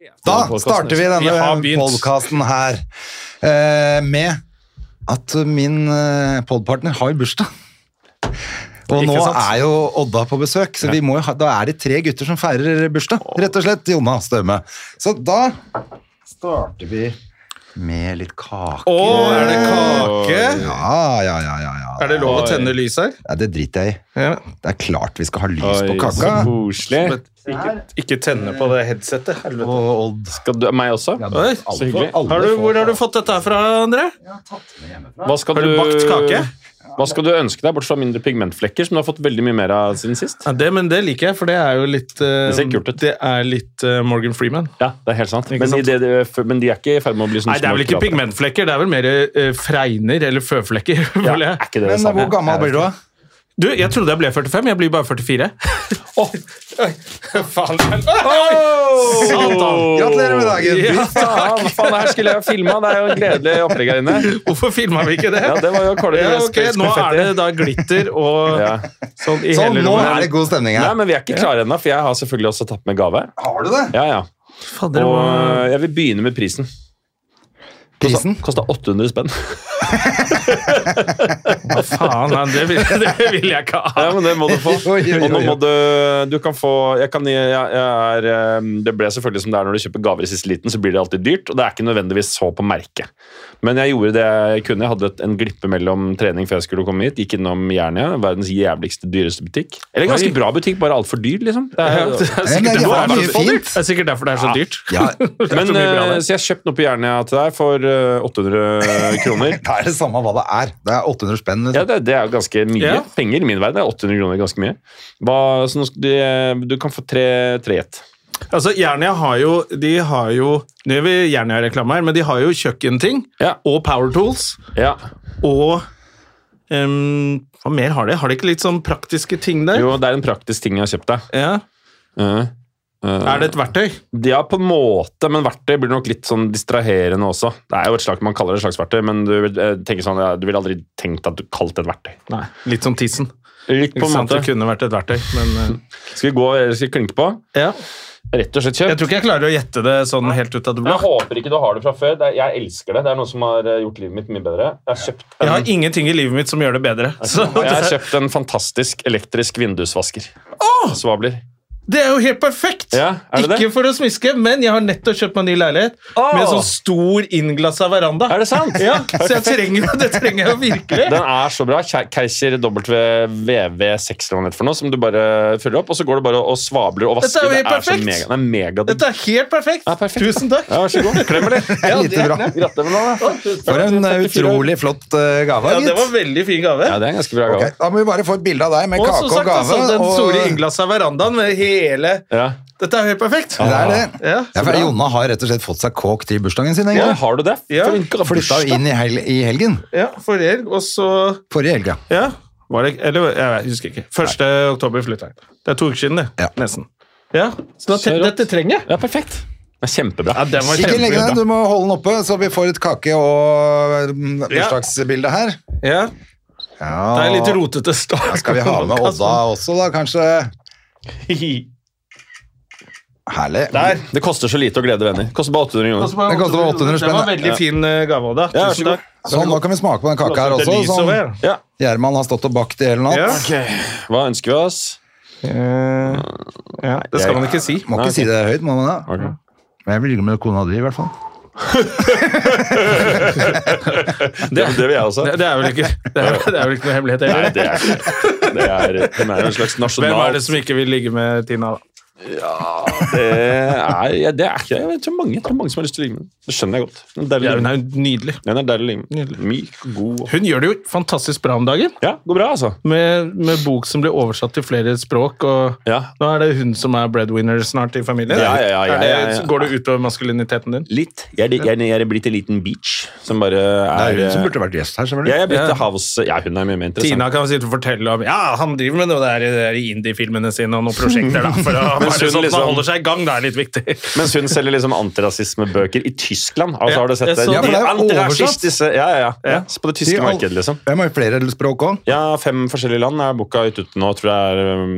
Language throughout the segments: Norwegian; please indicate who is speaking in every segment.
Speaker 1: Da
Speaker 2: Denne podcasten,
Speaker 1: starter vi
Speaker 2: Vi har
Speaker 1: denne
Speaker 2: begynt.
Speaker 1: podkasten her eh, med at min eh, podpartner har bursdag. Og
Speaker 2: Ikke
Speaker 1: nå
Speaker 2: sant?
Speaker 1: er jo Odda på besøk, så vi må jo ha, da er det tre gutter som feirer bursdag. Rett og slett Jonna Støme. Så da starter vi med litt kake.
Speaker 3: Å, er det kake?
Speaker 1: Ja, ja, ja, ja, ja.
Speaker 3: Er det lov å tenne lys her?
Speaker 1: Ja, det driter jeg i.
Speaker 3: Ja.
Speaker 1: Det er klart vi skal ha lys
Speaker 2: Oi,
Speaker 1: på
Speaker 2: så
Speaker 1: kaka.
Speaker 2: koselig.
Speaker 3: Men ikke, ikke tenne på det headsetet.
Speaker 1: Og
Speaker 3: Helvete.
Speaker 1: Odd
Speaker 2: Skal du, meg også?
Speaker 1: Ja,
Speaker 3: Oi,
Speaker 1: alle-
Speaker 2: Så hyggelig.
Speaker 1: alle
Speaker 3: Har du,
Speaker 1: får-
Speaker 3: hvor har du fått dette her fra, André?
Speaker 2: Hva skal
Speaker 3: Har du bakt kake?
Speaker 2: Hva skal du ønske deg, bortsett fra mindre pigmentflekker, som du har fått veldig mye mer av siden sist?
Speaker 3: Ja, det, men det liker jeg, for det er jo litt eh,
Speaker 2: Det ser kult ut.
Speaker 3: Det er litt eh, Morgan Freeman.
Speaker 2: Ja, det er helt sant. Men,
Speaker 3: sant?
Speaker 2: I det, det, men de er ikke i ferd med å bli sånn
Speaker 3: Nei, det er vel ikke pigmentflekker, det er vel mer eh, fregner eller føflekker.
Speaker 2: Ja,
Speaker 3: føler
Speaker 2: er
Speaker 3: jeg.
Speaker 2: ikke det det
Speaker 1: Men eh,
Speaker 2: samme?
Speaker 1: hvor gammel blir du, da?
Speaker 3: Du, jeg trodde jeg ble 45, jeg blir bare 44. Åh, oi, faen. Satan!
Speaker 1: Gratulerer med dagen!
Speaker 3: Ja.
Speaker 1: Fy faen.
Speaker 2: Faen, faen, det her skulle jeg ha filma! Det er jo et gledelig opplegg her inne.
Speaker 3: Hvorfor filma vi ikke det?
Speaker 2: Ja, det var jo Kåre
Speaker 3: Ja, ok,
Speaker 2: Space
Speaker 3: Nå er
Speaker 2: Confetti.
Speaker 3: det da glitter og
Speaker 2: Ja.
Speaker 3: sånn i
Speaker 1: Sånn,
Speaker 3: hele
Speaker 1: nå
Speaker 3: rommet.
Speaker 1: er det god stemning
Speaker 2: Nei,
Speaker 1: her.
Speaker 2: men vi er ikke klare ennå, for jeg har selvfølgelig også tatt med gave.
Speaker 1: Har du det?
Speaker 2: Ja, ja.
Speaker 3: Fader,
Speaker 2: Og
Speaker 3: hva-
Speaker 2: jeg vil begynne med prisen.
Speaker 1: Prisen?
Speaker 2: Kosta 800 spenn.
Speaker 3: hva faen, nei, det vil, det vil jeg ikke ha.
Speaker 2: Ja, men det må du få.
Speaker 1: Oi, oi, oi.
Speaker 2: Og nå må du Du kan få jeg kan, jeg, jeg er, eh, Det ble selvfølgelig som det er når du kjøper gaver i siste liten, så blir det alltid dyrt, og det er ikke nødvendigvis så på merket. Men jeg gjorde det jeg kunne. Jeg hadde et, en glippe mellom trening før jeg skulle komme hit. Gikk innom Jernia, verdens jævligste, dyreste butikk. Eller ganske
Speaker 3: Oi.
Speaker 2: bra butikk, bare altfor dyr, liksom. Det er,
Speaker 3: Det er
Speaker 1: Nei, det er
Speaker 3: sikkert derfor det er
Speaker 1: mye
Speaker 3: så dyrt.
Speaker 1: fint.
Speaker 3: Det er sikkert derfor det er så dyrt.
Speaker 1: Ja,
Speaker 3: Det er
Speaker 2: men,
Speaker 3: så mye bra
Speaker 2: eh,
Speaker 3: der.
Speaker 2: så jeg kjøpte noe på Jernia til deg for eh, 800 kroner.
Speaker 1: Da er det samme hva det er. Det er 800 spenn.
Speaker 2: Ja,
Speaker 1: Liksom.
Speaker 2: det, det er jo ganske mye
Speaker 3: Ja.
Speaker 2: penger i min verden. er 800 kroner ganske mye. Hva, så nå skal du, du kan få tre tre gjett.
Speaker 3: Altså, Jernia har jo De har jo Nå gjør vi Jernia-reklame her, men de har jo kjøkkenting
Speaker 2: Ja.
Speaker 3: og power tools
Speaker 2: Ja.
Speaker 3: og ehm, Hva mer har de? Har de ikke litt sånn praktiske ting der?
Speaker 2: Jo, det er en praktisk ting jeg har kjøpt deg.
Speaker 3: Ja.
Speaker 2: Uh,
Speaker 3: Er det et verktøy?
Speaker 2: ja, på en måte, men verktøy blir nok litt sånn distraherende også. Det er jo et slags, Man kaller det et slags verktøy, men du, vil, eh, tenker sånn, ja, du ville aldri tenkt at du kalte det et verktøy.
Speaker 3: Nei. Litt som tissen.
Speaker 2: Litt på
Speaker 3: Ikke
Speaker 2: en
Speaker 3: sant?
Speaker 2: måte.
Speaker 3: Det kunne vært et verktøy, men
Speaker 2: Skal vi gå, skal vi klinke på?
Speaker 3: eh, ja.
Speaker 2: Rett og slett
Speaker 3: Jeg
Speaker 2: kjøpt.
Speaker 3: tror ikke jeg klarer å gjette det sånn helt ut av det blå.
Speaker 2: Jeg håper ikke du har det fra før. Det er, jeg elsker det. Det er noe som har eh, gjort livet mitt mye bedre. Jeg har kjøpt
Speaker 3: Jeg
Speaker 2: en,
Speaker 3: har ingenting i livet mitt som gjør det bedre. Så
Speaker 2: jeg har kjøpt en fantastisk elektrisk vindusvasker. Svabler.
Speaker 3: det er jo helt perfekt!
Speaker 2: Ja, er det det?
Speaker 3: Ikke for å smiske, men jeg har nettopp kjøpt meg ny leilighet
Speaker 2: Åh!
Speaker 3: med sånn stor innglassa veranda.
Speaker 2: Er det sant?
Speaker 3: Ja, så jeg trenger, det trenger jeg virkelig.
Speaker 2: Den er så bra. Ke- Keiser WVV6 eller hva den heter for noe, som du bare følger opp, og så går du bare og svabler og
Speaker 3: Dette
Speaker 2: vasker.
Speaker 3: er jo helt
Speaker 2: så
Speaker 3: perfekt.
Speaker 2: mega, den er megadigg.
Speaker 3: Dette er helt perfekt!
Speaker 2: Ja, perfekt.
Speaker 3: Tusen takk.
Speaker 2: Ja, vær så god. Klemmer det.
Speaker 1: Ja, Lite bra.
Speaker 2: Gratulerer med dagen.
Speaker 1: For en eh, utrolig flott eh, gave.
Speaker 3: Ja,
Speaker 1: gitt.
Speaker 3: det var veldig fin gave.
Speaker 2: Ja, det er en ganske bra gave.
Speaker 1: Ok, da må vi bare få et bilde av deg med
Speaker 3: Og
Speaker 1: kake
Speaker 3: som
Speaker 1: og
Speaker 3: sagt,
Speaker 1: gave.
Speaker 3: altså, den store
Speaker 1: og...
Speaker 3: innglassa verandaen med hele
Speaker 2: Ja.
Speaker 3: Dette er jo helt perfekt.
Speaker 1: Det er det.
Speaker 3: Ja,
Speaker 1: Ja, for Jonna har rett og slett fått seg kåk til bursdagen sin.
Speaker 2: Ja,
Speaker 1: egentlig.
Speaker 2: har du det?
Speaker 3: Ja.
Speaker 2: For en gra-
Speaker 1: Flytta jo inn i, hel i helgen.
Speaker 3: ja for dere. Og så
Speaker 1: Forrige helg, ja.
Speaker 3: Ja. Var det, eller, jeg vet- husker ikke. 1. oktober flytta jeg. Det er to uker siden, det.
Speaker 1: Ja.
Speaker 3: Nesten. Ja, så da,
Speaker 2: Så rått.
Speaker 3: dette trenger jeg.
Speaker 2: Ja, perfekt. Det er kjempebra.
Speaker 3: Ja, den var
Speaker 1: Ikke legg
Speaker 3: kjempebra.
Speaker 1: den, du må holde den oppe, så vi får et kake- og mm, bursdagsbilde her.
Speaker 3: Ja, det er
Speaker 1: Ja,
Speaker 3: litt rotete start.
Speaker 1: Skal vi ha med Odda også, da, kanskje? Herlig.
Speaker 3: Der.
Speaker 2: Det koster så lite å glede venner. Det koster bare 800
Speaker 3: Altså,
Speaker 2: kroner.
Speaker 1: Den koster bare 800
Speaker 3: Det var
Speaker 1: spenn,
Speaker 3: veldig fin eh, gave, Odda.
Speaker 2: Ja, vær så
Speaker 3: Tusen
Speaker 2: god.
Speaker 3: takk.
Speaker 1: Sånn, nå kan vi smake på den kaka her
Speaker 3: Det
Speaker 1: også.
Speaker 3: lyser
Speaker 1: Som
Speaker 3: over.
Speaker 2: Ja.
Speaker 1: Gjerman har stått og bakt i hele natt.
Speaker 3: Ja.
Speaker 2: Hva ønsker vi oss?
Speaker 3: Eh, ja, det skal man ikke si.
Speaker 1: Må ikke
Speaker 2: Nei,
Speaker 1: si det høyt, må man det?
Speaker 2: Ok.
Speaker 1: Men jeg vil ligge med kona di, i hvert fall.
Speaker 2: Det, det vil jeg også.
Speaker 3: Det, det, er vel ikke, det, er, det er vel ikke noe hemmelighet
Speaker 2: Nei,
Speaker 3: heller.
Speaker 2: det er det er, den er jo en slags nasjonal
Speaker 3: Hvem er det som ikke vil ligge med Tina? da?
Speaker 2: Det er, ja, det er ikke Jeg tror mange, jeg tror mange som har lyst til å ligge med den. Det skjønner jeg godt. Den er deilig å ligge
Speaker 3: Ja, hun
Speaker 2: med.
Speaker 3: er jo nydelig.
Speaker 2: Den er deilig å ligge med.
Speaker 3: Nydelig.
Speaker 2: Myk, god og-
Speaker 3: Hun gjør det jo fantastisk bra om dagen,
Speaker 2: Ja, går bra, altså.
Speaker 3: med, med bok som blir oversatt til flere språk. og...
Speaker 2: Ja.
Speaker 3: Nå er det hun som er breadwinner snart i familien.
Speaker 2: Ja, ja, ja, ja,
Speaker 3: Er det,
Speaker 2: ja, ja.
Speaker 3: Går det utover maskuliniteten din?
Speaker 2: Litt. Jeg, er- jeg, er- jeg er blitt en liten beach som bare
Speaker 1: Det
Speaker 2: er eh,
Speaker 1: er hun som burde vært gjest her,
Speaker 2: Ja,
Speaker 1: selvfølgelig.
Speaker 2: jeg er blitt
Speaker 3: Ja.
Speaker 2: havs... Ja, hun er mye mer interessant.
Speaker 3: Tina kan sitte og fortelle om Ja, han driver med det der i- der i indie-filmene sine og noen prosjekter da, for å
Speaker 2: Mens
Speaker 3: Bare
Speaker 2: hun
Speaker 3: sånn at man
Speaker 2: liksom-
Speaker 3: holder seg i gang, det er litt viktig.
Speaker 2: Mens hun selger liksom antirasismebøker i Tyskland. Altså,
Speaker 3: Ja,
Speaker 2: har du sett
Speaker 3: jeg
Speaker 2: det?
Speaker 3: så
Speaker 2: De
Speaker 3: det. Ja, for
Speaker 1: det er jo
Speaker 2: antirasististiske- Ja, ja, ja.
Speaker 3: Ja.
Speaker 2: Så På det tyske markedet, liksom.
Speaker 1: Det må jo flere språk òg.
Speaker 2: Ja, fem forskjellige land er boka gitt ut nå. Jeg tror det er um,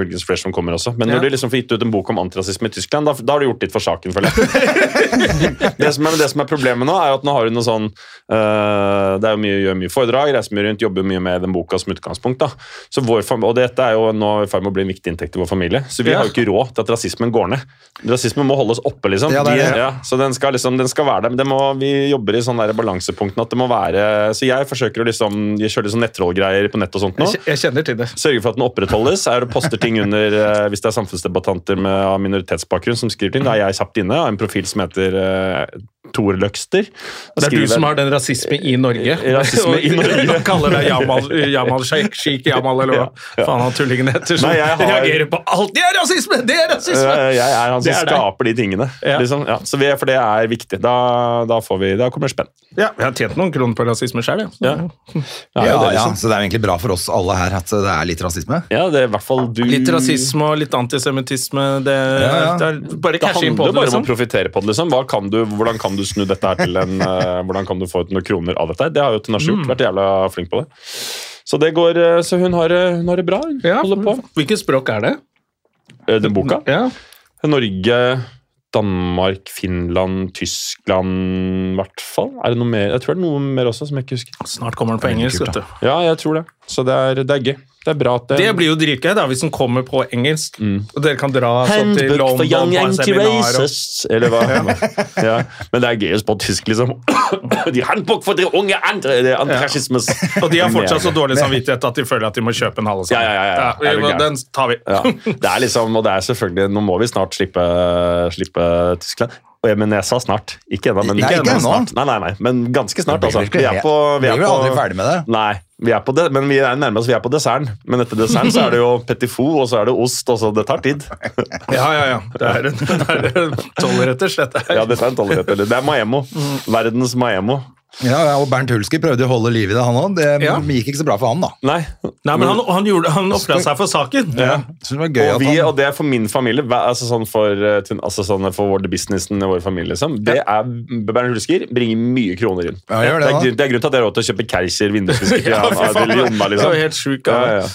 Speaker 2: muligens flere som kommer også. Men når
Speaker 3: Ja.
Speaker 2: du liksom får gitt ut en bok om antirasisme i Tyskland, da, da har du gjort litt for saken, føler jeg. det, som er, det som er problemet nå, er at nå har hun noe sånn øh, Det er jo mye, gjør mye foredrag, reiser mye rundt, jobber mye med den boka som utgangspunkt. da. Så vår fam og dette er jo nå i ferd med å bli en viktig inntekt i vår familie, så vi
Speaker 3: Ja.
Speaker 2: har jo ikke råd til at rasismen går ned. Rasismen må holdes oppe, liksom.
Speaker 1: Ja, det er
Speaker 2: De-
Speaker 1: det.
Speaker 2: ja, så den skal, liksom, den skal være der. Men det må, vi jobber i sånne der balansepunkten at det må være Så jeg forsøker å liksom Jeg kjører litt sånn nettrollgreier på nett og sånt nå.
Speaker 3: Jeg, jeg kjenner til det.
Speaker 2: Sørger for at den opprettholdes. Er og poster ting under eh, Hvis det er samfunnsdebattanter med av minoritetsbakgrunn som skriver ting, da er jeg kjapt inne. Har en profil som heter eh, Tor Løkster.
Speaker 3: Det er du som har den rasisme i Norge.
Speaker 2: Rasisme i Norge.
Speaker 3: Og kaller deg Jamal, Jamal Sheikh, Sheikh Jamal, eller hva faen han tullingen heter. Som
Speaker 2: Nei, jeg har-
Speaker 3: reagerer på alt. Det er rasisme! Det er rasisme!
Speaker 2: Eh, Jeg er han som
Speaker 3: Det er deg.
Speaker 2: skaper de tingene.
Speaker 3: Ja.
Speaker 2: Liksom. Ja, så vi, for det er viktig. Da, da, får vi, da kommer det spenn.
Speaker 3: Ja, jeg har tjent noen kroner på rasisme sjøl, jeg.
Speaker 2: Ja.
Speaker 1: Ja,
Speaker 2: Det er jo det,
Speaker 1: ja,
Speaker 2: liksom.
Speaker 1: så det er jo egentlig bra for oss alle her at det er litt rasisme.
Speaker 2: ja, det er i hvert fall du
Speaker 3: Litt rasisme og litt antisemittisme. Det,
Speaker 1: Ja, ja.
Speaker 3: det er bare
Speaker 2: Det
Speaker 3: cash
Speaker 2: handler
Speaker 3: inn på
Speaker 2: jo
Speaker 3: det,
Speaker 2: bare om
Speaker 3: liksom.
Speaker 2: å profitere på det. liksom. Hva kan du, hvordan kan du snu dette her til en eh, Hvordan kan du få ut noen kroner av dette? her? Det har jo Tinashe
Speaker 3: Mm.
Speaker 2: gjort. Vært jævla flink på det. Så det går, eh, så hun har, eh, hun har det bra. Hun
Speaker 3: Ja.
Speaker 2: holder på.
Speaker 3: Hvilket språk er det?
Speaker 2: Eh, Den boka.
Speaker 3: Ja.
Speaker 2: Norge, Danmark, Finland, Tyskland i hvert fall. Er det noe mer? Jeg tror det er noe mer også som jeg ikke husker.
Speaker 3: Snart kommer den på engelsk.
Speaker 1: kult,
Speaker 3: vet
Speaker 1: da.
Speaker 3: du.
Speaker 2: Ja, jeg tror det. Så det er, det er gøy. Det er bra at det,
Speaker 3: Det blir jo dritgøy da, hvis den kommer på engelsk.
Speaker 2: Mm.
Speaker 3: Og dere kan dra sånn til
Speaker 2: Handbook for
Speaker 3: London
Speaker 2: young
Speaker 3: på en seminar. og-
Speaker 2: anti-racists, eller hva? ja. Men det er gøyest på tysk, liksom. De handbook for de unge andre, det er antirasismes.
Speaker 3: Og de har fortsatt så dårlig samvittighet at de føler at de må kjøpe en halv
Speaker 2: Ja, ja, ja, ja. Er du
Speaker 3: vi-
Speaker 2: gæren?
Speaker 3: Den tar vi.
Speaker 2: ja. Det er liksom, og det er selvfølgelig, nå må vi snart slippe, slippe Tyskland. Og jeg, men jeg sa snart. Ikke ennå, men
Speaker 1: Nei, ikke ennå.
Speaker 2: snart. Nei, nei, nei, men ganske snart,
Speaker 1: Det blir
Speaker 2: altså.
Speaker 1: vel ikke-
Speaker 2: Vi er på, vi
Speaker 1: blir
Speaker 2: er
Speaker 1: vel
Speaker 2: på
Speaker 1: aldri ferdig med det.
Speaker 2: Nei, vi er på det, men vi er nærmest, vi er på desserten. Men etter desserten så er det jo petit four, og så er det ost, og så det tar tid.
Speaker 3: Ja, ja, ja. Det er en- det er en tolvretters, dette her.
Speaker 2: Ja, dette er en tolerett, eller det er Maemo. Verdens Maemo.
Speaker 1: Ja, ja, og Bernt Hulsker prøvde jo å holde liv i det, han òg. Det
Speaker 3: Ja.
Speaker 1: gikk ikke så bra for han, da.
Speaker 2: Nei,
Speaker 3: Nei, men han, han, gjorde- han ofra seg for saken.
Speaker 1: Så det var gøy
Speaker 2: og,
Speaker 1: at
Speaker 2: vi,
Speaker 1: han
Speaker 2: og det er for min familie, hva- altså sånn for, eh, til- altså sånn for vår businessen i vår familie, liksom. det er Bernhard Hulsker bringer mye kroner inn.
Speaker 1: Ja, gjør det,
Speaker 2: det, er
Speaker 1: da.
Speaker 2: grunn, det er grunn til at jeg har råd til å kjøpe Keiser vindusvisker til
Speaker 3: Ja,
Speaker 2: han,
Speaker 3: fy faen.
Speaker 2: Adil Jonna,
Speaker 3: Det var
Speaker 2: liksom.
Speaker 3: helt sjukt.
Speaker 2: Ja,
Speaker 3: Ja,
Speaker 2: ja, ja.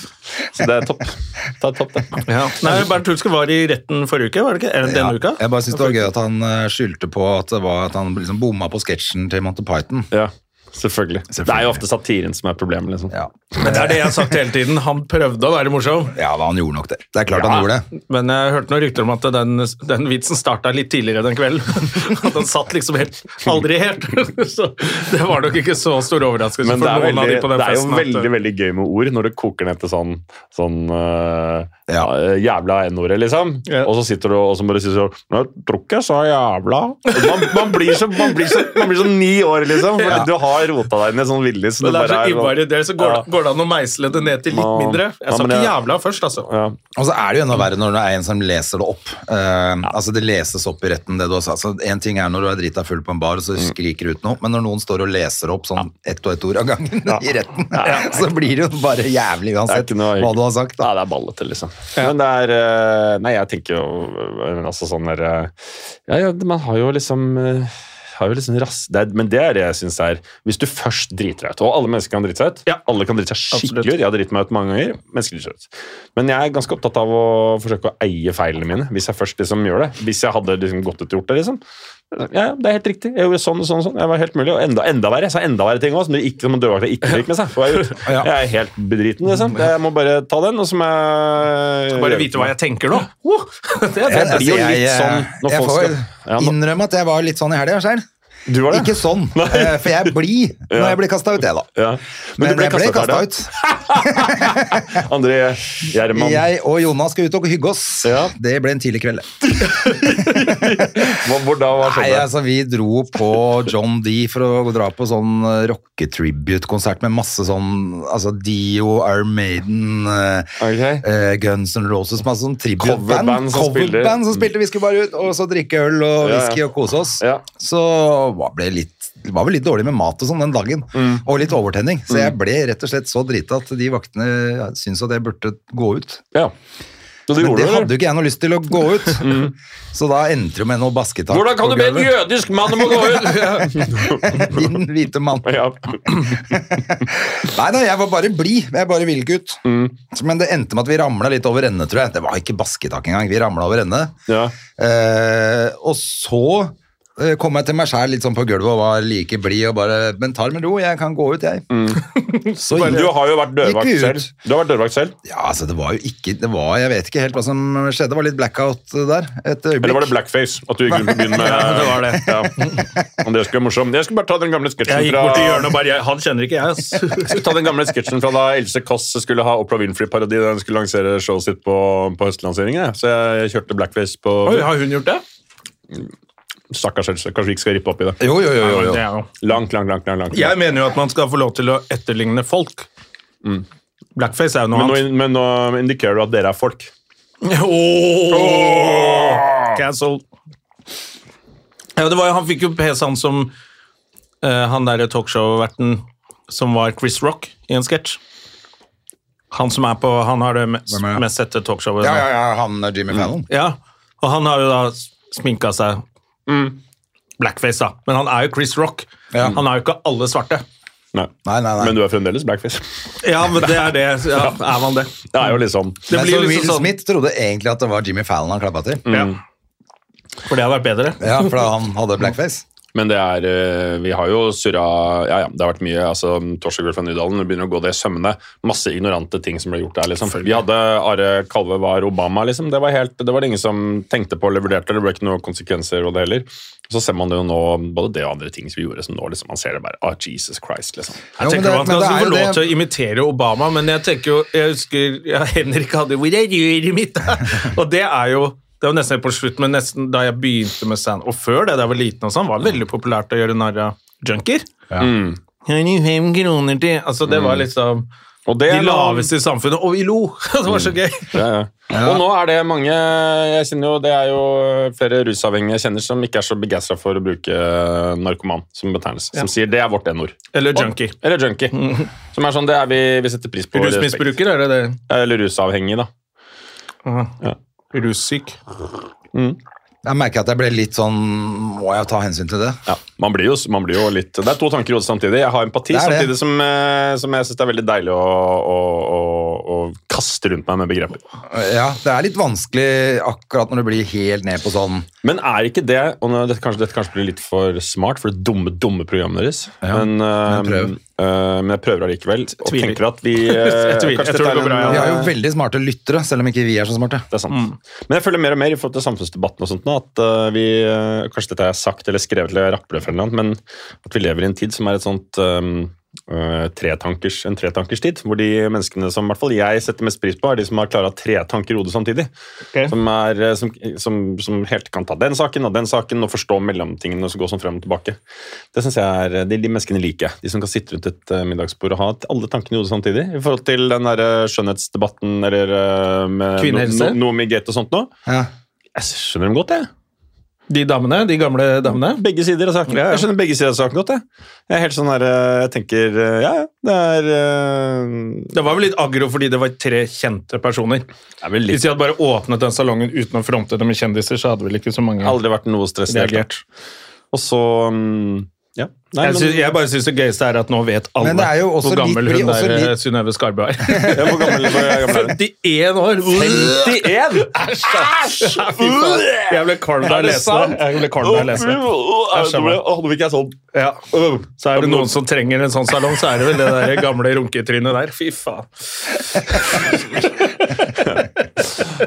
Speaker 2: Så det er topp. Det er topp, det.
Speaker 3: Nei, Bernt Hulske var i retten forrige uke, var det ikke? Eller denne uka?
Speaker 1: Jeg bare syns det var gøy at han eh, skyldte på at, det var, at han liksom bomma på sketsjen til Monty Python.
Speaker 2: Ja, selvfølgelig.
Speaker 1: Selvfølgelig.
Speaker 2: Det er jo ofte satiren som er problemet, liksom.
Speaker 1: Ja.
Speaker 3: Men det er det jeg har sagt hele tiden. Han prøvde å være morsom.
Speaker 1: ja, da, han gjorde nok det. Det er klart han gjorde det.
Speaker 3: Men jeg hørte noen rykter om at den, den vitsen starta litt tidligere den kvelden. At den satt liksom helt aldri helt. Så det var nok ikke så stor overraskelse
Speaker 2: Men det er,
Speaker 3: for noen av
Speaker 2: veldig,
Speaker 3: de på den
Speaker 2: det er jo
Speaker 3: festen. at- eh,
Speaker 2: veldig veldig gøy med ord når det koker ned til sånn, sånn øh, ja.
Speaker 1: Ja.
Speaker 2: jævla n-ordet, liksom.
Speaker 3: Ja.
Speaker 2: Og så sitter du og så bare sier sånn Nå tror ikke jeg sa jævla. Man, man, blir så, man, blir så, man blir så ni år, liksom. For Du har rota deg inn i sånn vilje. Så
Speaker 3: Men det er så
Speaker 2: bare
Speaker 3: innmari det, så går, det- går det an å meisle det ned til litt
Speaker 2: Ja.
Speaker 3: mindre. Jeg
Speaker 2: Ja,
Speaker 3: sa
Speaker 2: men
Speaker 3: ikke
Speaker 2: det-
Speaker 3: jævla først, altså.
Speaker 2: ja.
Speaker 1: Og så er det jo
Speaker 2: Mm.
Speaker 1: enda verre når det er en som leser det opp. Eh, Altså Det leses opp i retten, det du har sagt. Så en ting er når du er drita full på en bar og så
Speaker 2: Mm.
Speaker 1: skriker du ut noe, men når noen står og leser opp sånn ett og ett ord av gangen i retten, så blir det jo bare jævlig
Speaker 2: Det er
Speaker 1: uansett
Speaker 2: ikke noe-
Speaker 1: hva du har sagt.
Speaker 2: Nei,
Speaker 1: Da.
Speaker 2: det er ballete, liksom. Men det er eh, Nei, jeg tenker jo eh, men altså sånn der eh, Ja, ja, man har jo liksom eh, har jo liksom rass, det er, men det er det jeg syns er Hvis du først driter deg ut Og alle mennesker kan drite seg ut.
Speaker 3: Ja.
Speaker 2: Alle kan drite seg
Speaker 3: Absolutt.
Speaker 2: skikkelig ut. Jeg har dritt meg ut mange ganger. Mennesker driter seg ut. Men jeg er ganske opptatt av å forsøke å eie feilene mine, hvis jeg først liksom gjør det. Hvis jeg hadde liksom gått ut og gjort det, liksom. Ja, ja, det er helt riktig. Jeg gjorde sånn og sånn. og sånn. Jeg var helt mulig. Og enda, enda verre. Jeg sa enda verre ting òg, som du ikke som en dørvakt ikke fikk med seg. Hva har Jeg, gjort?
Speaker 1: Ja.
Speaker 2: jeg er helt bedriten, liksom. Jeg må bare ta den, og så må jeg
Speaker 3: Bare vite hva jeg tenker nå. Oh, det
Speaker 2: Jeg
Speaker 3: er det.
Speaker 1: Altså,
Speaker 2: blir jo litt sånn når
Speaker 1: jeg
Speaker 2: folk
Speaker 1: får
Speaker 2: skal- Ja, nå-
Speaker 1: innrømme at jeg var litt sånn i helga sjøl.
Speaker 2: Du var det?
Speaker 1: Ikke sånn, eh, for jeg er blid når jeg blir kasta ut, jeg, da.
Speaker 2: Ja. Men,
Speaker 1: Men
Speaker 2: du ble
Speaker 1: jeg ble
Speaker 2: kasta
Speaker 1: kasta
Speaker 2: ut.
Speaker 1: ut.
Speaker 2: der, da. André Gjerman.
Speaker 1: Jeg og Jonas skal ut og hygge oss.
Speaker 2: Ja.
Speaker 1: Det ble en tidlig kveld.
Speaker 2: Hvor, hvor da? Hva
Speaker 1: Nei,
Speaker 2: skjedde?
Speaker 1: altså Vi dro på John D for å dra på sånn eh, rocketribute-konsert med masse sånn altså Dio, Iron Maiden, eh,
Speaker 2: Ok.
Speaker 1: eh, Guns N' Roses Masse sånn tribute-band.
Speaker 2: Coverband som spiller.
Speaker 1: Coverband som spilte. Vi skulle bare ut og så drikke øl og
Speaker 2: Ja, ja.
Speaker 1: whisky og kose oss.
Speaker 2: Ja.
Speaker 1: Så var ble litt var vel litt dårlig med mat og sånn den dagen,
Speaker 2: Mm.
Speaker 1: og litt overtenning. Så jeg ble rett og slett så drita at de vaktene syntes at jeg burde gå ut.
Speaker 2: Ja. Og det
Speaker 1: Men
Speaker 2: gjorde
Speaker 1: det
Speaker 2: du,
Speaker 1: hadde
Speaker 2: eller?
Speaker 1: jo ikke jeg noe lyst til å gå ut. Så da endte det med noe basketak.
Speaker 2: Hvordan kan
Speaker 1: på
Speaker 2: du be en
Speaker 1: gulvet.
Speaker 2: jødisk mann om å gå ut?!
Speaker 1: Din hvite mann.
Speaker 2: ja.
Speaker 1: Nei da, jeg var bare blid. Jeg bare ville ikke ut.
Speaker 2: Mm.
Speaker 1: Men det endte med at vi ramla litt over ende, tror jeg. Det var ikke basketak engang. Vi ramla over ende.
Speaker 2: ja.
Speaker 1: Eh, og så eh, kom jeg til meg sjæl litt sånn på gulvet og var like blid og bare Men tar det med ro, jeg kan gå ut, jeg.
Speaker 2: Mm.
Speaker 1: så
Speaker 2: Men du har jo vært dørvakt
Speaker 1: Gikk ut.
Speaker 2: selv. Du har vært dørvakt selv.
Speaker 1: Ja, altså, det var jo ikke Det var Jeg vet ikke helt hva som skjedde. Det var litt blackout eh, der et øyeblikk.
Speaker 2: Eller var det blackface? At du gikk rundt på byen med
Speaker 3: Ja, det var det.
Speaker 2: Ja. Og det skulle være morsomt. Jeg skulle bare ta den gamle
Speaker 3: Jeg
Speaker 2: sketsjen
Speaker 3: gikk
Speaker 2: fra
Speaker 3: bort til hjørnet og bare jeg, Han kjenner ikke jeg, ass.
Speaker 2: Jeg skulle ta den gamle sketsjen fra da Else Kåss skulle ha Oprah Winfrey-parodi da hun skulle lansere showet sitt på, på høstlanseringen. jeg. Så jeg, jeg kjørte blackface på
Speaker 3: Oi, har hun gjort det?
Speaker 2: Stakkars Else. Kanskje vi ikke skal rippe opp i det.
Speaker 1: Jo, jo, jo. jo, jo.
Speaker 3: Det er jo.
Speaker 2: Langt, langt, langt. langt, langt.
Speaker 3: Jeg mener jo at man skal få lov til å etterligne folk. Blackface er jo
Speaker 2: Mm.
Speaker 3: noe
Speaker 2: men,
Speaker 3: annet.
Speaker 2: nå, men nå indikerer du at dere er folk.
Speaker 3: Åh! Cancelled. Ja, det var jo, han fikk jo pes han som eh, Han derre talkshow-verten som var Chris Rock i en sketsj. Han som er på Han har det mest,
Speaker 1: Hvem er det?
Speaker 3: mest sette talkshowet.
Speaker 1: Ja,
Speaker 3: nå.
Speaker 1: ja, ja, han eh,
Speaker 2: Mm.
Speaker 1: Jimmy Fallon.
Speaker 3: Ja, og han har jo da sminka seg blackface, da. Men han er jo Chris Rock.
Speaker 1: Ja.
Speaker 3: Han er jo ikke alle svarte.
Speaker 2: Nei.
Speaker 1: Nei, nei, nei.
Speaker 2: Men du er fremdeles blackface.
Speaker 3: Ja, men det er det. Ja, er man det?
Speaker 2: Det er jo litt sånn.
Speaker 3: Det
Speaker 1: Men
Speaker 3: blir
Speaker 1: så
Speaker 3: liksom
Speaker 1: Will
Speaker 3: sånn-
Speaker 1: Smith trodde egentlig at det var Jimmy Fallon han klappa til.
Speaker 3: Ja. For det hadde vært bedre.
Speaker 1: Ja, for da han hadde blackface.
Speaker 2: Men det er eh, Vi har jo surra Ja, ja, det har vært mye. altså Torsdagsgull fra Nydalen det begynner å gå det i sømmene. Masse ignorante ting som ble gjort der, liksom. Vi hadde Are Kalve var Obama, liksom. Det var, helt, det var det ingen som tenkte på eller vurderte. Det ble ikke noen konsekvenser av det heller. Så ser man det jo nå, både det og andre ting som vi gjorde, som nå liksom Man ser det bare Ah, Jesus Christ, liksom.
Speaker 1: Jo,
Speaker 3: Jeg
Speaker 1: men
Speaker 3: tenker
Speaker 1: det-
Speaker 3: man
Speaker 1: men
Speaker 3: skal
Speaker 1: det er
Speaker 3: få
Speaker 1: jo
Speaker 3: lov
Speaker 1: det-
Speaker 3: til å imitere Obama, men jeg tenker jo, jeg husker ja, Henrik hadde Hvor er røret mitt? da?» Og det er jo det var nesten helt på slutt, men nesten da jeg begynte med stand Og før det, da jeg var liten, og sånn, var det veldig populært å gjøre narr av junkier.
Speaker 1: Ja.
Speaker 3: Her er fem kroner til Altså, det var liksom
Speaker 2: Og det
Speaker 3: De
Speaker 2: er noe-
Speaker 3: laveste i samfunnet. Og vi lo! Det var så gøy.
Speaker 2: Ja, ja. Og nå er det mange jeg kjenner jo, Det er jo flere rusavhengige jeg kjenner som ikke er så begeistra for å bruke narkoman som betegnelse. Som sier det er vårt n-ord.
Speaker 3: Eller junkie.
Speaker 2: Eller junkie.
Speaker 3: Mm.
Speaker 2: Som er sånn, det er vi, vi setter pris på. respekt.
Speaker 3: Rusmisbruker, er det det?
Speaker 2: Eller rusavhengig, da. Ja.
Speaker 3: Russyk.
Speaker 1: Jeg merker at jeg ble litt sånn Må jeg ta hensyn til det?
Speaker 2: Ja, man blir, jo, man blir jo litt Det er to tanker i hodet samtidig. Jeg har empati,
Speaker 1: Det er det.
Speaker 2: samtidig som, eh, som jeg syns det er veldig deilig å, å, å, å kaste rundt meg med begreper.
Speaker 1: Ja, det er litt vanskelig akkurat når du blir helt ned på sånn
Speaker 2: Men er ikke det Og nå- dette kanskje, dette kanskje blir litt for smart for det dumme, dumme programmet deres.
Speaker 1: Ja,
Speaker 2: men, eh,
Speaker 1: men prøv.
Speaker 2: eh, men jeg prøver allikevel. Og
Speaker 3: tviler.
Speaker 2: tenker at vi eh,
Speaker 3: Jeg tviler.
Speaker 2: kanskje
Speaker 3: Jeg
Speaker 2: dette
Speaker 3: tror det
Speaker 2: er
Speaker 3: går bra,
Speaker 2: en-
Speaker 1: Vi
Speaker 3: ja.
Speaker 1: har jo veldig smarte lyttere, selv om ikke vi er så smarte.
Speaker 2: Det er sant. Men jeg føler mer og mer i forhold til samfunnsdebatten og sånt nå, at eh, vi eh, Kanskje dette har jeg sagt eller skrevet eller rappet for noe, men at vi lever i en tid som er et sånt eh, eh, tretankers, en tretankerstid, hvor de menneskene som i hvert fall jeg setter mest pris på, er de som har klart tre tanker i hodet samtidig. Som, er, eh, som, som, som helt kan ta den saken og den saken og forstå mellomtingene og så gå sånn frem og tilbake. Det synes jeg er, eh, de, de menneskene liker jeg. De som kan sitte rundt et eh, middagsbord og ha t- alle tankene i hodet samtidig. I forhold til den der eh, skjønnhetsdebatten eller eh, med no,
Speaker 3: Kvinnehelse?
Speaker 2: no, noe med gate og sånt nå.
Speaker 1: Ja.
Speaker 2: Jeg skjønner dem godt, jeg.
Speaker 3: De damene, de gamle damene.
Speaker 2: Begge sider av saken.
Speaker 3: Ja, ja.
Speaker 2: Jeg skjønner begge sider av saken godt, jeg. Jeg er helt sånn her eh, Jeg tenker eh, Ja, ja, det er eh,
Speaker 3: Det var vel litt aggro fordi det var tre kjente personer.
Speaker 2: Det er vel
Speaker 3: Hvis
Speaker 2: litt
Speaker 3: de hadde bare åpnet den salongen uten å fronte det med kjendiser, så hadde vel ikke så mange
Speaker 2: Aldri vært noe stress i det hele tatt.
Speaker 3: reagert.
Speaker 2: Og så mm, Ja. Nei,
Speaker 3: Jeg,
Speaker 2: men
Speaker 3: sy- jeg bare syns det gøyeste er at nå vet alle
Speaker 1: Men det er jo også
Speaker 3: hvor gammel
Speaker 1: litt- blir
Speaker 3: hun
Speaker 1: også
Speaker 3: der eh,
Speaker 1: litt-
Speaker 3: Synnøve Skarbø er.
Speaker 2: Ja, Hvor gammel hvor gammel er du?
Speaker 3: 51 år!
Speaker 2: 51!
Speaker 3: Æsj! Ja, fy faen. Jeg ble kvalm da jeg leste det. Jeg ble kvalm da jeg leste det.
Speaker 2: Hadde vi ikke jeg sånn
Speaker 3: Ja.
Speaker 2: Øh,
Speaker 3: Så er det noen som trenger en sånn salong, så er det vel det der gamle runketrynet der. Fy faen.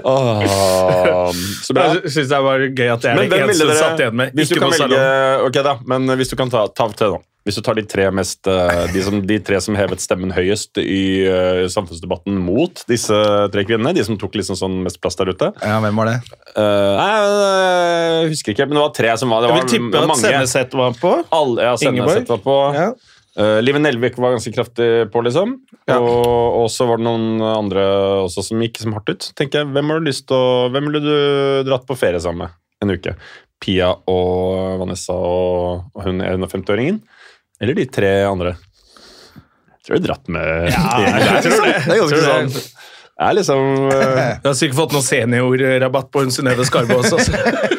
Speaker 2: Åh, Så bra.
Speaker 3: Jeg syns det var gøy at jeg
Speaker 2: Men
Speaker 3: Ah,
Speaker 2: hvem
Speaker 3: er den
Speaker 2: ville
Speaker 3: eneste som
Speaker 2: dere
Speaker 3: satt igjen med
Speaker 2: hvis du
Speaker 3: ikke
Speaker 2: kan
Speaker 3: på
Speaker 2: velge,
Speaker 3: salong.
Speaker 2: Ok da, men hvis du kan ta, ta til da Hvis du tar de tre, mest, eh, de, som, de tre som hevet stemmen høyest i eh, samfunnsdebatten mot disse tre kvinnene, de som tok liksom sånn mest plass der ute
Speaker 1: ja, hvem var det?
Speaker 2: Eh, Nei, eh, jeg husker ikke, men det var tre som var Det
Speaker 3: Jeg
Speaker 2: var
Speaker 3: vil tippe at
Speaker 2: mange.
Speaker 3: Senneset var på.
Speaker 2: Alle, ja, Senneset
Speaker 3: Ingeborg.
Speaker 2: var på.
Speaker 3: Ja.
Speaker 2: Eh, Live Nelvik var ganske kraftig på, liksom.
Speaker 3: Ja.
Speaker 2: Og og så var det noen andre også som gikk som hardt ut. Tenker jeg, Hvem har du lyst til å Hvem ville du dratt på ferie sammen med en uke? Pia og Vanessa og, og hun 51-åringen? Eller de tre andre? Jeg tror jeg hadde dratt med
Speaker 3: jeg tror
Speaker 2: Det
Speaker 3: det.
Speaker 2: er ganske
Speaker 3: Tror
Speaker 2: sånn.
Speaker 3: det.
Speaker 2: Jeg Det er liksom eh,
Speaker 3: Du har sikkert fått noe seniorrabatt på hun Synnøve Skarbo også. altså. så-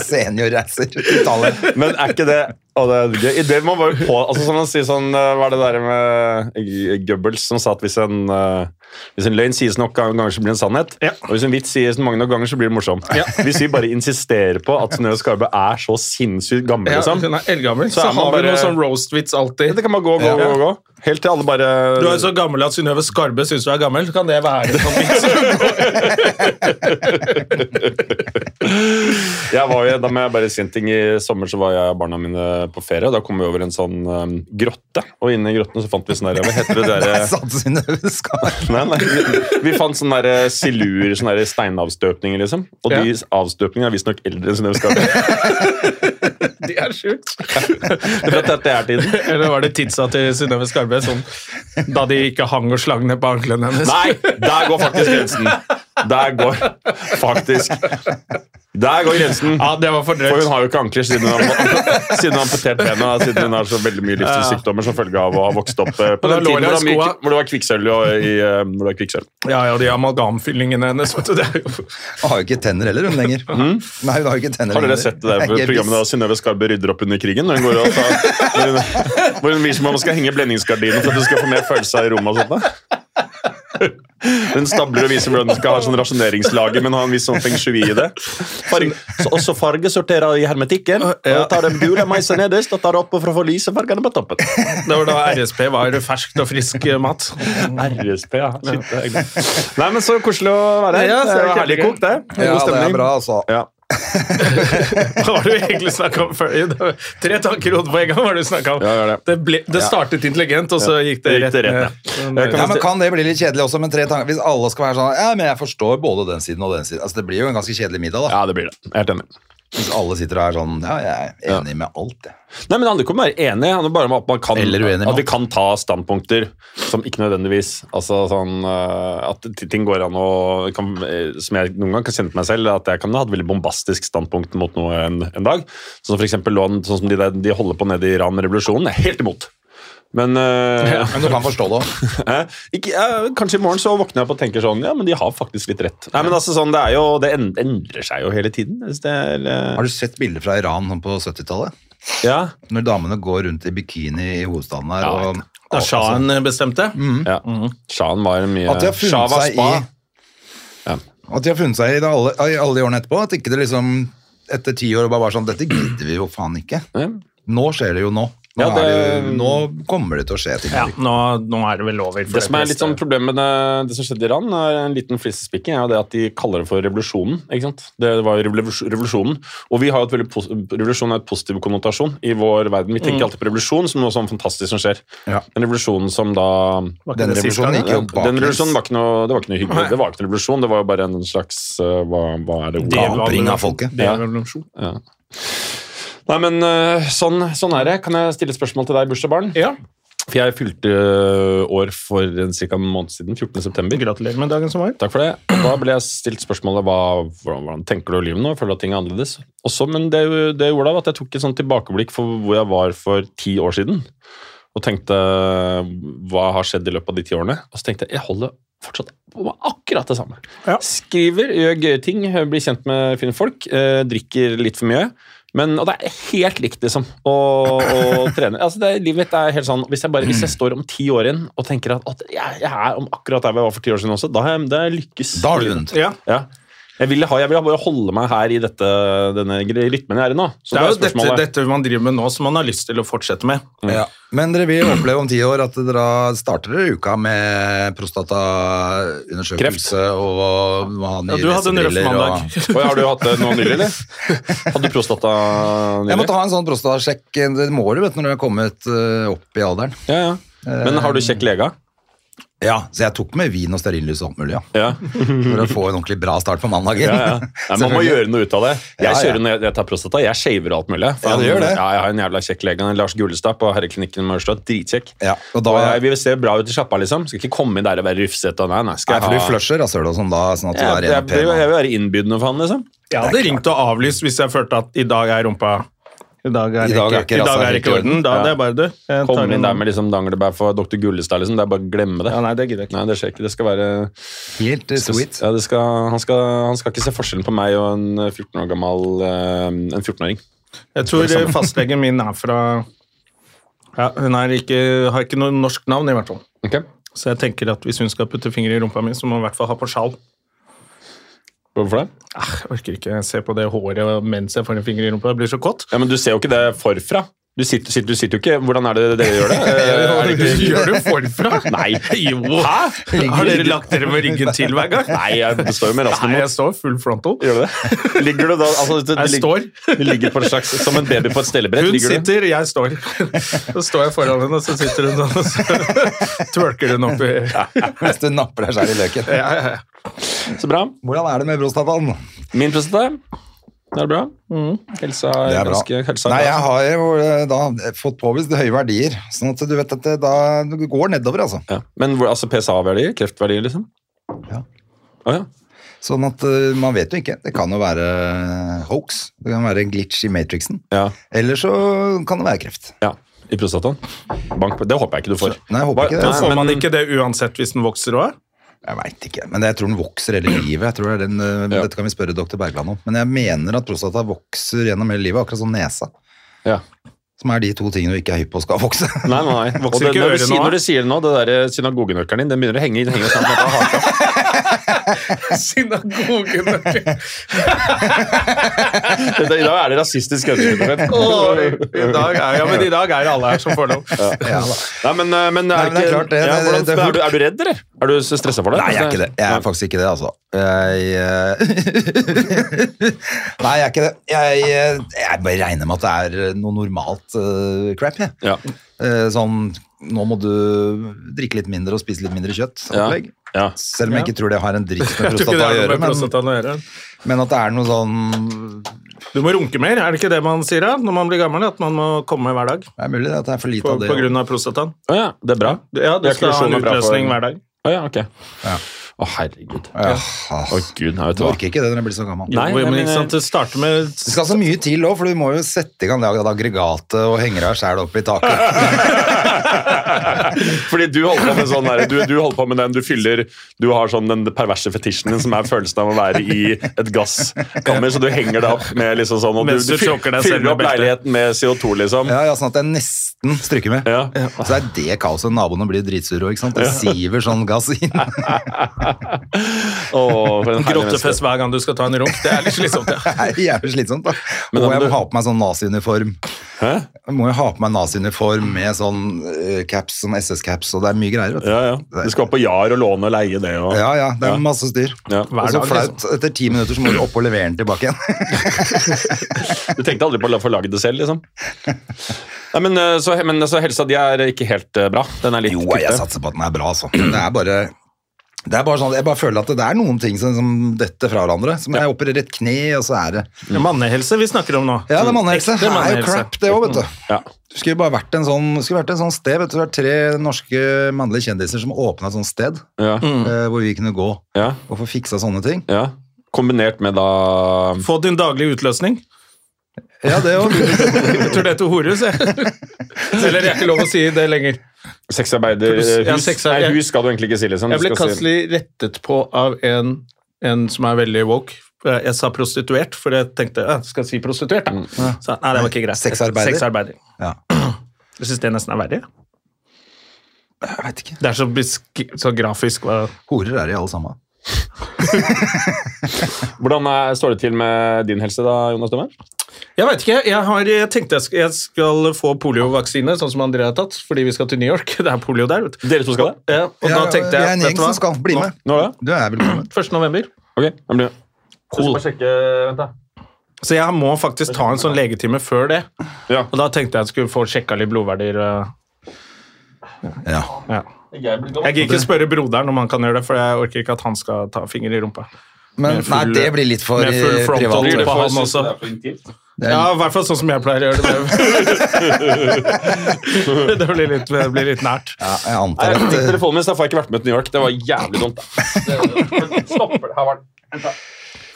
Speaker 1: Seniorracer i Italia.
Speaker 2: Men er ikke det Å, det er gøy. I det man bare på, altså Som han sier sånn eh, Hva er det der med eh, Goebbels som sa at hvis en, eh, hvis en løgn sies nok ganger, så blir det en sannhet.
Speaker 3: Ja.
Speaker 2: Og hvis en vits sies mange nok ganger, så blir det morsomt. Hvis vi bare insisterer på at Synnøve Skarbø er så sinnssykt gammel,
Speaker 3: Ja,
Speaker 2: liksom,
Speaker 3: hun er eldgammel,
Speaker 2: Så
Speaker 3: så,
Speaker 2: er man
Speaker 3: har vi
Speaker 2: bare-
Speaker 3: noe sånn roast-vits alltid.
Speaker 2: det kan bare gå, gå,
Speaker 1: Ja.
Speaker 2: gå, gå. Helt til alle bare
Speaker 3: Du er jo så gammel at Synnøve Skarbe syns du er gammel. så Kan det være en sånn vits?
Speaker 2: jeg var jo, Da må jeg bare si en ting. I sommer så var jeg og barna mine på ferie. og Da kom vi over en sånn eh, grotte, og inne i grotten så fant vi sånn der Hva heter det der
Speaker 1: Nei, sant, Synnøve Skar.
Speaker 2: Nei, nei. vi- Vi fant sånne der silur, sånne der steinavstøpninger, liksom. Og de
Speaker 3: Ja.
Speaker 2: avstøpningene er visstnok eldre enn Synnøve Skarbø.
Speaker 3: Det er sjukt.
Speaker 2: Fra TTR-tiden.
Speaker 3: Eller var det tidsa til Synnøve Skarbe sånn, da de ikke hang og slang ned på anklene hennes?
Speaker 2: Nei, der går faktisk grensen. Der går faktisk Der går grensen.
Speaker 3: Ja, det var for
Speaker 2: For hun
Speaker 3: drøyt.
Speaker 2: har jo ikke ankler siden hun har, siden hun har amputert bena. Siden hun har så veldig mye livsstilssykdommer som følge av å ha vokst opp eh, på
Speaker 3: Men da
Speaker 2: den
Speaker 3: lå
Speaker 2: tiden hvor det
Speaker 3: det
Speaker 2: var,
Speaker 3: i
Speaker 2: mye,
Speaker 3: skoa.
Speaker 2: kvi- hvor det var kvikksølv. Og, i, eh, hvor det var kvikksølv.
Speaker 3: Ja, ja, de amalgamfyllingene hennes. vet du, Det er jo
Speaker 1: Hun har jo ikke tenner heller, hun lenger. Nei, hun har jo ikke tenner
Speaker 2: Mm. Har dere
Speaker 1: lenger.
Speaker 2: sett det der
Speaker 1: Nei, jeg
Speaker 2: programmet der Synnøve Skarbe rydder opp under krigen? Når hun går og tar, hvor hun, hvor hun viser meg om hun skal henge blendingsgardinen for at hun skal få mer følelse av i rommet. og sånt, da. Hun stabler og viser hvordan hun skal ha sånn rasjoneringslager, men ha en viss sånn feng shui i det. Farg, så også fargesorterer i hermetikken. Og tar den gule meisen nederst og tar opp for å få lysefargene på toppen.
Speaker 3: Det var da RSP var ferskt og frisk mat.
Speaker 2: RSP, ja. Shit, det er gøy. Nei, men så koselig å være her.
Speaker 3: Ja, så
Speaker 2: det var
Speaker 3: kjempegøy.
Speaker 2: herlig kokt, det.
Speaker 1: blir- Ja,
Speaker 2: God
Speaker 1: det er
Speaker 2: stemning.
Speaker 1: bra, altså.
Speaker 2: Ja.
Speaker 3: Hva var det vi egentlig snakket om før? Det var Tre tanker i hodet på en gang. var Det vi snakket om.
Speaker 2: Ja, gjør det.
Speaker 3: Det, ble, det startet intelligent, og så gikk det
Speaker 2: Gikk
Speaker 3: rett
Speaker 2: det rett
Speaker 3: ned.
Speaker 2: Jeg
Speaker 1: Ja, men Kan det bli litt kjedelig også, men tre tanker. hvis alle skal være sånn Ja, men jeg forstår både den siden og den siden. Altså, Det blir jo en ganske kjedelig middag, da.
Speaker 2: Ja, det blir det. Jeg er Helt enig.
Speaker 1: Hvis alle sitter og er sånn Ja, jeg er enig med alt, jeg.
Speaker 2: Nei, men Det handler ikke om å være enig, det handler bare om at, man kan,
Speaker 1: Eller uenig med
Speaker 2: at vi
Speaker 1: alt.
Speaker 2: kan ta standpunkter som ikke nødvendigvis altså sånn, eh, At t- ting går an å kan, eh, Som jeg noen ganger kan kjenne på meg selv, at jeg kan ha et veldig bombastisk standpunkt mot noe en, en dag. Sånn for eksempel, lån, sånn som de, der, de holder på nede i Iran med revolusjonen. Jeg er helt imot. Men eh,
Speaker 1: Men du kan forstå det òg.
Speaker 2: eh, ikke, eh, kanskje i morgen så våkner jeg opp og tenker sånn Ja, men de har faktisk litt rett. Nei, men altså sånn, Det, er jo, det en- endrer seg jo hele tiden. Hvis det er, eh,
Speaker 1: Har du sett bilder fra Iran sånn på 70-tallet?
Speaker 2: ja,
Speaker 1: Når damene går rundt i bikini i hovedstaden her
Speaker 2: Ja,
Speaker 1: og
Speaker 3: Da
Speaker 1: altså.
Speaker 3: sjahen bestemte.
Speaker 2: ja. Shahen var mye
Speaker 1: Mm. At de har
Speaker 2: Shah
Speaker 1: funnet
Speaker 2: var
Speaker 1: seg
Speaker 2: spa.
Speaker 1: i At de har funnet seg i det alle, i alle de årene etterpå. At ikke det liksom etter ti år bare var sånn Dette gidder vi jo faen ikke.
Speaker 2: Ja.
Speaker 1: Nå skjer det jo nå. Nå,
Speaker 2: Ja, det-
Speaker 1: er det, jo- nå kommer det til å skje ting.
Speaker 3: Ja, nå, nå er det vel over. for
Speaker 2: Det som er litt
Speaker 3: fleste.
Speaker 2: sånn problemet med det, det som skjedde i Iran, er en liten flisespikking, er jo det at de kaller det for revolusjonen. ikke sant? Det var jo revolus- revolusjonen. Og vi har jo et veldig pos revolusjon er et positiv konnotasjon i vår verden. Vi
Speaker 3: Mm.
Speaker 2: tenker alltid på revolusjon som noe sånn fantastisk som skjer.
Speaker 1: Ja.
Speaker 2: Den revolusjonen som da
Speaker 3: Var ikke
Speaker 1: Den
Speaker 3: det sist
Speaker 1: revolusjonen
Speaker 3: gang?
Speaker 1: gikk jo
Speaker 2: Den
Speaker 1: baklengs.
Speaker 2: revolusjonen var ikke noe, det var ikke noe hyggelig.
Speaker 3: Nei.
Speaker 2: Det var ikke noe revolusjon, det var jo bare en slags eh, hva, hva er det ordet?
Speaker 3: Det var
Speaker 1: Kapring av
Speaker 3: revolusjon.
Speaker 1: folket.
Speaker 3: Det
Speaker 2: Ja.
Speaker 3: var revolusjon.
Speaker 2: Nei, men eh, sånn, sånn er det. Kan jeg stille et spørsmål til deg, bursdagsbarn?
Speaker 3: Ja,
Speaker 2: For jeg fylte eh, år for ca. en måned siden. 14. september.
Speaker 3: gratulerer med dagen som var.
Speaker 2: Takk for det. Da ble jeg stilt spørsmålet hva, hvordan, hvordan tenker du om livet nå? Føler du at ting er annerledes? Også, men det, det gjorde da var at jeg tok et sånt tilbakeblikk for hvor jeg var for ti år siden. Og tenkte hva har skjedd i løpet av de ti årene? Og så tenkte jeg jeg holder fortsatt på med akkurat det samme.
Speaker 3: Ja.
Speaker 2: Skriver, gjør gøye ting, blir kjent med fine folk, eh, drikker litt for mye. Men, og det er helt likt, liksom, å, å trene. Altså, det, livet mitt er helt sånn Hvis jeg, bare, hvis jeg står om ti år igjen og tenker at, at jeg, jeg er om akkurat der hvor jeg var for ti år siden også, da har jeg, da har jeg lykkes.
Speaker 1: Da har du vunnet.
Speaker 3: Ja.
Speaker 2: Ja. Jeg vil, ha, jeg vil bare holde meg her i dette, denne gre- rytmen jeg er i nå. Så
Speaker 3: Det
Speaker 2: da
Speaker 3: er jo dette,
Speaker 2: spørsmålet-
Speaker 3: dette man driver med nå, som man har lyst til å fortsette med.
Speaker 2: Mm.
Speaker 1: Ja. Men dere vil oppleve om ti år at dere starter dere uka med
Speaker 2: Kreft.
Speaker 1: prostataundersøkelse og må ha nye
Speaker 3: Ja, du hadde en røff
Speaker 1: lesebriller og-
Speaker 3: mandag.
Speaker 2: Oi, har du hatt det nå nylig, eller? Hadde du prostata nylig?
Speaker 1: Jeg måtte ha en sånn prostatasjekk. Det må du vet når du er kommet eh, opp i alderen.
Speaker 2: Ja, ja. Men har du kjekk lege?
Speaker 1: Ja, Så jeg tok med vin og stearinlys og alt mulig, ja.
Speaker 2: Ja.
Speaker 1: For å få en ordentlig bra start på mandagen.
Speaker 2: Ja, ja. Nei, man må
Speaker 1: Selvfølgelig.
Speaker 2: gjøre noe ut av det.
Speaker 1: Ja,
Speaker 2: Jeg
Speaker 1: ja.
Speaker 2: kjører når jeg- jeg tar prostata, jeg shaver og alt mulig. For
Speaker 1: Ja, du
Speaker 2: han-
Speaker 1: gjør det.
Speaker 2: Ja, jeg har en jævla kjekk lege, han Lars Gullestad på herreklinikken i Mørstad, dritkjekk.
Speaker 1: Ja, og da,
Speaker 2: Og jeg vil se bra ut i sjappa, liksom. Skal ikke komme inn der og være rufsete og nei, nei. Skal
Speaker 1: Nei,
Speaker 2: jeg
Speaker 1: for du
Speaker 2: ha-
Speaker 1: flusher rasshøl og sånn da, sånn at du
Speaker 2: Jeg,
Speaker 1: er
Speaker 2: jeg,
Speaker 1: ren og
Speaker 2: jeg,
Speaker 1: pen.
Speaker 2: jeg vil være innbydende for han, liksom.
Speaker 3: Jeg hadde ringt og avlyst hvis jeg følte at i dag er rumpa I dag
Speaker 1: I
Speaker 3: er det
Speaker 1: dag er
Speaker 3: ikke,
Speaker 1: ikke
Speaker 3: i dag
Speaker 1: rasa
Speaker 3: er det ikke
Speaker 1: helt i
Speaker 3: orden. Da
Speaker 2: Ja.
Speaker 3: det er bare du. Jeg tar
Speaker 2: Kom inn
Speaker 3: en-
Speaker 2: der med liksom danglebær for Dr. Gullestad, liksom. Det er bare å glemme det.
Speaker 3: Ja, nei, det gidder jeg ikke.
Speaker 2: Nei, det skjer ikke. Det skal være
Speaker 1: Helt eh, sweet.
Speaker 2: Ja, det skal, han, skal, han skal ikke se forskjellen på meg og en eh, 14 år gammel eh, En 14-åring.
Speaker 3: Jeg tror eh, fastlegen min er fra ja, Hun er ikke, har ikke noe norsk navn, i hvert fall.
Speaker 2: Ok?
Speaker 3: Så jeg tenker at hvis hun skal putte fingre i rumpa mi, så må hun i hvert fall ha på sjal.
Speaker 2: Hvorfor det?
Speaker 3: Ah, Jeg orker ikke se på det håret mens jeg får en finger i rumpa. Det blir så kåt.
Speaker 2: Ja, Men du ser jo ikke det forfra. Du sitter, sitter, du sitter jo ikke Hvordan er det dere gjør det? Eh, er det
Speaker 3: Hva
Speaker 2: ikke,
Speaker 3: gjør du forfra?
Speaker 2: nei.
Speaker 3: Jo. Hæ? Har dere lagt dere med ryggen til hver gang?
Speaker 2: Nei, jeg står jo med rassen
Speaker 3: Nei,
Speaker 2: imot.
Speaker 3: jeg står full frontal.
Speaker 2: Gjør du det? Ligger du da altså, du,
Speaker 3: Jeg
Speaker 2: ligger,
Speaker 3: står.
Speaker 2: du ligger på en slags, som en baby på et stellebrett?
Speaker 3: Hun
Speaker 2: ligger du?
Speaker 3: sitter, jeg står. Så står jeg foran henne, og så sitter hun sånn, og så twerker hun oppi ja,
Speaker 1: Hvis du napper deg selv i løken.
Speaker 3: ja, ja.
Speaker 2: Så bra.
Speaker 1: Hvordan er det med prostataen?
Speaker 2: Min prosentare? Er det bra? Helsa
Speaker 1: Det
Speaker 2: Mm. er
Speaker 1: er bra.
Speaker 2: ganske helsa er
Speaker 1: Nei,
Speaker 2: bra.
Speaker 1: jeg har jo eh, da fått påvist høye verdier, sånn at du vet at det da det går nedover, altså.
Speaker 2: Ja. Men hvor- altså PSA-verdier? Kreftverdier, liksom?
Speaker 1: Ja.
Speaker 2: Å ja.
Speaker 1: Sånn at eh, man vet jo ikke. Det kan jo være eh, hoax. Det kan være en glitch i Matrixen.
Speaker 2: ja.
Speaker 1: Eller så kan det være kreft.
Speaker 2: Ja, i prostataen. Bank på. Det håper jeg ikke du får.
Speaker 1: Nei, jeg håper ikke det.
Speaker 2: Nei,
Speaker 3: Så får
Speaker 2: men-
Speaker 3: man ikke det uansett hvis den vokser òg?
Speaker 1: Jeg veit ikke, men jeg tror den vokser hele livet. Jeg tror det er den, eh,
Speaker 2: Ja.
Speaker 1: Dette kan vi spørre dr. Bergland om. Men jeg mener at prostata vokser gjennom hele livet, akkurat som nesa.
Speaker 2: Ja.
Speaker 1: Som er de to tingene du ikke er hypp på skal vokse.
Speaker 2: Nei, nei, nei. Og
Speaker 3: Vokser
Speaker 2: det,
Speaker 3: ikke
Speaker 2: når, du
Speaker 3: øret
Speaker 2: sier,
Speaker 3: nå?
Speaker 2: når du sier det nå, det der eh, synagogenøkkelen din, den begynner å henge, den henger sammen med haka.
Speaker 3: Synagogen
Speaker 2: Det- det- I dag er det rasistisk
Speaker 3: I
Speaker 2: rett
Speaker 3: dag er, ja, men i dag er alle her som får lov.
Speaker 1: Ja, da.
Speaker 2: Nei, men, eh, men,
Speaker 1: Nei, men
Speaker 2: er
Speaker 1: det er
Speaker 2: ikke-
Speaker 1: klart det.
Speaker 2: ja,
Speaker 1: Det-
Speaker 2: hvordan-
Speaker 1: det- det er
Speaker 2: er, du, er du redd, eller? Er du så stressa for altså, det?
Speaker 1: Nei, jeg er ikke det. Jeg er faktisk ikke det, altså. Jeg, eh, Nei, jeg er ikke det. Jeg, eh, jeg bare regner med at det er noe normalt eh, crap, jeg.
Speaker 2: Ja.
Speaker 1: Eh, sånn, nå må du drikke litt mindre og spise litt mindre kjøtt. sånn
Speaker 2: Ja.
Speaker 1: opplegg.
Speaker 2: Ja.
Speaker 1: Selv om jeg ikke tror det har en dritt med
Speaker 3: Jeg tror ikke
Speaker 1: prostata å
Speaker 3: det er noe
Speaker 1: gjøre,
Speaker 3: med
Speaker 1: men,
Speaker 3: prostataen å gjøre.
Speaker 1: men at det er noe sånn
Speaker 3: Du må runke mer, er det ikke det man sier da, når man blir gammel? At man må komme hver dag
Speaker 1: Det er mulig at det er for lite
Speaker 3: på,
Speaker 1: av det.
Speaker 3: på grunn av prostataen?
Speaker 2: Å ja, det er bra?
Speaker 3: Ja, du skal ha en
Speaker 2: Ejakulasjon er bra for-
Speaker 3: utløsning hver dag.
Speaker 2: Å ja, ok.
Speaker 1: Ja.
Speaker 2: Å herregud. Å
Speaker 1: Ja, ah,
Speaker 2: gud, nå er
Speaker 1: Du
Speaker 2: vi tilbake.
Speaker 1: orker ikke det når du blir så gammel.
Speaker 2: Nei,
Speaker 3: Jo,
Speaker 2: jeg
Speaker 3: men eh,
Speaker 2: mener-
Speaker 3: ikke sant, det starter med
Speaker 1: Det skal så mye til òg, for du må jo sette i gang det aggregatet og henge deg sjæl opp i taket.
Speaker 2: Fordi du holder på med sånn der, du, du holder på med den, du fyller Du har sånn den perverse fetisjen din som er følelsen av å være i et gasskammer, så du henger deg opp med liksom sånn og du,
Speaker 3: Mens du
Speaker 2: du fyller,
Speaker 3: chokker deg selv
Speaker 2: fyller opp
Speaker 3: med belte.
Speaker 2: leiligheten med CO2, liksom.
Speaker 1: Ja, ja, sånn at jeg nesten stryker med.
Speaker 2: Ja.
Speaker 1: Og Så er det kaoset naboene blir dritsure òg, ikke sant. Det siver sånn gass inn.
Speaker 2: Åh, for en herlig
Speaker 3: grottefest hver gang du skal ta en runk. Det er litt slitsomt, ja.
Speaker 1: Det er jævlig slitsomt, da.
Speaker 2: Men da
Speaker 1: Og
Speaker 2: må
Speaker 1: jeg
Speaker 2: du-
Speaker 1: må ha på meg sånn naziuniform.
Speaker 2: menneske. Hæ?
Speaker 1: Jeg må jo ha på meg naziuniform med sånn eh, caps, sånn SS-caps, og det er mye greier, vet du.
Speaker 2: Ja, ja. Du skal opp på Jar og låne og leie det og
Speaker 1: Ja, ja, det er masse styr.
Speaker 2: Ja.
Speaker 1: Og så
Speaker 3: dag,
Speaker 1: flaut. Etter ti minutter så må du opp og levere den tilbake igjen.
Speaker 2: Du tenkte aldri på å la- få lagd det selv, liksom? Nei, men, eh, så, men så helsa di er ikke helt eh, bra? Den er litt
Speaker 1: Jo,
Speaker 2: kutte.
Speaker 1: jeg satser på at den er bra, altså. Det er bare, det er bare sånn, jeg bare føler at det er noen ting som, som detter fra hverandre. Som jeg opererer et kne, og så er det
Speaker 3: Det er Mannehelse vi snakker om nå.
Speaker 1: Ja,
Speaker 2: Mm.
Speaker 1: det er mannehelse.
Speaker 3: Ekte
Speaker 1: Det er jo
Speaker 3: mannehelse.
Speaker 1: crap, det òg, vet du.
Speaker 2: Ja.
Speaker 1: Det skulle bare vært en sånn, det skulle vært en sånn sted, vet du. Det var tre norske mannlige kjendiser som åpna et sånt sted
Speaker 2: Ja.
Speaker 3: Mm.
Speaker 1: eh, hvor vi kunne gå
Speaker 2: ja,
Speaker 1: og få fiksa sånne ting.
Speaker 2: ja. Kombinert med da
Speaker 3: Få din daglige utløsning.
Speaker 1: Ja, det òg.
Speaker 3: Jeg tror det heter hore, så jeg. Eller jeg er ikke lov å si det lenger.
Speaker 2: Sexarbeider hus,
Speaker 3: Produs- ja, sexar-
Speaker 2: Nei, hus skal du egentlig ikke si, liksom. Du
Speaker 3: Jeg
Speaker 2: skal
Speaker 3: ble
Speaker 2: si-
Speaker 3: kastelig rettet på av en, en som er veldig woke. Eh, Jeg sa prostituert, for jeg tenkte ja, skal jeg si prostituert, da. Så, nei, det var ikke greit.
Speaker 1: Sexarbeider.
Speaker 3: Sexarbeider.
Speaker 1: Ja.
Speaker 3: Jeg syns det nesten er verre.
Speaker 1: Jeg veit ikke.
Speaker 3: Det er så, besk så grafisk. hva-
Speaker 1: Horer er i alle sammen.
Speaker 2: Hvordan er, står det til med din helse da, Jonas Dømme?
Speaker 3: Jeg veit ikke. Jeg, har, jeg tenkte jeg skal, jeg skal få poliovaksine, sånn som André har tatt, fordi vi skal til New York. Det er polio der, vet du.
Speaker 2: Dere to skal det?
Speaker 3: Ja, og da
Speaker 1: Ja,
Speaker 3: tenkte
Speaker 1: vi
Speaker 3: jeg,
Speaker 1: er en
Speaker 3: vet
Speaker 1: gjeng
Speaker 3: du hva?
Speaker 1: som skal. Bli med.
Speaker 2: Nå er det?
Speaker 1: Du er velkommen.
Speaker 3: 1. november.
Speaker 2: Ok, da blir det. Jeg skal
Speaker 3: Cool.
Speaker 2: bare sjekke- vent da.
Speaker 3: Så jeg må faktisk ta en sånn legetime før det.
Speaker 2: Ja.
Speaker 3: Og da tenkte jeg at jeg skulle få sjekka litt blodverdier. øh,
Speaker 1: Ja.
Speaker 3: Ja. Jeg gidder ikke spørre broderen om han kan gjøre det, for jeg orker ikke at han skal ta finger i rumpa.
Speaker 1: Men
Speaker 3: Med full-
Speaker 1: nei, det blir litt for
Speaker 3: med full
Speaker 1: eh,
Speaker 3: frontal.
Speaker 1: privat.
Speaker 3: Blir det
Speaker 1: vet du.
Speaker 3: for- han også.
Speaker 1: er-
Speaker 3: Ja, i hvert fall sånn som jeg pleier å gjøre det. Det blir litt, det blir litt nært.
Speaker 1: Ja, jeg
Speaker 2: Nei,
Speaker 1: antar
Speaker 2: jeg
Speaker 1: at
Speaker 2: fikk
Speaker 1: eh,
Speaker 2: telefonen min, så derfor har jeg ikke vært med til New York. Det var jævlig dumt. da. Det- Stopper det her var den. Vent da.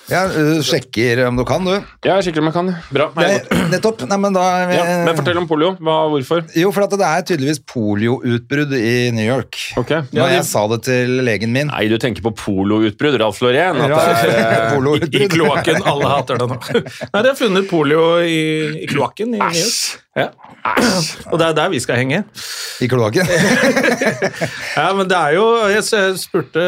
Speaker 1: Ja, du sjekker om du kan, du.
Speaker 2: Ja, jeg sjekker om jeg kan. Bra. Nei,
Speaker 1: Nei,
Speaker 2: jeg-
Speaker 1: nettopp. Nei, men da
Speaker 2: ja, men fortell om polio. Hva, hvorfor?
Speaker 1: Jo, for at det er tydeligvis polioutbrudd i New York.
Speaker 2: Ok.
Speaker 1: Når jeg sa det til legen min.
Speaker 2: Nei, du tenker på poloutbrudd, Ralf Lorén. At det er,
Speaker 1: Ja,
Speaker 3: I
Speaker 1: eh, Polioutbrudd.
Speaker 3: kloakken. Alle hater det nå. Nei, de har funnet polio i, i kloakken. i New York.
Speaker 2: Æsj!
Speaker 3: Ja. Og det er der vi skal henge.
Speaker 1: I kloakken.
Speaker 3: Ja, men det er jo Jeg s- jeg spurte,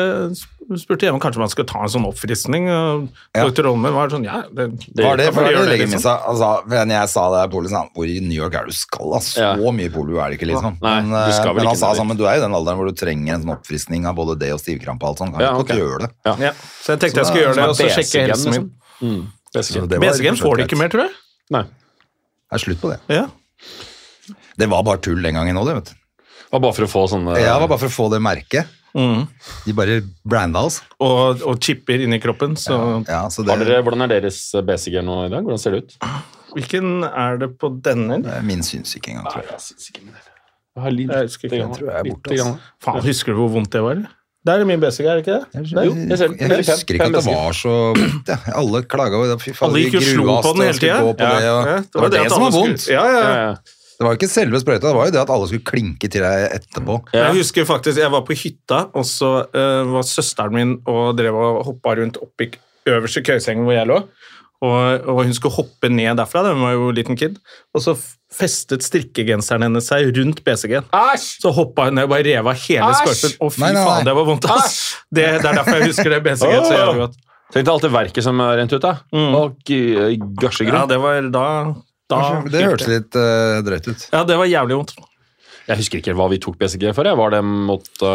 Speaker 3: spurte hjemme om kanskje man skulle ta en sånn oppfriskning. og
Speaker 1: Ja.
Speaker 3: Dr. Holmen var sånn Ja, det,
Speaker 1: Var det
Speaker 3: kan
Speaker 1: for
Speaker 3: man
Speaker 1: det
Speaker 3: gjøre,
Speaker 1: legen min
Speaker 3: liksom.
Speaker 1: sa? Altså, men jeg sa det er polio, sa han. Hvor i New York er det du skal? da? Så
Speaker 2: Ja.
Speaker 1: mye polio er det ikke, liksom.
Speaker 2: Nei,
Speaker 1: men
Speaker 2: du
Speaker 1: eh,
Speaker 2: skal vel
Speaker 1: men
Speaker 2: ikke
Speaker 1: han sa
Speaker 2: dit.
Speaker 1: sånn, men du er jo i den alderen hvor du trenger en sånn oppfriskning av både det og stivkrampe og alt sånn. Kan
Speaker 2: Ja,
Speaker 1: du ikke
Speaker 2: ok.
Speaker 1: gjøre det?
Speaker 3: Ja, så jeg tenkte jeg
Speaker 1: Så
Speaker 3: skulle gjøre
Speaker 1: det
Speaker 3: det,
Speaker 1: er-
Speaker 3: og så sjekke
Speaker 2: BCG,
Speaker 3: helsen min.
Speaker 2: liksom. Mm. BCG.
Speaker 1: Så det var- liksom
Speaker 3: BCG-en får de ikke mer, tror jeg.
Speaker 2: Nei.
Speaker 1: Det er slutt på det.
Speaker 3: Ja.
Speaker 1: Det var bare tull den gangen òg, det, vet du.
Speaker 2: Det var bare for å få sånne
Speaker 1: Ja, det var bare for å få det merket. De bare branda oss.
Speaker 3: Og, og chipper inni kroppen, så
Speaker 1: Ja, så det,
Speaker 2: Har dere, Hvordan er deres BCG nå i dag? Hvordan ser det ut?
Speaker 3: Hvilken er det på denne?
Speaker 1: det er min synssyke en gang, tror jeg.
Speaker 2: jeg syns ikke mer. Jeg har litt,
Speaker 3: Jeg husker ikke, jeg
Speaker 2: grann,
Speaker 1: tror jeg er
Speaker 2: litt
Speaker 1: borte, ass.
Speaker 2: grann.
Speaker 3: Faen, husker du hvor vondt det var? eller? Det er min BCG, er det ikke det?
Speaker 1: Jeg,
Speaker 2: jeg ser den. Veldig pen.
Speaker 1: husker ikke
Speaker 2: Pen
Speaker 1: at det
Speaker 2: menneske.
Speaker 1: var så vondt. Ja. Alle klaga jo. Fy faen,
Speaker 3: Alle
Speaker 1: vi
Speaker 3: gikk jo og slo
Speaker 1: grua oss til å
Speaker 3: på den hele
Speaker 1: skulle
Speaker 3: tida.
Speaker 1: gå på det, og- Det var det,
Speaker 3: at
Speaker 1: som
Speaker 3: alle
Speaker 1: var
Speaker 3: skulle-
Speaker 1: vondt.
Speaker 3: Ja, ja,
Speaker 2: Ja,
Speaker 3: ja.
Speaker 2: ja.
Speaker 1: Det var jo ikke selve sprøyta, det var jo det at alle skulle klinke til deg etterpå.
Speaker 2: Ja.
Speaker 3: Jeg husker faktisk, jeg var på hytta, og så eh, var søsteren min og drev og hoppa rundt opp i øverste køysengen hvor jeg lå. Og, og hun skulle hoppe ned derfra, da hun var jo liten kid. Og så f- festet strikkegenseren hennes seg rundt BCG-en.
Speaker 2: Æsj!
Speaker 3: Så hoppa hun ned og bare rev av hele
Speaker 2: Æsj!
Speaker 3: skorpen. Å, fy
Speaker 1: Nei, nei, nei.
Speaker 3: faen, det var vondt, ass! Det, det er derfor jeg husker det BCG-en så jævlig godt.
Speaker 2: Tenk deg alt det verket som er rent ut, da. Og eh,
Speaker 3: Ja,
Speaker 2: gasjegrunn.
Speaker 3: det var da, da
Speaker 1: Det hørtes litt eh, drøyt ut.
Speaker 3: Ja, det var jævlig vondt.
Speaker 2: Jeg husker ikke hva vi tok BCG for. Jeg. Var det mot eh,
Speaker 3: Det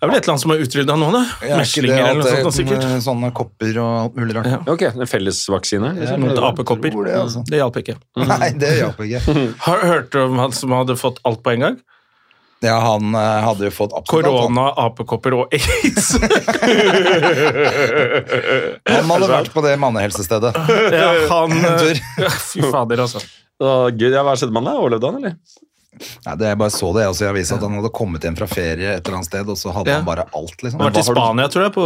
Speaker 3: er vel et eller annet som er utrydda nå, da?
Speaker 1: Ja, ikke det
Speaker 3: Meslinger eller
Speaker 1: at
Speaker 3: noe sånt, da,
Speaker 1: det kom,
Speaker 3: sikkert.
Speaker 1: eh, Sånne kopper og alt mulig rart.
Speaker 3: Ja.
Speaker 2: Ok, en fellesvaksine. Liksom.
Speaker 3: Noen apekopper.
Speaker 1: eh, Tror det, altså.
Speaker 3: Det hjalp ikke.
Speaker 1: Nei, det hjalp ikke.
Speaker 3: Har Hørte du om han som hadde fått alt på en gang?
Speaker 1: Ja, han eh, hadde jo fått absolutt alt, han.
Speaker 3: Korona, apekopper og aids.
Speaker 1: Han hadde vært på det mannehelsestedet.
Speaker 3: Ja, han
Speaker 1: En
Speaker 3: eh,
Speaker 1: tur.
Speaker 3: Fy fader, altså.
Speaker 2: Da- Gud, ja, hva skjedde med han da? Overlevde han, eller?
Speaker 1: Nei, det, jeg bare så det jeg også i avisa, at han hadde kommet hjem fra ferie et eller annet sted, og så hadde
Speaker 3: Ja.
Speaker 1: han bare alt, liksom.
Speaker 3: Han har vært i
Speaker 2: hva har du-
Speaker 3: Spania, tror jeg. På,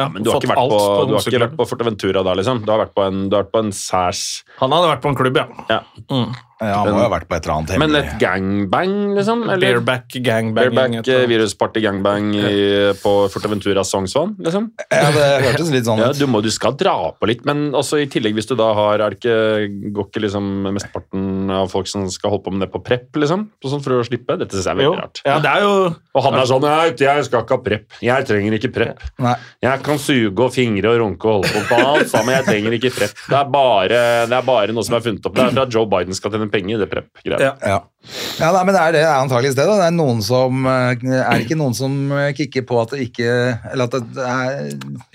Speaker 3: ja,
Speaker 2: Men du har,
Speaker 3: fått
Speaker 2: ikke vært
Speaker 3: alt
Speaker 2: på,
Speaker 3: på
Speaker 2: du har ikke
Speaker 3: homseklubben.
Speaker 2: vært på Forteventura da, liksom? Du har vært på en, du har vært på en særs
Speaker 3: Han hadde vært på en klubb, ja. Mm.
Speaker 2: ja.
Speaker 1: Ja, han må jo ha vært på et eller annet
Speaker 2: Men
Speaker 1: hemmelig.
Speaker 2: et gangbang, liksom? Eller?
Speaker 3: Bareback gangbanging.
Speaker 2: Bareback eh,
Speaker 3: etter-
Speaker 2: virusparty gangbang i, på Forteventura Sognsvann, liksom?
Speaker 1: Ja, det hørtes litt sånn
Speaker 2: Ja,
Speaker 1: ut.
Speaker 2: du, må, du skal dra på litt, men også i tillegg hvis du da har er det ikke, Går ikke liksom mesteparten av folk som skal holde på med det på prep, liksom? på Sånn for å slippe? Dette syns jeg er
Speaker 3: Jo.
Speaker 2: veldig rart.
Speaker 3: Ja, det er jo
Speaker 2: Og han er sånn «Nei, Jeg skal ikke ha prep. Jeg trenger ikke prep.
Speaker 1: Nei.
Speaker 2: Jeg kan suge og fingre og runke og holde på med alt sammen. Jeg trenger ikke prep. Det er bare, det er bare noe som er funnet opp. Det er for at Joe Biden skal tjene penger i det prep-greia.
Speaker 3: Ja.
Speaker 1: Ja. ja nei, men det er det er antageligvis det. da. Det er noen som eh, Er det ikke noen som eh, kikker på at det ikke Eller at det er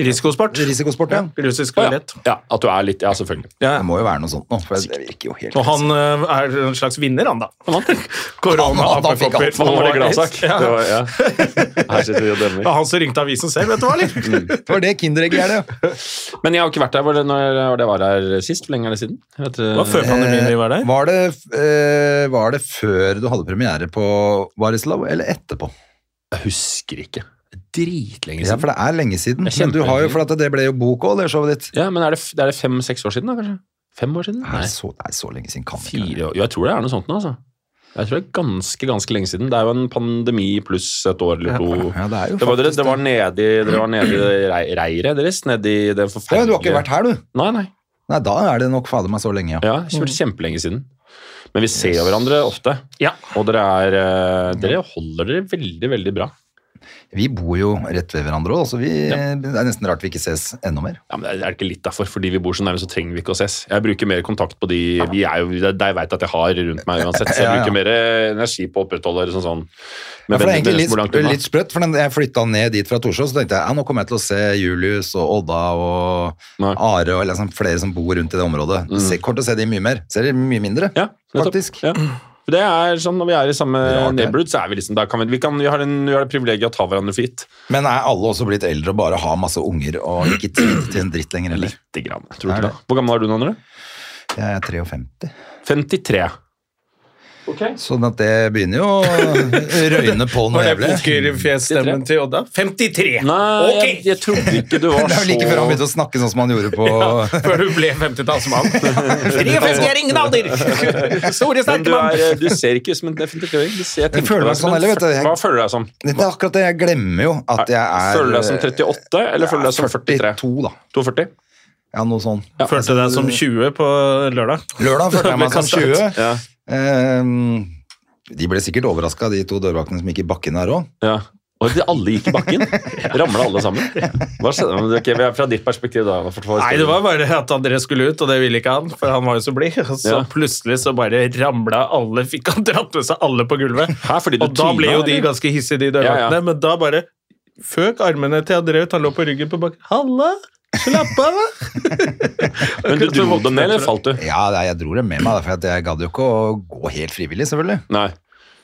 Speaker 3: risikosport.
Speaker 1: risikosport, ja?
Speaker 3: Russisk
Speaker 2: Å,
Speaker 3: roulette.
Speaker 2: ja. ja, at du er litt Ja, selvfølgelig.
Speaker 3: Ja.
Speaker 1: Det må jo være noe sånt nå, for det virker jo helt
Speaker 3: Og han eh, er en slags vinner, han da.
Speaker 1: Han-
Speaker 3: Korona,
Speaker 1: han- han fikk
Speaker 3: apekopper
Speaker 1: alt.
Speaker 2: Han var det
Speaker 3: og
Speaker 2: gladsak.
Speaker 3: aids.
Speaker 2: Det
Speaker 3: Ja.
Speaker 2: var, ja. Her sitter vi og dømmer.
Speaker 3: Ja, han som ringte avisen selv, vet du hva, eller?
Speaker 1: Det var det Kinderegget er, det. jo.
Speaker 2: Men jeg har ikke vært der hvor det, når jeg- når jeg var her sist. Hvor lenge er det siden? Jeg Vet, eh,
Speaker 3: Det var før pandemien vi var der.
Speaker 1: Var det, eh, var det før du hadde premiere på Barislav, eller etterpå?
Speaker 2: Jeg husker ikke. Dritlenge
Speaker 1: Ja,
Speaker 2: siden.
Speaker 1: for det er lenge siden.
Speaker 2: Det er
Speaker 1: Men du har jo,
Speaker 2: kjempelenge.
Speaker 1: for at det ble jo bok òg, det showet ditt.
Speaker 2: Ja, men er det, f- det er det fem-seks år siden, da, kanskje? Fem år siden?
Speaker 1: Det
Speaker 2: Nei,
Speaker 1: er så, det er så lenge siden. Kan ikke være.
Speaker 2: fire år. Jo, jeg tror det er noe sånt nå, altså. Jeg tror det er ganske, ganske lenge siden. Det er jo en pandemi pluss et år eller to.
Speaker 1: Ja, det er jo
Speaker 2: Det var, dere, det var
Speaker 1: det.
Speaker 2: nede i, dere var nede i det rei- reiret deres, nede i det
Speaker 1: Ja,
Speaker 2: forferdelige
Speaker 1: du har ikke vært Mm. her, du?
Speaker 2: Nei, nei.
Speaker 1: Nei, da er det nok fader meg så lenge, ja.
Speaker 2: Ja, kjørt kjempelenge siden. Men vi ser jo hverandre ofte.
Speaker 3: Ja.
Speaker 2: Og dere, er, eh, dere holder dere veldig, veldig bra.
Speaker 1: Vi bor jo rett ved hverandre òg, så vi, det er nesten rart vi ikke ses enda mer.
Speaker 2: Ja, men det er ikke litt derfor. Fordi vi bor så nærme, så trenger vi ikke å ses. Jeg bruker mer kontakt på de vi er jo, de jeg vet at jeg har rundt meg uansett. Så jeg
Speaker 1: Ja, ja.
Speaker 2: bruker mer eh, energi på å opprettholde det sånn sånn.
Speaker 1: Ja,
Speaker 2: Med
Speaker 1: for det er
Speaker 2: vennene
Speaker 1: egentlig
Speaker 2: deres, hvor langt
Speaker 1: litt,
Speaker 2: unna.
Speaker 1: litt sprøtt, for den- jeg flytta ned dit fra Torshov, så tenkte jeg ja, nå kommer jeg til å se Julius og Odda og
Speaker 2: Nei.
Speaker 1: Are og liksom flere som bor rundt i det området. Se, kort å se de mye mer. Ser de mye mindre,
Speaker 2: Mm. Ja, nettopp.
Speaker 1: faktisk.
Speaker 2: Ja. For det er sånn, Når vi er i samme
Speaker 1: Det er rart, det.
Speaker 2: neighborhood, så er vi liksom da kan vi, vi, kan, vi, har en, vi har det privilegiet å ta hverandre for gitt.
Speaker 1: Men er alle også blitt eldre og bare har masse unger og ikke tid til en dritt lenger heller?
Speaker 2: Lite grann. Tror du
Speaker 1: Er
Speaker 2: ikke
Speaker 1: det?
Speaker 2: det? Hvor gammel er du nå, André?
Speaker 1: Jeg er 53.
Speaker 2: 53.
Speaker 1: Sånn at det begynner jo å røyne på noe
Speaker 3: Var det
Speaker 1: jævlig.
Speaker 3: pokerfjesstemmen til Odda? 53!
Speaker 2: Nei, jeg,
Speaker 3: ok!
Speaker 2: jeg trodde ikke du
Speaker 1: Det
Speaker 2: var
Speaker 1: er jo like før han
Speaker 2: så
Speaker 1: begynte å snakke sånn som han gjorde på
Speaker 3: Før du ble 50-tallsmann. 53 er ingen alder! Store,
Speaker 2: men du,
Speaker 3: sterke mann.
Speaker 2: er, du ser ikke ut som en definitivt jeg tenkte
Speaker 1: føler meg
Speaker 2: på deg
Speaker 1: sånn
Speaker 2: som en
Speaker 1: heller, vet du. Jeg-
Speaker 2: 40 Hva føler du deg som?
Speaker 1: Det er akkurat det, jeg glemmer jo at jeg er
Speaker 2: Føler du deg som 38, eller føler du deg som 43?
Speaker 1: 42, da.
Speaker 2: 42?
Speaker 1: Ja, noe sånn.
Speaker 3: Følte deg som 20 på lørdag.
Speaker 1: Lørdag følte jeg meg som 20.
Speaker 2: Ja.
Speaker 1: Ehm, de ble sikkert overraska, de to dørvaktene som gikk i bakken her òg.
Speaker 2: Ja. Og de alle gikk i bakken? Ramla alle sammen? Hva skjedde? Men, ok, vi er fra ditt perspektiv, da. for å få
Speaker 3: Nei, det var bare at André skulle ut, og det ville ikke han, for han var jo så blid. Og Så
Speaker 2: Ja.
Speaker 3: plutselig så bare ramla alle, fikk han dratt med seg alle på gulvet.
Speaker 2: Hæ, fordi du
Speaker 3: Og da ble
Speaker 2: tryna,
Speaker 3: jo de
Speaker 2: eller?
Speaker 3: ganske
Speaker 2: Ja,
Speaker 3: hissige, de
Speaker 2: ja.
Speaker 3: dørvaktene, men da bare føk armene til André ut, han lå på ryggen på bakken. Halla! Slapp av, da!
Speaker 2: Men du dro dem ned, eller falt du?
Speaker 1: Ja, nei, jeg dro det med meg, da, for at jeg gadd jo ikke å gå helt frivillig, selvfølgelig.
Speaker 2: Nei.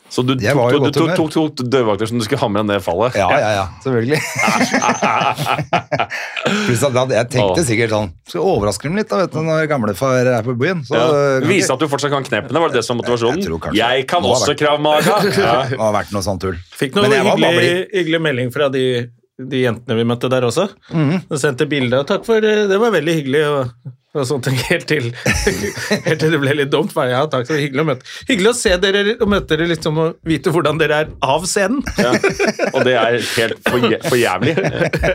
Speaker 2: Så du
Speaker 1: Jeg var i
Speaker 2: tok, du
Speaker 1: godt
Speaker 2: tok,
Speaker 1: humør.
Speaker 2: tok, tok dørvakter som du skulle hamre ned fallet?
Speaker 1: Ja, ja, ja, selvfølgelig. Pluss at da- jeg tenkte sikkert sånn Skal overraske dem litt, da, vet du, når gamlefar er på byen. Så
Speaker 2: Ja.
Speaker 1: kan ikke-
Speaker 2: Vise at du fortsatt kan knepene, var det det som var motivasjonen?
Speaker 1: Jeg tror kanskje.
Speaker 2: Jeg kan
Speaker 1: Nå har
Speaker 2: også
Speaker 1: det-
Speaker 2: krav maga! Ja.
Speaker 1: Det har vært noe sånt tull.
Speaker 3: Fikk noe
Speaker 1: Men jeg var bare
Speaker 3: hyggelig, hyggelig melding fra de, de jentene vi møtte der også. De sendte bilde, og takk for eh, det, det var veldig hyggelig. Og, og sånt helt til, helt til det ble litt dumt. Bare, ja, takk, så hyggelig å møte Hyggelig å se dere og møte dere, liksom, og vite hvordan dere er av scenen.
Speaker 2: Ja. Og det er helt for, jæ- for jævlig.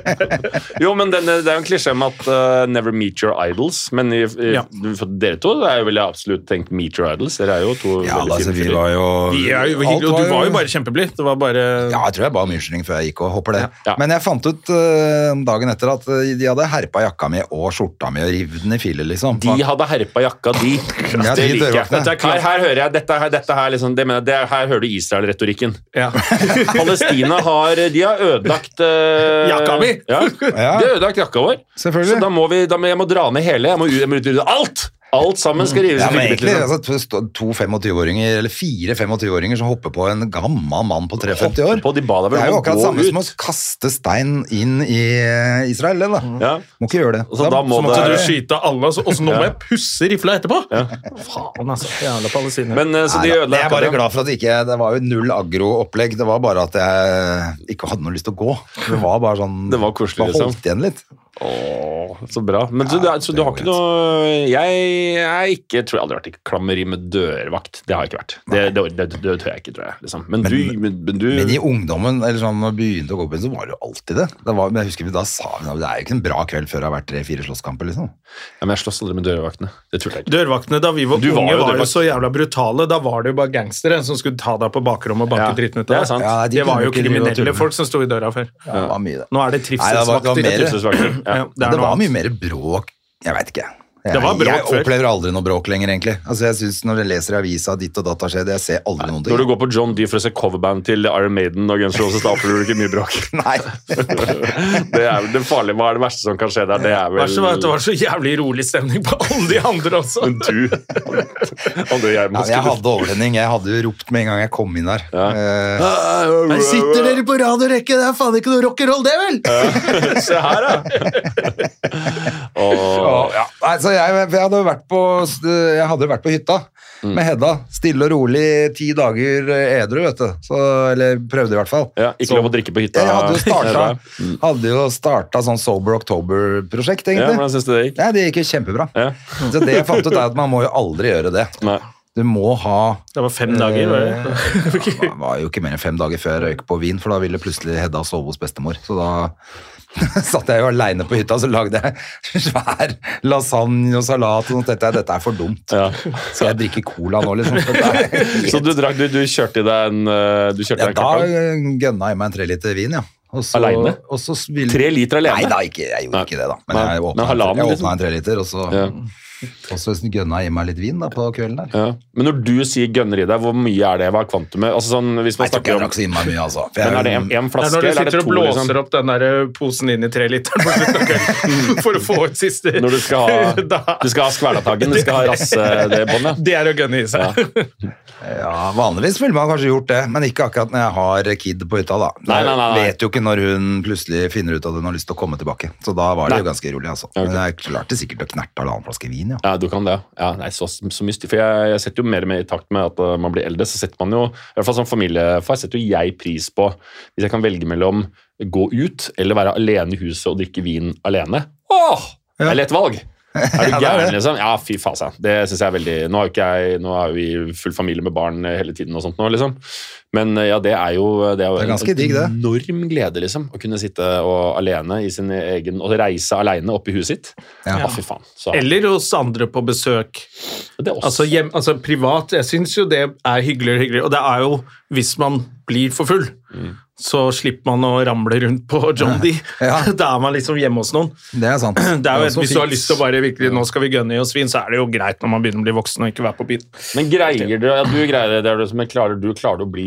Speaker 2: Jo, men den, det er jo en klisjé om at eh, 'never meet your idols', men i, i,
Speaker 3: Ja.
Speaker 2: for dere to er jo vel absolutt tenkt 'meet your idols'. Dere er jo to
Speaker 1: Ja, da,
Speaker 2: veldig
Speaker 1: så
Speaker 2: fine
Speaker 1: vi
Speaker 2: fyrer.
Speaker 1: var jo
Speaker 3: Vi er jo
Speaker 1: Alt
Speaker 3: hyggelig, og du var jo bare kjempeblid. Det var bare
Speaker 1: Ja, jeg tror jeg ba om unnskyldning før jeg gikk og hopper det.
Speaker 2: Ja.
Speaker 1: Men jeg fant ut eh, dagen etter at eh, de hadde herpa jakka mi og skjorta mi og revet den i filler, liksom.
Speaker 2: De hadde herpa jakka, de.
Speaker 1: Ja, de
Speaker 2: det liker jeg.
Speaker 1: dørvaktene.
Speaker 2: Dette er klart. Her, her hører jeg, dette, her, dette her, liksom, det mener jeg, det er, her hører du Israel-retorikken.
Speaker 3: Ja.
Speaker 2: Palestina har, de har ødelagt eh,
Speaker 3: Jakka mi!
Speaker 2: Ja,
Speaker 1: Ja.
Speaker 2: De har ødelagt jakka vår.
Speaker 1: Selvfølgelig.
Speaker 2: Så da må vi, da må, jeg må dra ned hele. Jeg må, ut- jeg må utrydde alt! Alt sammen skal rives
Speaker 1: ja,
Speaker 2: i
Speaker 1: men
Speaker 2: fillebiter,
Speaker 1: egentlig,
Speaker 2: liksom.
Speaker 1: altså, to- stå- to 25-åringer, eller fire 25-åringer som hopper på en gammel mann på 53 år.
Speaker 2: Hoppe på, de ba deg vel
Speaker 1: det er
Speaker 2: om
Speaker 1: jo
Speaker 2: å
Speaker 1: akkurat
Speaker 2: gå
Speaker 1: samme som å
Speaker 2: ut.
Speaker 1: kaste stein inn i eh, Israel, det, da.
Speaker 2: Ja.
Speaker 1: Må ikke gjøre det.
Speaker 2: Mm. Altså, da må
Speaker 1: måtte
Speaker 2: det-
Speaker 3: Så du
Speaker 2: Nei.
Speaker 3: skyter alle, og så og så nå må jeg pusse rifla etterpå! Faen, altså. Jævla palestinere.
Speaker 2: Men eh, så
Speaker 1: Nei,
Speaker 2: de
Speaker 1: da, jeg
Speaker 2: ødela
Speaker 1: er bare glad for at det ikke Det var jo null aggro-opplegg. Det var bare at jeg ikke hadde noe lyst til å gå. Det var bare sånn
Speaker 2: Det var koselig, liksom.
Speaker 1: bare holdt igjen litt.
Speaker 2: Så bra. Men så, du, er- så
Speaker 1: det
Speaker 2: du
Speaker 1: er
Speaker 2: har
Speaker 1: jo
Speaker 2: ikke noe Jeg er ikke, tror jeg aldri har vært i klammeri med dørvakt. Det har jeg ikke vært. Det, det, det, det tør jeg ikke, tror jeg. Liksom. Men, du, men, men du
Speaker 1: Men i ungdommen, eller sånn når vi begynte å gå på byen, så var det jo alltid det. det var, men jeg husker vi da sa vi, det er jo ikke en bra kveld før det har vært tre-fire slåsskamper, liksom.
Speaker 2: ja, men Jeg slåss aldri med dørvaktene. Det tuller jeg ikke.
Speaker 3: Dørvaktene da vi var
Speaker 2: Du
Speaker 3: unge,
Speaker 2: var jo
Speaker 3: var jo,
Speaker 2: dørvakt.
Speaker 3: så jævla brutale. Da var det jo bare gangstere som skulle ta deg på bakrommet og banke
Speaker 2: Ja,
Speaker 3: dritten ut av
Speaker 2: det er
Speaker 3: deg.
Speaker 2: sant.
Speaker 1: Ja, de
Speaker 3: det var
Speaker 1: kunne
Speaker 3: jo
Speaker 1: ikke drive og tulle.
Speaker 3: kriminelle folk som sto i døra før.
Speaker 1: Ja, det var mye det.
Speaker 3: Nå er det
Speaker 1: Nei,
Speaker 3: trivselsvakter.
Speaker 1: det var- det var mer-
Speaker 2: Trivselsvakter,
Speaker 3: Ja,
Speaker 2: Ja.
Speaker 3: det er
Speaker 1: det
Speaker 3: noe
Speaker 1: var mye
Speaker 3: annet.
Speaker 1: mer bråk. Jeg veit ikke. Jeg,
Speaker 3: Det var bråk
Speaker 1: jeg
Speaker 3: før.
Speaker 1: opplever aldri noe bråk lenger, egentlig. Altså, jeg synes Når jeg leser i avisa ditt og datt har skjedd, jeg ser aldri noen ting.
Speaker 2: Når du går på John D for å se coverband til Iron Maiden og Guns N' Roses, da opplever du ikke mye bråk.
Speaker 1: Nei.
Speaker 2: Det er vel det farlige. Hva er det verste som kan skje der? Det er vel
Speaker 3: Verst var at det var så jævlig rolig stemning på alle de andre også.
Speaker 2: Men du André
Speaker 1: Ja,
Speaker 2: Gjermund
Speaker 1: jeg hadde overtenning. Jeg hadde jo ropt med en gang jeg kom inn der.
Speaker 2: Ja.
Speaker 1: Eh,
Speaker 2: skulle-
Speaker 1: «Nei, sitter dere på radiorekke? Det er faen ikke noe rock'n'roll, det, vel?
Speaker 2: Se her, da! Åh,
Speaker 1: Ja. Nei, så jeg, jeg hadde jo vært på Jeg hadde jo vært på hytta
Speaker 2: Mm.
Speaker 1: med Hedda. Stille og rolig ti dager edru, vet du. Så, eller prøvde, i hvert fall.
Speaker 2: ja, ikke lov å drikke på hytta. Mm.
Speaker 1: Jeg hadde jo starta,
Speaker 2: Ja,
Speaker 1: hadde jo starta sånn Sober October-prosjekt, egentlig.
Speaker 2: Hvordan syns du det gikk?
Speaker 1: Nei, det gikk jo kjempebra.
Speaker 2: Ja.
Speaker 1: Så det jeg fant ut, er at man må jo aldri gjøre det.
Speaker 2: Nei.
Speaker 1: Du må ha
Speaker 3: Det var fem dager, var
Speaker 1: Eh,
Speaker 3: det?
Speaker 1: det var jo ikke mer enn fem dager før jeg røyk på vin, for da ville plutselig Hedda sove hos bestemor. Så da satt jeg jo aleine på hytta, så lagde jeg svær lasagne og salat og sånt. Dette, dette er for dumt.
Speaker 2: Ja.
Speaker 1: Skal jeg drikke cola nå, liksom? For det er-
Speaker 2: Så du, drakk, du, du kjørte i deg en eh, Du kjørte
Speaker 1: ja,
Speaker 2: deg en
Speaker 1: da
Speaker 2: kakao?
Speaker 1: gønna jeg meg en treliter vin, ja. Og så-
Speaker 2: Alene?
Speaker 1: og så ville-
Speaker 2: Tre liter alene?
Speaker 1: Nei, da, ikke, jeg gjorde
Speaker 2: Nei.
Speaker 1: ikke det, da. Men
Speaker 2: Nei.
Speaker 1: jeg
Speaker 2: Men
Speaker 1: åpna,
Speaker 2: halvannen,
Speaker 1: jeg
Speaker 2: liksom?
Speaker 1: åpna en treliter, og så,
Speaker 2: Ja,
Speaker 1: og så gønna jeg i meg litt vin da, på kvelden der.
Speaker 2: ja. Men når du sier gønner i deg, hvor mye er det? Hva er kvantumet? Altså sånn, hvis
Speaker 1: Nei, Jeg tror ikke
Speaker 2: man
Speaker 1: jeg
Speaker 2: snakker
Speaker 1: drakk
Speaker 2: om
Speaker 1: så innmari mye, altså. For jeg-
Speaker 2: men Er det én
Speaker 3: Det
Speaker 2: flaske,
Speaker 3: er når du
Speaker 2: eller er
Speaker 3: sitter
Speaker 2: det
Speaker 3: og
Speaker 2: to? Liksom?
Speaker 3: blåser opp den der eh, posen inn i treliteren på slutten av kvelden for å få ut siste
Speaker 2: Når du skal ha,
Speaker 3: Da-
Speaker 2: du skal ha skvelataggen, du skal ha rassebåndet?
Speaker 3: Det er å gønne i seg.
Speaker 1: Ja, Vanligvis ville man kanskje gjort det, men ikke akkurat når jeg har kid på hytta. da.
Speaker 2: Nei, nei, nei, nei.
Speaker 1: Jeg vet jo ikke når hun plutselig finner ut at hun har lyst til å komme tilbake. Så da var det jo ganske urolig, altså. Men jeg klarte sikkert å knerte halvannen flaske vin. inn, ja.
Speaker 2: Ja, du kan det. Ja, nei, så, så mye styr. For jeg, jeg setter jo mer og mer i takt med at uh, man blir eldre, så setter man jo, i hvert fall som familiefar, setter jo jeg pris på hvis jeg kan velge mellom gå ut eller være alene i huset og drikke vin alene. Åh! Det
Speaker 1: Ja.
Speaker 2: er lett valg! Er du
Speaker 1: Ja, det er
Speaker 2: gæren,
Speaker 1: det.
Speaker 2: liksom? Ja, fy faen. Det syns jeg er veldig Nå er jo ikke jeg Nå er jo vi full familie med barn eh, hele tiden og sånt nå, liksom. Men eh, ja, det er jo Det er,
Speaker 1: Det
Speaker 2: jo
Speaker 1: er
Speaker 2: en-
Speaker 1: ganske
Speaker 2: en
Speaker 1: digg, det.
Speaker 2: enorm glede, liksom. Å kunne sitte og alene i sin egen Og reise alene opp i huset sitt.
Speaker 1: Ja.
Speaker 2: Ja, fy faen. Så,
Speaker 3: Eller hos andre på besøk.
Speaker 2: det er også-
Speaker 3: Altså, hjem, altså privat, jeg syns jo det er hyggeligere og hyggeligere. Og det er jo hvis man blir for full,
Speaker 2: Mm.
Speaker 3: så slipper man å ramle rundt på John D.
Speaker 1: Ja.
Speaker 3: Da er man liksom hjemme hos noen.
Speaker 1: Det er sant.
Speaker 3: Det er jo et,
Speaker 1: også
Speaker 3: hvis du har
Speaker 1: fint.
Speaker 3: lyst til å bare virkelig, nå skal vi gønne i oss vin, så er det jo greit når man begynner å bli voksen og ikke være på byen.
Speaker 2: Men greier du ja, du greier det, det, er det som er klarer du klarer du å bli,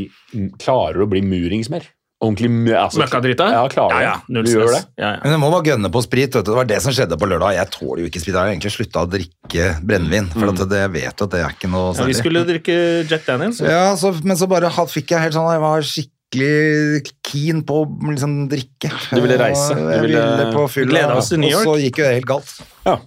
Speaker 2: klarer du å bli muringsmer? Ordentlig mu- altså,
Speaker 3: Møkkadrita?
Speaker 2: Ja, klarer
Speaker 3: ja, ja,
Speaker 2: du
Speaker 3: null
Speaker 2: det? Du gjør det?
Speaker 3: stress. Ja, ja.
Speaker 1: Men jeg må bare gønne på sprit. Vet du. Det var det som skjedde på lørdag. Jeg tåler jo ikke sprit. Jeg har egentlig slutta å drikke brennevin, for at det, jeg vet jo at det er ikke noe
Speaker 3: Mm. Ja, vi
Speaker 1: særlig.
Speaker 3: skulle drikke Jack Daniels.
Speaker 1: Ja, så, men så bare had- fikk jeg helt sånn Jeg var skikkelig keen på å liksom, drikke.
Speaker 2: Du ville reise.
Speaker 1: Og
Speaker 2: Du
Speaker 1: Jeg ville,
Speaker 2: ville-
Speaker 1: på fylla.
Speaker 3: Glede oss til New York.
Speaker 1: Og så gikk jo det helt galt.
Speaker 2: Ja.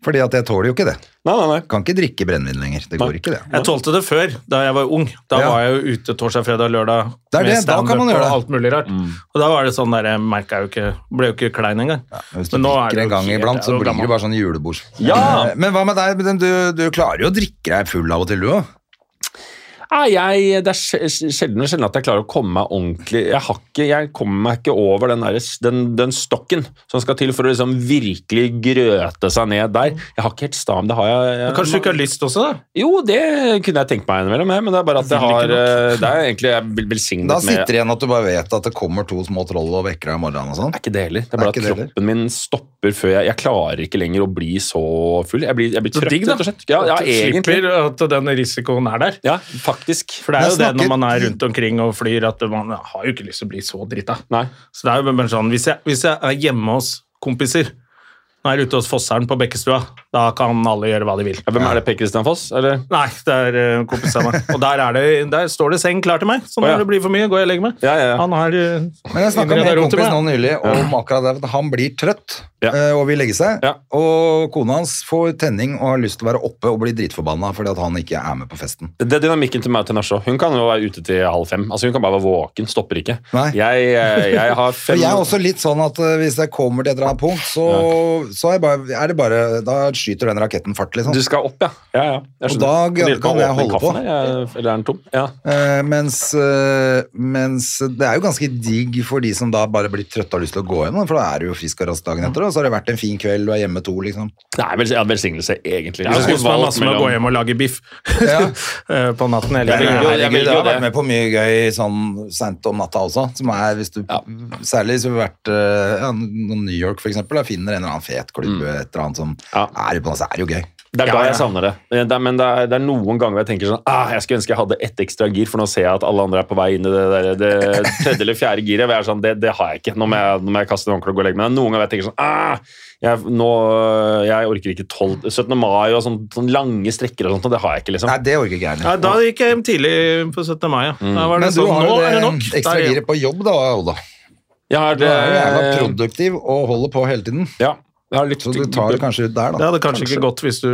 Speaker 1: Fordi at jeg tåler jo ikke det.
Speaker 2: Nei, nei, nei.
Speaker 1: Kan ikke drikke brennevin lenger. Det
Speaker 2: Nei.
Speaker 1: går ikke, det.
Speaker 3: Jeg tålte det før, da jeg var ung. Da
Speaker 1: Ja.
Speaker 3: var jeg jo ute torsdag, fredag, lørdag
Speaker 1: Det er det, da
Speaker 3: med
Speaker 1: kan
Speaker 3: standup
Speaker 1: man gjøre
Speaker 3: og
Speaker 1: det. Mm.
Speaker 3: alt mulig rart. Og da var det sånn der, jeg merket jeg jo ikke Ble jo ikke klein engang.
Speaker 1: Hvis du
Speaker 3: Men nå
Speaker 1: drikker
Speaker 3: er
Speaker 1: en
Speaker 3: det jo
Speaker 1: gang
Speaker 3: helt-
Speaker 1: iblant, så
Speaker 3: jeg er
Speaker 1: blir
Speaker 3: jo
Speaker 1: det
Speaker 3: gammel.
Speaker 1: bare sånn julebord.
Speaker 2: Ja!
Speaker 1: Eh, Men hva med deg? Men Du, du klarer jo å drikke deg full av og til, du òg.
Speaker 2: Nei, jeg, det er sj- sj- sjelden, sjelden at jeg klarer å komme meg ordentlig Jeg, har ikke, jeg kommer meg ikke over den, der, den, den stokken som skal til for å liksom virkelig grøte seg ned der. Jeg har ikke helt stam. Det har jeg. jeg
Speaker 3: Kanskje du ikke har lyst også, da?
Speaker 2: Jo, det kunne jeg tenkt meg innimellom, jeg, men det er bare at jeg
Speaker 3: Vil ikke
Speaker 2: har eh, Det er egentlig jeg er velsignet
Speaker 1: Da
Speaker 2: med
Speaker 1: sitter det igjen at du bare vet at det kommer to små troll og vekker deg i morgenen og sånn.
Speaker 2: Det er ikke det heller. Det er
Speaker 1: Det er
Speaker 2: bare
Speaker 1: ikke
Speaker 2: at
Speaker 1: det heller.
Speaker 2: kroppen min stopper før jeg Jeg klarer ikke lenger å bli så full. Jeg blir, jeg blir
Speaker 3: Så
Speaker 2: trøtt,
Speaker 3: digg, da.
Speaker 2: rett og slett. Ja, ja
Speaker 3: At du
Speaker 2: egentlig.
Speaker 3: slipper at den risikoen er der.
Speaker 2: Ja, faktisk.
Speaker 3: For det er jo
Speaker 1: Jeg
Speaker 3: det
Speaker 1: snakker-
Speaker 3: når man er rundt omkring og flyr, at man har jo ikke lyst til å bli så drita.
Speaker 2: Nei.
Speaker 3: Så det er jo bare sånn, hvis jeg, hvis jeg er hjemme hos kompiser, når jeg er ute hos Fosseren på Bekkestua, da kan alle gjøre hva de vil.
Speaker 2: Ja, Hvem er det, Per Kristian Foss? Eller?
Speaker 3: Nei, det er eh, kompisen min. Og der, er det, der står det seng klar til meg, så
Speaker 2: Å,
Speaker 3: når
Speaker 2: ja.
Speaker 3: det blir for mye, går jeg og legger meg.
Speaker 2: Ja, ja, ja.
Speaker 3: Han har eh,
Speaker 1: Men jeg snakka med
Speaker 3: innredet
Speaker 1: en
Speaker 3: rom til
Speaker 1: kompis nå
Speaker 3: meg.
Speaker 1: nylig om akkurat det. at Han blir trøtt
Speaker 2: Ja.
Speaker 1: eh, og vil legge seg.
Speaker 2: Ja.
Speaker 1: Og kona hans får tenning og har lyst til å være oppe og bli dritforbanna fordi at han ikke er med på festen.
Speaker 2: Det er dynamikken til meg og til Nasha. Hun kan jo være ute til halv fem. Altså, hun kan bare være våken. Stopper ikke.
Speaker 1: Nei.
Speaker 2: Jeg, eh, jeg har
Speaker 1: For
Speaker 2: fem
Speaker 1: jeg er også litt sånn at eh, hvis jeg kommer til et eller annet punkt, så, så er, jeg bare, er det bare Da skyter den raketten fart, liksom.
Speaker 2: Du skal opp, ja. ja, ja. Jeg
Speaker 1: Og
Speaker 2: skjønner.
Speaker 1: da
Speaker 2: det hjelper
Speaker 1: kan
Speaker 2: å
Speaker 1: jeg
Speaker 2: åpne
Speaker 1: holde på.
Speaker 2: kaffen, jeg- Eller er den tom? Ja.
Speaker 1: Eh, mens, eh, mens det er jo ganske digg for de som da bare blir trøtte og har lyst til å gå hjem, da, for da er du jo frisk og rask dagen etter, og så har det vært en fin kveld, du er hjemme to, liksom.
Speaker 2: Det er vel, ja, velsignelse, egentlig. Hvis
Speaker 3: Jeg
Speaker 2: jeg skulle
Speaker 3: koser meg
Speaker 2: valgt
Speaker 3: masse med å
Speaker 2: mellom-
Speaker 3: gå hjem og lage biff
Speaker 1: Ja.
Speaker 3: eh, på natten. hele
Speaker 1: Men
Speaker 2: Jeg vil
Speaker 3: tiden.
Speaker 2: jo- jeg
Speaker 1: herregud,
Speaker 2: vil
Speaker 1: jeg
Speaker 2: jo
Speaker 1: har
Speaker 2: det.
Speaker 1: vært med på mye gøy sånn sent om natta også, som er hvis du
Speaker 2: Ja.
Speaker 1: Særlig hvis du har vært eh, ja, New York, for eksempel, da finner en eller annen fet klubb,
Speaker 3: Mm.
Speaker 1: et eller annet som
Speaker 2: Ja.
Speaker 1: er på, så er det jo gøy.
Speaker 2: Det er
Speaker 3: Ja,
Speaker 2: da
Speaker 3: ja.
Speaker 2: jeg savner det. Eh, det er- men det er, det er noen ganger jeg tenker sånn ah, Jeg skulle ønske jeg hadde ett ekstra gir, for nå ser jeg at alle andre er på vei inn i det, der, det tredje eller fjerde giret. Og jeg er sånn, det, det har jeg ikke. Nå må jeg, nå må jeg kaste en håndkle og gå og legge meg. Det er Noen ganger jeg tenker sånn ah, jeg, nå, jeg orker ikke 12, 17. mai og sånn, sånn lange strekker og sånt, og det har jeg ikke, liksom.
Speaker 1: Nei, det orker ikke jeg
Speaker 3: Ja,
Speaker 1: heller.
Speaker 3: da gikk jeg hjem tidlig på 17. mai. Ja.
Speaker 2: Mm.
Speaker 3: Da var det
Speaker 1: Men du
Speaker 3: sånn,
Speaker 1: har
Speaker 3: nå er det
Speaker 1: jo
Speaker 3: nok.
Speaker 1: det ekstra
Speaker 3: Der er jeg.
Speaker 1: giret på jobb, da, Oda.
Speaker 2: Jeg har,
Speaker 1: Du er jo jævla
Speaker 2: det,
Speaker 1: produktiv og holder på hele tiden,
Speaker 2: ja, jeg har litt
Speaker 1: så du tar det kanskje ut der,
Speaker 3: Det
Speaker 1: da.
Speaker 3: hadde kanskje, ikke gått hvis du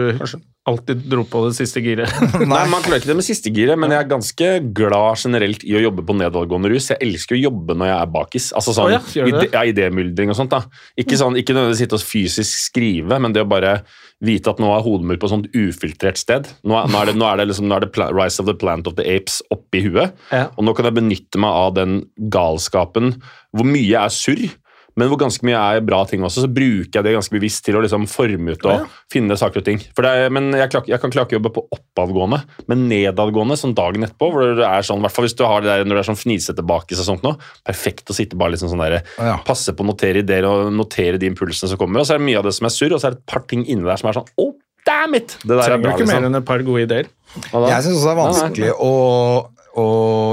Speaker 3: alltid dro på det siste giret.
Speaker 2: Nei, Man klarer ikke det med siste giret, men jeg er ganske glad generelt i å jobbe på nedadgående rus. Jeg elsker å jobbe når jeg er bakis. Altså sånn
Speaker 3: Å ja, gjør du
Speaker 2: ide-
Speaker 3: det?
Speaker 2: ja, idémyldring og sånt. da. Ikke, sånn, ikke nødvendigvis sitte og fysisk skrive, men det å bare vite at nå er hodet mitt på et sånt ufiltrert sted. Nå er, nå er det, nå er det, liksom, nå er det pla- Rise of the Plant of the Apes oppi huet,
Speaker 3: Ja.
Speaker 2: og nå kan jeg benytte meg av den galskapen hvor mye er surr. Men hvor ganske mye er bra ting også, så bruker jeg det ganske bevisst til å liksom forme ut og finne saker og ting. For det er, men jeg, klak- jeg kan klare ikke å jobbe på oppadgående, men nedadgående sånn dagen etterpå. hvor det er sånn, hvertfall hvis du har det der når det er sånn fnisete bakis og sånt nå, Perfekt å sitte bare liksom sånn der,
Speaker 1: Ja.
Speaker 2: passe på å notere ideer og notere de impulsene som kommer. Og så er det mye av det som er surr, og så er det et par ting inni der som er sånn oh, damn it! Det der er
Speaker 3: Trenger
Speaker 2: bra,
Speaker 3: ikke mer
Speaker 2: liksom.
Speaker 3: enn et par gode ideer.
Speaker 2: Og da-
Speaker 1: Jeg syns også det er
Speaker 2: Nei, nei.
Speaker 1: vanskelig å, å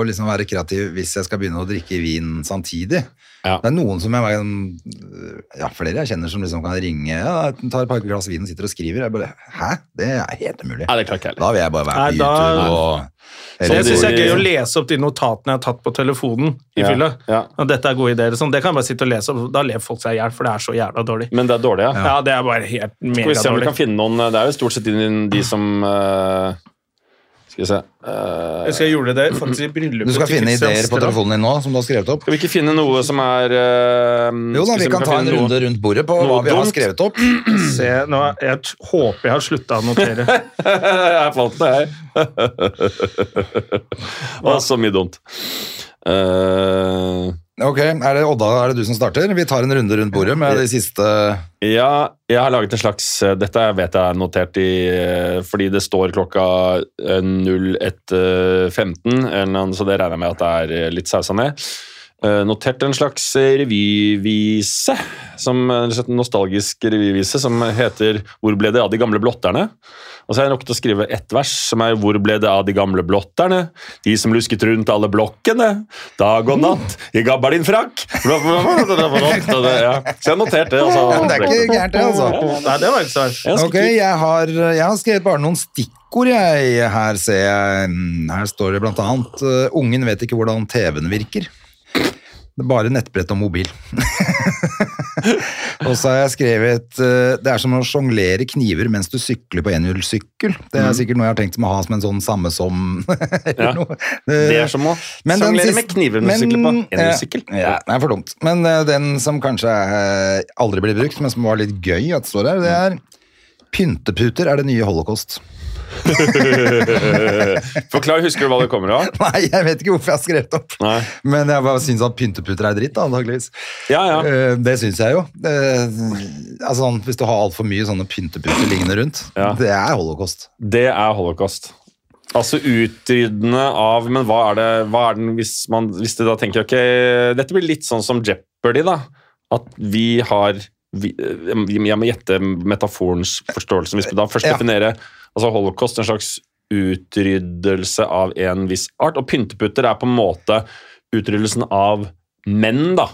Speaker 1: liksom være kreativ hvis jeg skal begynne å drikke vin samtidig.
Speaker 2: Ja.
Speaker 1: Det er noen som jeg bare- ja, flere jeg kjenner som liksom kan ringe, ja, tar et par glass vin og sitter og skriver. Jeg bare, Hæ? Det er helt umulig.
Speaker 2: Nei, det klarer ikke jeg
Speaker 1: Da vil jeg bare være på
Speaker 3: Nei, da-
Speaker 1: YouTube og
Speaker 3: Så jeg
Speaker 2: Sånn
Speaker 1: Eller-
Speaker 3: syns det er
Speaker 2: de-
Speaker 3: gøy å lese opp de notatene jeg har tatt på telefonen i
Speaker 2: Ja,
Speaker 3: fylla.
Speaker 2: ja.
Speaker 3: Og dette er gode ideer, liksom. Det kan jeg bare sitte og lese, og da ler folk seg i hjel, for det er så jævla dårlig.
Speaker 2: Men det er dårlig, ja.
Speaker 3: Ja, det er bare helt
Speaker 2: Skal vi se om vi
Speaker 3: megadårlig.
Speaker 2: kan finne noen eh, Det er jo stort sett de, de som eh, Skal vi se
Speaker 3: Jeg
Speaker 2: eh,
Speaker 3: husker jeg gjorde det faktisk i bryllupet.
Speaker 1: Du skal
Speaker 3: til
Speaker 1: finne
Speaker 3: Christian
Speaker 1: ideer på
Speaker 3: Strand.
Speaker 1: telefonen din nå, som du har skrevet opp?
Speaker 2: Skal vi ikke finne noe som er eh,
Speaker 1: Jo da,
Speaker 2: skal
Speaker 1: vi
Speaker 2: se om
Speaker 1: kan ta en
Speaker 2: finne noe-
Speaker 1: runde rundt bordet på hva
Speaker 2: noe
Speaker 1: vi har
Speaker 2: dumt.
Speaker 1: skrevet opp.
Speaker 3: Se, nå, jeg t- håper jeg har slutta å notere.
Speaker 2: jeg fant det, jeg. Å, så mye dumt. Eh,
Speaker 1: Ok, er det Odda, er det du som starter? Vi tar en runde rundt bordet med de siste
Speaker 2: ja, jeg har laget en slags Dette vet jeg er notert i eh, Fordi det står klokka eh, 01.15, eller noe, så det regner jeg med at det er eh, litt sausa ned. Eh, Notert en slags eh, revyvise, som, eh, en slags nostalgisk revyvise, som heter 'Hvor ble det av de gamle blotterne?' Og så har jeg rukket å skrive ett vers, som er 'Hvor ble det av de gamle blotterne?' 'De som lusket rundt alle blokkene', 'Dag og natt', 'Jeg gabba din frakk' Bla, bla, bla, bla, bla, bla, bla, ja. Så jeg har notert det. Altså.
Speaker 1: Det er ikke gærent, det, altså.
Speaker 3: Nei, det var ikke så verst.
Speaker 2: Jeg skal
Speaker 1: Ok, jeg har, jeg har skrevet bare noen stikkord, jeg. Her ser jeg mm, Her står det blant annet eh, 'Ungen vet ikke hvordan TV-en virker'. Det er bare nettbrett og mobil. og så har jeg skrevet eh, 'Det er som å sjonglere kniver mens du sykler på enhjulssykkel'. Det er sikkert noe jeg har tenkt som å ha som en sånn samme som eller
Speaker 2: Mm. Ja.
Speaker 1: noe. Eh,
Speaker 2: Det er som å
Speaker 1: Men den
Speaker 2: sjonglere
Speaker 1: sist-
Speaker 2: med kniver med
Speaker 1: men-
Speaker 2: sykkel på en
Speaker 1: ja,
Speaker 2: sykkel.
Speaker 1: Ja, det er for dumt. Men eh, den som kanskje eh, aldri blir brukt, men som var litt gøy at står her, det er Pynteputer er det nye holocaust.
Speaker 2: Forklar, husker du hva det kommer av?
Speaker 1: Nei, jeg vet ikke hvorfor jeg har skrevet opp.
Speaker 2: Nei.
Speaker 1: Men jeg bare syns at pynteputer er dritt, da, antakeligvis.
Speaker 2: Ja, ja.
Speaker 1: Eh, Det syns jeg jo. Eh, Altså, sånn, hvis du har altfor mye sånne pynteputer liggende rundt,
Speaker 2: Ja.
Speaker 1: det er holocaust.
Speaker 2: Det er holocaust. Altså utryddende av Men hva er det hva er den hvis, man, hvis du da tenker ok, dette blir litt sånn som Jeopardy, da. At vi har vi, eh, Jeg må gjette metaforens forståelse. Hvis du da først
Speaker 1: Ja.
Speaker 2: definerer altså holocaust en slags utryddelse av en viss art. Og pynteputter er på en måte utryddelsen av menn, da.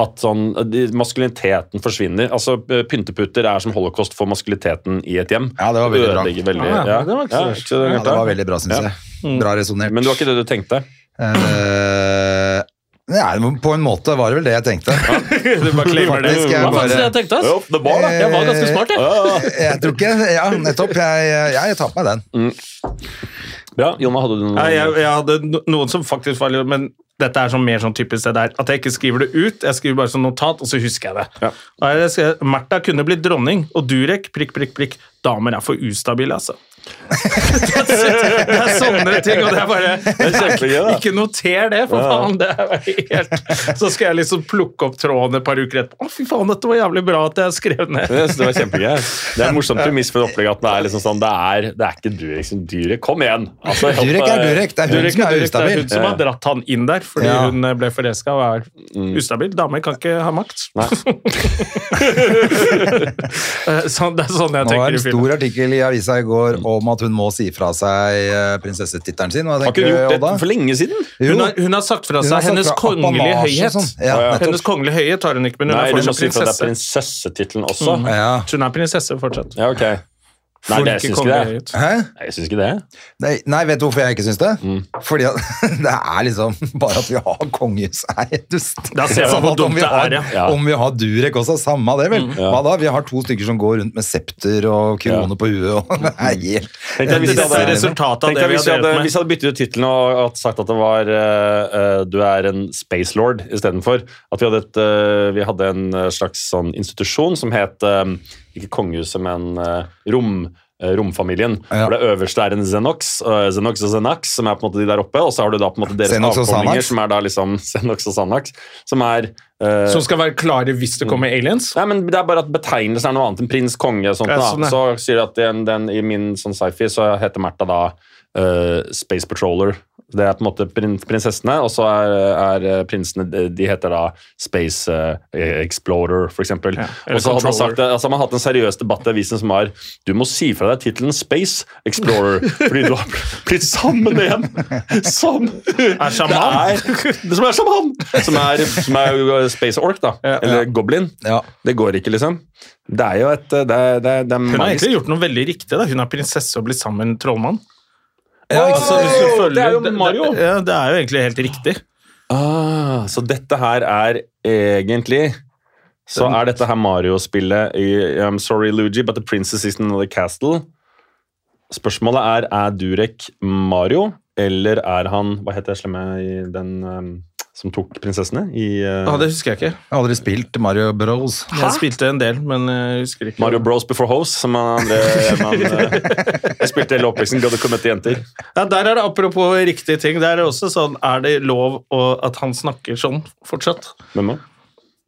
Speaker 2: At sånn, de- maskuliniteten forsvinner. Altså, Pynteputter er som holocaust for maskuliniteten i et hjem.
Speaker 1: Ja, det var veldig bra.
Speaker 2: Ødelegger veldig.
Speaker 3: Ja, ja, det var ikke så
Speaker 2: Ja,
Speaker 3: verst.
Speaker 2: ikke det
Speaker 1: Ja,
Speaker 2: gærent,
Speaker 1: det var
Speaker 2: da?
Speaker 1: veldig bra, syns
Speaker 2: Ja.
Speaker 1: jeg. Bra resonnert.
Speaker 2: Men det var ikke det du tenkte?
Speaker 1: Eh, Nei, på en måte var det vel det jeg tenkte.
Speaker 3: Du bare claimer det.
Speaker 1: Faktisk, jeg
Speaker 4: Hva
Speaker 1: bare-
Speaker 4: faen er det jeg tenkte?
Speaker 2: Jo,
Speaker 4: ass?
Speaker 2: det var det.
Speaker 4: Jeg var ganske smart, jeg.
Speaker 2: Ah.
Speaker 1: Jeg tror ikke Ja, nettopp. Jeg, jeg, jeg tar på meg den.
Speaker 2: Ja, Jonna, hadde du noe
Speaker 3: Nei, jeg, jeg hadde no- noen som faktisk var litt Men dette er sånn mer sånn typisk det der. At jeg ikke skriver det ut, jeg skriver bare sånn notat, og så husker jeg det.
Speaker 2: Ja.
Speaker 3: Da er det skrevet, Märtha kunne blitt dronning, og Durek prikk, prikk, prikk. Damer er for ustabile, altså. det er sånne ting, og det er bare
Speaker 2: er kjempegøy, da.
Speaker 3: Ikke noter det, for faen! Det er bare helt Så skal jeg liksom plukke opp tråden et par uker etterpå. Å, fy faen, dette var jævlig bra at jeg skrev ned.
Speaker 2: Jeg synes det var kjempegøy. Det er en morsom premiss for opplegget at det er liksom sånn Det er, det er ikke Durek som Durek. Kom igjen! Altså, jeg
Speaker 1: Durek er
Speaker 2: håper-
Speaker 1: Durek. Det er hun
Speaker 3: Durek,
Speaker 1: som
Speaker 3: er
Speaker 1: er
Speaker 3: Durek, det er
Speaker 1: ustabil.
Speaker 3: hun som har dratt han inn der fordi
Speaker 1: Ja.
Speaker 3: hun eh, ble forelska og er ustabil. Damer kan ikke ha makt.
Speaker 2: Nei.
Speaker 3: Eh, sånn- det er
Speaker 1: Det
Speaker 3: sånn jeg
Speaker 1: var
Speaker 3: tenker
Speaker 1: en
Speaker 3: i filmen.
Speaker 1: stor artikkel i avisa i går om at hun må si fra seg eh, prinsessetittelen sin. Hva
Speaker 2: Har ikke
Speaker 1: tenker
Speaker 2: du
Speaker 1: du,
Speaker 2: gjort det
Speaker 1: Odda?
Speaker 2: for lenge siden?
Speaker 1: Jo,
Speaker 3: Hun har, hun har sagt fra
Speaker 1: Hun
Speaker 3: seg
Speaker 1: har sagt
Speaker 3: hennes
Speaker 1: fra
Speaker 3: kongelige
Speaker 1: apanasje og
Speaker 3: høyhet.
Speaker 1: sånn. Ja, nettopp.
Speaker 3: hennes kongelige høyhet har hun ikke, men hun
Speaker 2: Nei,
Speaker 3: er
Speaker 2: du må
Speaker 3: fortsatt
Speaker 2: si at det er
Speaker 3: prinsesse.
Speaker 2: prinsessetittelen også.
Speaker 1: ja.
Speaker 3: Så hun er prinsesse fortsatt.
Speaker 2: Ja, ok. Nei,
Speaker 3: Får
Speaker 2: det, jeg
Speaker 3: ikke
Speaker 2: syns ikke
Speaker 3: kongelig
Speaker 2: det.
Speaker 3: høyhet.
Speaker 1: Hæ?
Speaker 2: Nei, Jeg syns ikke det.
Speaker 1: Nei, nei, vet du hvorfor jeg ikke syns det? Fordi at det er liksom bare at vi har kongehus er helt dust.
Speaker 3: Da ser man
Speaker 1: Samme at
Speaker 3: hvor
Speaker 1: om
Speaker 3: dumt
Speaker 1: vi
Speaker 3: det
Speaker 1: har-
Speaker 3: er,
Speaker 2: ja.
Speaker 1: Om vi har Durek også, samme av det, vel. Hva da? Vi har to stykker som går rundt med septer og krone på huet og det er helt
Speaker 2: Tenk deg hvis
Speaker 1: Det
Speaker 2: det
Speaker 1: er
Speaker 3: Dette er
Speaker 2: hadde
Speaker 3: resultatet av
Speaker 2: Tenk
Speaker 3: det
Speaker 2: deg
Speaker 3: vi
Speaker 2: hvis jeg
Speaker 3: har
Speaker 2: hadde, hvis
Speaker 3: drevet med.
Speaker 2: jeg hadde byttet ut tittelen og at sagt at det var eh, eh, 'Du er en space lord' istedenfor. At vi hadde, et, eh, vi hadde en eh, slags sånn institusjon som het eh, Ikke kongehuset, men eh, rom. eh, Romfamilien.
Speaker 1: Ja.
Speaker 2: Hvor det øverste er en Zenox, eh, Zenox og Zenax, som er på en måte de der oppe. Og så har du da på en måte deres
Speaker 1: Xenox og
Speaker 2: avkomminger,
Speaker 1: Xanax.
Speaker 2: som er da liksom Zenox og Xanax, som er Eh,
Speaker 3: Som skal være klare hvis det kommer aliens?
Speaker 2: Nei, men Det er bare at betegnelsen er noe annet enn prins, konge og sånt.
Speaker 3: Ja,
Speaker 2: da.
Speaker 3: sånn, ja.
Speaker 2: Så sier de at den, den, i min sånn sci-fi så heter Märtha da eh, Space Patroller. Det er på en måte prin prinsessene, og så er, er eh, prinsene de- De heter da Space eh, Explorer, for eksempel.
Speaker 3: eller
Speaker 2: og så hadde man,
Speaker 3: Controller.
Speaker 2: sagt, det- altså man har hatt en seriøs debatt i avisen som var Du må si fra deg tittelen Space Explorer, fordi du har blitt sammen med en som
Speaker 3: Er sjaman?
Speaker 2: Det er, som er sjaman! Som er, som er jo Space Ork, da.
Speaker 3: Ja.
Speaker 2: Eller Goblin.
Speaker 1: Ja.
Speaker 2: Det går ikke, liksom. Det er jo et eh, Det er, det er, det er
Speaker 3: Hun har
Speaker 2: magisk.
Speaker 3: egentlig gjort noe veldig riktig. da. Hun er prinsesse og blir sammen med en trollmann.
Speaker 1: Ja, ikke
Speaker 3: Så
Speaker 1: sant?
Speaker 3: hvis du følger,
Speaker 2: det er jo
Speaker 3: det-
Speaker 2: Mario.
Speaker 3: Det, ja, det er jo egentlig helt riktig.
Speaker 2: Ah, så dette her er egentlig Så er dette her Mario-spillet i I'm sorry, Luigi, but the princess is in another castle. Spørsmålet er er Durek Mario, eller er han Hva heter det slemme i den um, som tok prinsessene? I uh,
Speaker 3: Ja, Ah, det husker jeg ikke.
Speaker 1: Jeg har aldri spilt Mario Bros.
Speaker 3: Jeg spilte en del, men eh, jeg husker ikke.
Speaker 2: Mario Bros Before House, som han andre man, uh, jeg spilte hele oppveksten. Gadd å komme til jenter.
Speaker 3: Ja, der er det apropos riktige ting. Der er det også sånn, er det lov å, at han snakker sånn fortsatt?
Speaker 2: Hvem da?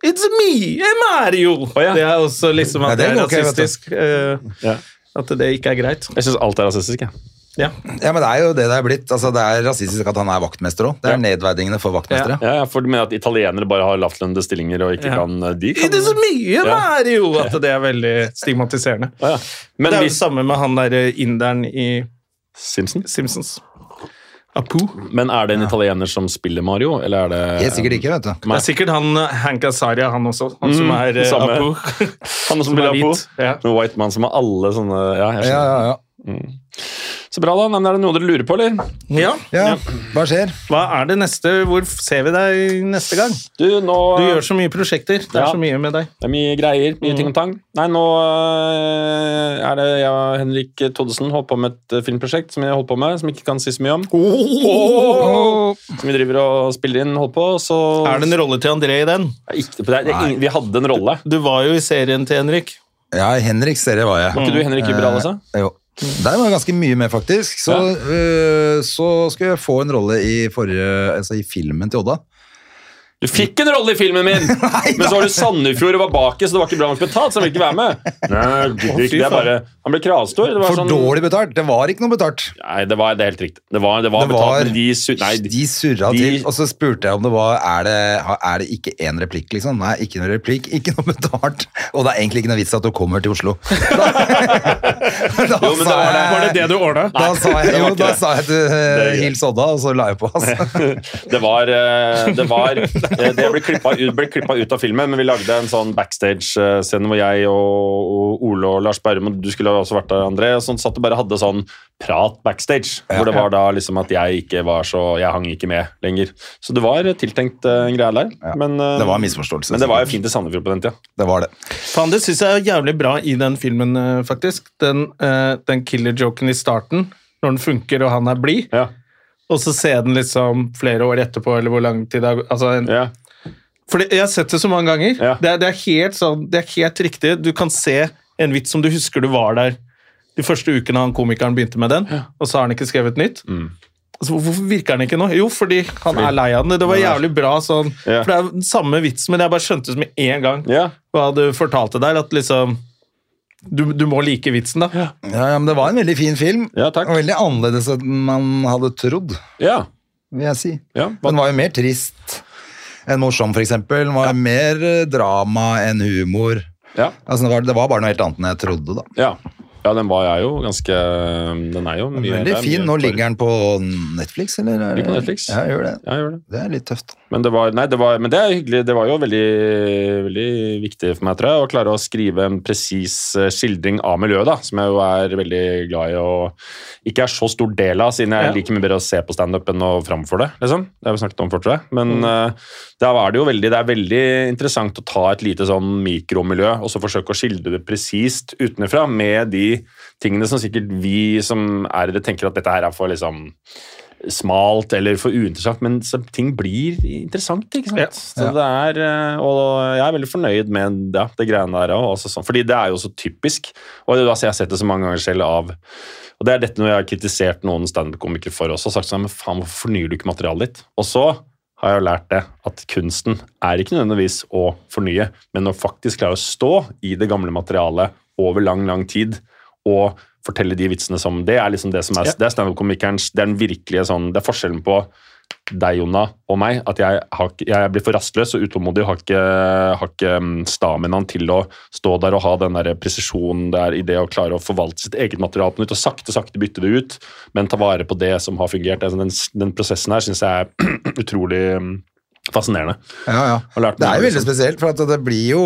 Speaker 3: It's me, eh, Mario!
Speaker 2: ja.
Speaker 3: Det er også liksom at
Speaker 1: Nei,
Speaker 3: det
Speaker 1: det
Speaker 3: er
Speaker 1: går ikke, vet du.
Speaker 3: rasistisk. eh,
Speaker 2: Ja.
Speaker 3: At det ikke er greit.
Speaker 2: Jeg syns alt er rasistisk, jeg.
Speaker 3: Ja.
Speaker 1: Ja, men det er jo det det er blitt. Altså, det er rasistisk at han er vaktmester òg. Det er
Speaker 2: Ja.
Speaker 1: nedverdigende for vaktmestere.
Speaker 2: Ja, ja, for du mener at italienere bare har lavtlønnede stillinger og ikke
Speaker 3: Ja.
Speaker 2: kan eh, de? Kan,
Speaker 3: It is me, eh,
Speaker 2: Ja.
Speaker 3: Mario! At det er veldig stigmatiserende.
Speaker 2: Å, ja. Men
Speaker 3: det er jo
Speaker 2: hvis,
Speaker 3: samme med han der eh, inderen i
Speaker 2: Simpson?
Speaker 3: Simpsons. Apu.
Speaker 2: Men er det en italiener som spiller Mario, eller er det
Speaker 1: Helt sikkert ikke, vet du.
Speaker 3: Det er sikkert han eh, Hank Azaria, han også. Han som
Speaker 2: Mm,
Speaker 3: er eh,
Speaker 2: samme.
Speaker 3: Apu.
Speaker 2: Han som
Speaker 3: Som
Speaker 2: spiller
Speaker 3: er
Speaker 2: Apo?
Speaker 3: hvit. Ja.
Speaker 2: En white man som har alle sånne Ja,
Speaker 1: Ja,
Speaker 2: jeg skjønner.
Speaker 1: ja, ja.
Speaker 2: Så bra, da. Men er det noe dere lurer på, eller?
Speaker 3: ja.
Speaker 1: Ja, Hva skjer?
Speaker 3: Hva er det neste? Hvor ser vi deg neste gang?
Speaker 2: Du, nå
Speaker 3: Du gjør Mm. så mye prosjekter. Det er
Speaker 2: Ja.
Speaker 3: så mye med deg.
Speaker 2: Det er mye greier. Mye ting og tang. Nei, nå øh, er det jeg og Henrik Thodesen holdt på med et øh, filmprosjekt som jeg holdt på med, som jeg ikke kan si så mye om.
Speaker 3: Oh,
Speaker 2: Som vi driver og spiller inn, holdt på, og så
Speaker 3: Er det en rolle til André i den?
Speaker 2: Nei, ikke, det er, det er,
Speaker 1: Nei.
Speaker 2: ingen- Vi hadde en rolle.
Speaker 3: Du var jo i serien til Henrik.
Speaker 1: Ja, Henrik serie var jeg.
Speaker 2: Var ikke du
Speaker 3: Eh,
Speaker 2: Henrik altså? Ibral også?
Speaker 1: Jo. Der var det ganske mye med, faktisk. Så, øh, så skulle jeg få en rolle i, forrige, altså i filmen til Odda.
Speaker 2: Du fikk en rolle i filmen min! men så var du Sandefjord og var baki, så det var ikke bra nok betalt. så han ville ikke være med. Nei, gud,
Speaker 3: fy
Speaker 2: det er bare, Han ble kravstor. Det var
Speaker 1: For
Speaker 2: sånn,
Speaker 1: dårlig betalt! Det var ikke noe betalt.
Speaker 2: Nei, det, var, det er helt riktig. Det var, det var
Speaker 1: Det
Speaker 2: betalt,
Speaker 1: var-
Speaker 2: men de su- Nei,
Speaker 1: De surra
Speaker 2: de-
Speaker 1: til, og så spurte jeg om det var Er det, er det ikke én replikk, liksom? Nei, ikke noe replikk, ikke noe betalt. Og det er egentlig ikke noe vits at du kommer til Oslo. Da, da
Speaker 2: Jo, men det var det-
Speaker 3: Var det det du ordna?
Speaker 1: Da sa jeg,
Speaker 2: det
Speaker 1: jo,
Speaker 2: var ikke
Speaker 1: da
Speaker 2: det.
Speaker 1: sa jeg til
Speaker 2: Det er
Speaker 1: uh,
Speaker 2: greit.
Speaker 1: Hils Odda, og så la jeg på. Altså.
Speaker 2: det var, eh, det, var eh, det ble klippa ut, ble klippet ut av filmen, men vi lagde en sånn backstage-scene hvor jeg og, og Ole og Lars Berrum og du skulle ha også vært der, André, og sånn satt og bare hadde sånn prat backstage. Hvor det var da liksom at jeg ikke var så Jeg hang ikke med lenger. Så det var tiltenkt eh, en greie der. Men, eh,
Speaker 1: Det var en misforståelse.
Speaker 2: men det var jo fint i Sandefjord på den tida.
Speaker 1: Det var det.
Speaker 3: Faen, det syns jeg er jævlig bra i den filmen, eh, faktisk. Den, eh, den killer-joken i starten, når den funker og han er blid,
Speaker 2: Ja,
Speaker 3: og så ser jeg den liksom flere år etterpå, eller hvor lang tid det er altså, en,
Speaker 2: ja.
Speaker 3: Fordi jeg har sett det så mange ganger.
Speaker 2: Ja.
Speaker 3: Det, er, det, er helt sånn, det er helt riktig. Du kan se en vits som du husker du var der de første ukene han komikeren begynte med den, og så har han ikke skrevet nytt.
Speaker 2: Mm.
Speaker 3: Altså, hvorfor virker den ikke nå? Jo, fordi han er lei av den. Det var jævlig bra sånn.
Speaker 2: Ja.
Speaker 3: For det er den samme vitsen, men jeg bare skjønte det med en gang
Speaker 2: ja.
Speaker 3: hva du fortalte der, at liksom du, du må like vitsen, da.
Speaker 1: Ja, ja, men det var en veldig fin film.
Speaker 2: Ja, takk.
Speaker 1: Og veldig annerledes enn man hadde trodd,
Speaker 2: ja.
Speaker 1: vil jeg si.
Speaker 2: ja.
Speaker 1: Den var jo mer trist enn morsom, for eksempel. Den var jo mer eh, drama enn humor.
Speaker 2: ja.
Speaker 1: Altså, det, var, det var bare noe helt annet enn jeg trodde, da.
Speaker 2: Ja. ja, den var jeg jo ganske Den er jo mye det
Speaker 1: Veldig
Speaker 2: er
Speaker 1: fin.
Speaker 2: mye
Speaker 1: Nå
Speaker 2: for-
Speaker 1: ligger den på Netflix, eller?
Speaker 2: Ligger på Netflix.
Speaker 1: Ja, gjør det.
Speaker 2: Ja, gjør det.
Speaker 1: Det er litt tøft.
Speaker 2: Men det var, nei, det var, men det er hyggelig. Det var jo veldig, veldig viktig for meg, tror jeg, å klare å skrive en presis eh, skildring av miljøet, da, som jeg jo er veldig glad i og ikke er så stor del av, siden jeg
Speaker 3: Ja.
Speaker 2: liker mye bedre å se på standup enn å framfor det. liksom. Det har vi snakket om før, tror jeg. Men eh, da er det jo veldig, det er veldig interessant å ta et lite sånn mikromiljø og så forsøke å skildre det presist utenfra med de tingene som sikkert vi som er i det, tenker at dette her er for liksom smalt eller for uinteressant, men så ting blir interessant, ikke sant?
Speaker 3: Ja.
Speaker 2: Så det er, eh, og jeg er veldig fornøyd med ja, det greiene der også, altså sånn. fordi det er jo så typisk, og det, altså, jeg har sett det så mange ganger selv av, og det er dette når jeg har kritisert noen stand-up-komikere for også, og sagt sånn, men faen, hvorfor fornyer du ikke materialet ditt? Og så har jeg jo lært det, at kunsten er ikke nødvendigvis å fornye, men å faktisk klare å stå i det gamle materialet over lang, lang tid og fortelle de vitsene som Det er liksom det som er,
Speaker 3: Ja.
Speaker 2: det er standup-komikerens Det er den virkelige sånn Det er forskjellen på deg, Jonna, og meg, at jeg, har, ikke- jeg blir for rastløs og utålmodig og har ikke, har ikke mm, staminaen til å stå der og ha den der presisjonen der i det å klare å forvalte sitt eget materiale på nytt og sakte, sakte bytte det ut, men ta vare på det som har fungert. Altså, Den, den prosessen her syns jeg er utrolig mm, fascinerende.
Speaker 1: Ja, ja.
Speaker 2: Og lært
Speaker 1: Det
Speaker 2: meg,
Speaker 1: er jo veldig
Speaker 2: liksom.
Speaker 1: spesielt, for at det blir jo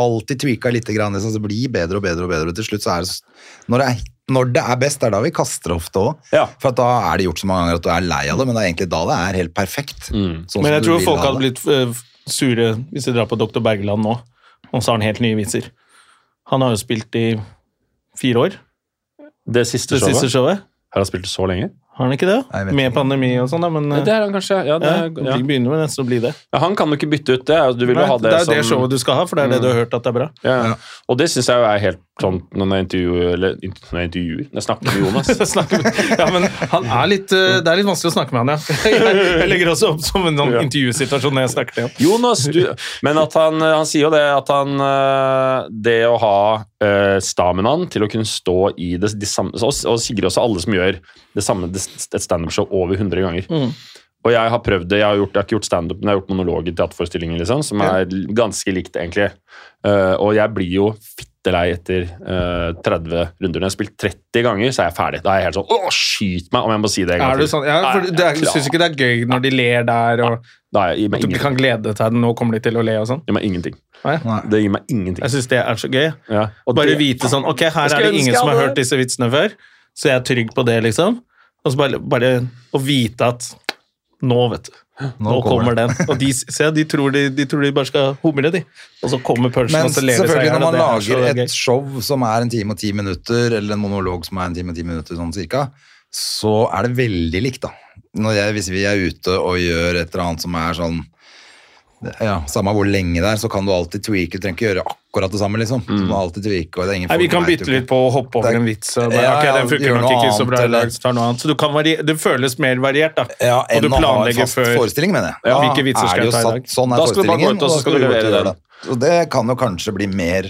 Speaker 1: alltid tweaka litt, grann, liksom. så det blir bedre og bedre og bedre. og Til slutt så er det s- når det er, når det er best, det er da vi kaster ofte òg.
Speaker 2: Ja.
Speaker 1: For at da er det gjort så mange ganger at du er lei av det, men det er egentlig da det er helt perfekt.
Speaker 2: Mm.
Speaker 1: Sånn
Speaker 3: Men
Speaker 1: som
Speaker 3: jeg
Speaker 1: du
Speaker 3: tror
Speaker 1: vil
Speaker 3: folk
Speaker 1: ha
Speaker 3: hadde
Speaker 1: det.
Speaker 3: blitt eh, sure hvis de drar på Dr. Bergeland nå, og så har han helt nye vitser. Han har jo spilt i fire år,
Speaker 2: Det siste
Speaker 3: det
Speaker 2: showet.
Speaker 3: siste showet.
Speaker 2: Har han spilt det så lenge?
Speaker 3: Har han ikke det?
Speaker 1: Nei, jeg vet
Speaker 3: Med
Speaker 1: ikke.
Speaker 3: pandemi og sånn, da, men eh,
Speaker 2: Det er han kanskje. Ja, det,
Speaker 3: ja,
Speaker 2: er- ja.
Speaker 3: de begynner vel nesten å bli det.
Speaker 2: Ja, han kan jo ikke bytte ut det. altså, Du vil jo
Speaker 3: Nei,
Speaker 2: ha det,
Speaker 3: det
Speaker 2: som
Speaker 3: er jo
Speaker 2: Mm.
Speaker 3: det showet du skal ha, for det er det du har hørt at det er bra.
Speaker 2: Ja, ja. Og det syns jeg jo er helt sånn når jeg intervjuer eller, in- når jeg intervjuer, når jeg snakker med Jonas.
Speaker 3: Så snakker vi- ja, men han er litt, eh, det er litt vanskelig å snakke med han, ja. Jeg, jeg legger også opp som en sånn
Speaker 2: Ja.
Speaker 3: intervjusituasjon når jeg snakker til han.
Speaker 2: Jonas, du Men at han, eh, han sier jo det at han eh, Det å ha eh, staminaen til å kunne stå i det de samme Og og Sigrid også, alle som gjør det samme det- et standup-show over 100 ganger.
Speaker 3: Mm.
Speaker 2: Og jeg har prøvd det, jeg har, gjort, jeg har ikke gjort standup, men jeg har gjort monologer til teaterforestillinger, liksom, som er ganske likt, egentlig. Eh, og jeg blir jo fittelei etter eh, 30 runder. Når jeg har spilt 30 ganger, så er jeg ferdig. Da er jeg helt sånn Å, skyt meg! Om jeg må si det en gang
Speaker 3: Er du sånn, ja, for
Speaker 2: Nei,
Speaker 3: det er,
Speaker 2: jeg er klar.
Speaker 3: synes ikke det er gøy når de ler der, og
Speaker 2: Da er jeg, gir meg
Speaker 3: at du
Speaker 2: ingenting.
Speaker 3: kan glede deg til nå kommer de til å le og sånn.
Speaker 2: gir meg ingenting.
Speaker 3: Nei.
Speaker 1: Nei.
Speaker 2: Det gir meg ingenting.
Speaker 3: Jeg synes det er så gøy.
Speaker 2: Ja. Og
Speaker 3: Altså, Bare
Speaker 2: det-
Speaker 3: vite sånn, ok, her
Speaker 2: skulle
Speaker 3: er det
Speaker 2: ønske
Speaker 3: ingen
Speaker 2: jeg
Speaker 3: som har
Speaker 2: hadde-
Speaker 3: hørt disse vitsene før, så jeg er trygg på det, liksom. Og så bare, bare å vite at nå, vet du. Nå, kommer den. Og de, se, de, tror de, de tror de bare skal humre, de. Og så kommer punchen,
Speaker 1: Men
Speaker 3: og så ler de seg i
Speaker 1: selvfølgelig når
Speaker 3: hjel, og
Speaker 1: man
Speaker 3: det er så
Speaker 1: lager
Speaker 3: gøy.
Speaker 1: et show som er en time og ti minutter, eller en monolog som er en time og ti minutter, sånn cirka, så er det veldig likt, da. Når jeg, hvis vi er ute og gjør et eller annet som er sånn ja, Samme hvor lenge det er, så kan du alltid tweake. Du trenger ikke gjøre akkurat det samme. liksom. Du må alltid tweake, og det er ingen
Speaker 3: Mm. Nei, Vi kan
Speaker 1: forberedt,
Speaker 3: bytte
Speaker 1: du-
Speaker 3: litt på å hoppe over
Speaker 1: Det er-
Speaker 3: en vits. Og bare,
Speaker 1: Ja,
Speaker 3: ok,
Speaker 1: ja,
Speaker 3: den funker
Speaker 1: gjør
Speaker 3: nok
Speaker 1: noe
Speaker 3: ikke så
Speaker 1: annet,
Speaker 3: bra i
Speaker 1: eller-
Speaker 3: dag, så tar noe annet. Så du kan vari det føles mer variert, da.
Speaker 1: Ja,
Speaker 3: og
Speaker 1: enn
Speaker 3: du
Speaker 1: å ha en
Speaker 3: planlegger
Speaker 1: fast
Speaker 3: før.
Speaker 1: forestilling, mener jeg.
Speaker 2: Ja,
Speaker 3: hvilke vitser skal
Speaker 1: er det
Speaker 3: jeg
Speaker 1: jo
Speaker 3: ta i
Speaker 1: satt,
Speaker 3: dag?
Speaker 1: sånn er
Speaker 2: Da skal du bare gå
Speaker 1: forestillingen,
Speaker 2: ut, og så skal
Speaker 1: da gå ut og
Speaker 2: du levere
Speaker 1: gjøre
Speaker 2: den.
Speaker 1: det. Så det kan jo kanskje bli mer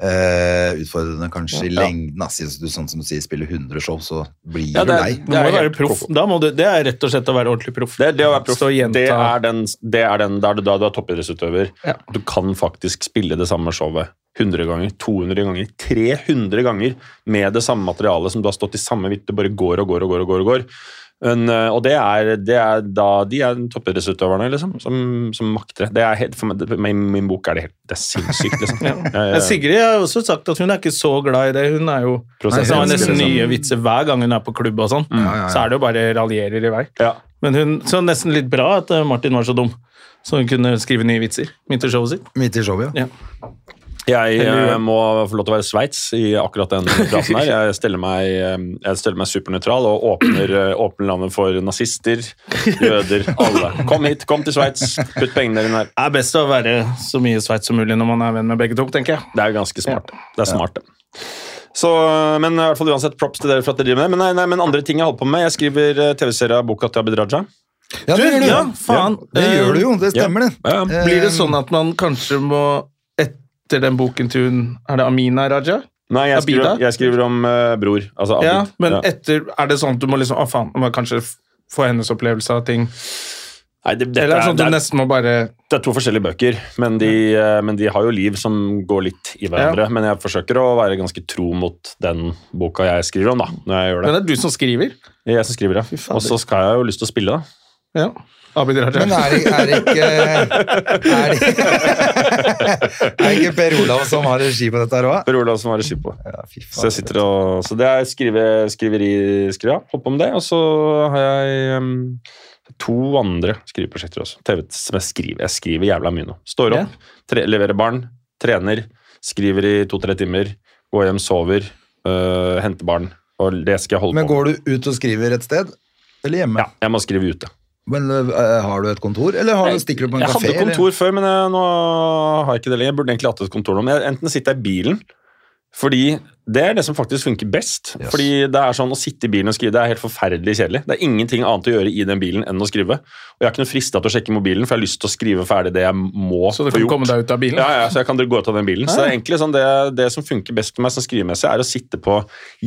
Speaker 1: eh, utfordrende, kanskje, i
Speaker 2: Ja.
Speaker 1: lengden. Altså, hvis du, sånn som du sier, spiller 100 show, så blir
Speaker 2: Ja,
Speaker 1: du
Speaker 2: det er-
Speaker 1: lei.
Speaker 3: Du må jo
Speaker 2: helt
Speaker 3: være proff.
Speaker 2: koko.
Speaker 3: Da må du, det er rett og slett å være ordentlig proff.
Speaker 2: Det, det å være proff,
Speaker 3: Stå og gjenta-
Speaker 2: det er den, det er den der du, da du er toppidrettsutøver.
Speaker 3: Ja.
Speaker 2: Du kan faktisk spille det samme showet 100 ganger, 200 ganger, 300 ganger med det samme materialet som du har stått i samme vitt. Det bare går og går og går. Og går og går. Men, øh, og det er, det er da de er toppidrettsutøverne liksom, som, som makter det. det. er helt, for meg, det- I min bok er det helt det er sinnssykt, liksom.
Speaker 3: Men Sigrid har jo også sagt at hun er ikke så glad i det. Hun er jo
Speaker 2: Prosessen,
Speaker 3: så har hun nesten
Speaker 2: liksom. Mm.
Speaker 3: nye vitser hver gang hun er på klubb og sånn.
Speaker 1: Ja, ja, ja.
Speaker 3: Så er det jo bare raljerer i vei.
Speaker 2: Eh, Ja.
Speaker 3: Men hun så nesten litt bra at eh, Martin var så dum, så hun kunne skrive nye vitser midt i showet sitt.
Speaker 1: Midt i showet, ja.
Speaker 3: Ja.
Speaker 2: Jeg
Speaker 3: Eller-
Speaker 2: eh, må få lov til å være Sveits i akkurat den praten her. Jeg steller meg, eh, jeg steller meg supernøytral og åpner, eh, åpner landet for nazister, jøder, alle. Kom hit, kom til Sveits, putt pengene dine her.
Speaker 3: Det er best å være så mye Sveits som mulig når man er venn med begge to, tenker jeg.
Speaker 2: Det er jo ganske smart. Det er smart, det. Så, eh, men i hvert fall uansett, props til dere for at dere driver med det. Men, nei, nei, men andre ting jeg holder på med, jeg skriver eh, TV-serier av boka til Abid Raja.
Speaker 1: Ja, det
Speaker 3: Du,
Speaker 1: gjør du,
Speaker 3: ja,
Speaker 1: jo.
Speaker 3: faen.
Speaker 1: Det gjør du jo, det
Speaker 2: Ja.
Speaker 1: stemmer, det.
Speaker 2: Ja, ja.
Speaker 1: Eh,
Speaker 3: Blir det sånn at man kanskje må etter den boken til hun Er det Amina Raja?
Speaker 2: Nei, jeg
Speaker 3: Abida?
Speaker 2: skriver, jeg skriver om eh, bror, altså Abid.
Speaker 3: Ja, men
Speaker 2: Ja.
Speaker 3: etter Er det sånn at du må liksom Å, faen, nå må jeg kanskje f- få hennes opplevelse av ting?
Speaker 2: Nei, det, dette
Speaker 3: Eller er det sånn at
Speaker 2: det
Speaker 3: du nesten må bare
Speaker 2: Det er to forskjellige bøker, men de, eh, men de har jo liv som går litt i hverandre. Men jeg forsøker å være ganske tro mot den boka jeg skriver om, da. når jeg gjør
Speaker 3: Men
Speaker 2: det.
Speaker 3: det er du som skriver?
Speaker 2: Det er Jeg som skriver, ja.
Speaker 3: fader.
Speaker 2: Og så skal jeg jo lyst til å spille, da.
Speaker 3: Ja. Abid Raja.
Speaker 1: Men er det, er det ikke er det, er det ikke Per Olav som har regi på dette her òg?
Speaker 2: Per Olav som har regi på det.
Speaker 1: Ja, fy
Speaker 2: Så, jeg
Speaker 1: faen.
Speaker 2: sitter og, så det er skrive, skriveri, skrive, ja, holdt på med det. Og så har jeg em, to andre skriveprosjekter også. TV, som jeg skriver. Jeg skriver jævla mye nå. Står opp, tre, leverer barn, trener, skriver i to-tre timer, går hjem, sover, øh, henter barn. Og det skal jeg holde
Speaker 1: Men
Speaker 2: på med.
Speaker 1: går du ut og skriver et sted? Eller hjemme?
Speaker 2: Ja, jeg må skrive ute.
Speaker 1: Men eh, har du et kontor, eller har du, stikker du på en
Speaker 2: Jeg
Speaker 1: kafé?
Speaker 2: hadde
Speaker 1: eller?
Speaker 2: kontor før, men jeg, nå har jeg ikke det lenger. Jeg burde egentlig hatt et kontor nå, men jeg, enten sitter jeg i bilen fordi Det er det som faktisk funker best.
Speaker 1: Yes.
Speaker 2: Fordi det er sånn Å sitte i bilen og skrive det er helt forferdelig kjedelig. Det er ingenting annet å gjøre i den bilen enn å skrive. Og jeg er ikke noe frista til å sjekke mobilen, for jeg har lyst til å skrive ferdig det jeg må
Speaker 3: Så du
Speaker 2: få
Speaker 3: kan
Speaker 2: gjort.
Speaker 3: komme deg ut av bilen? Ah,
Speaker 2: Ja, ja, så jeg kan gå ut av den bilen. Så det er egentlig sånn det, det som funker best for meg som skrivemessig, er å sitte på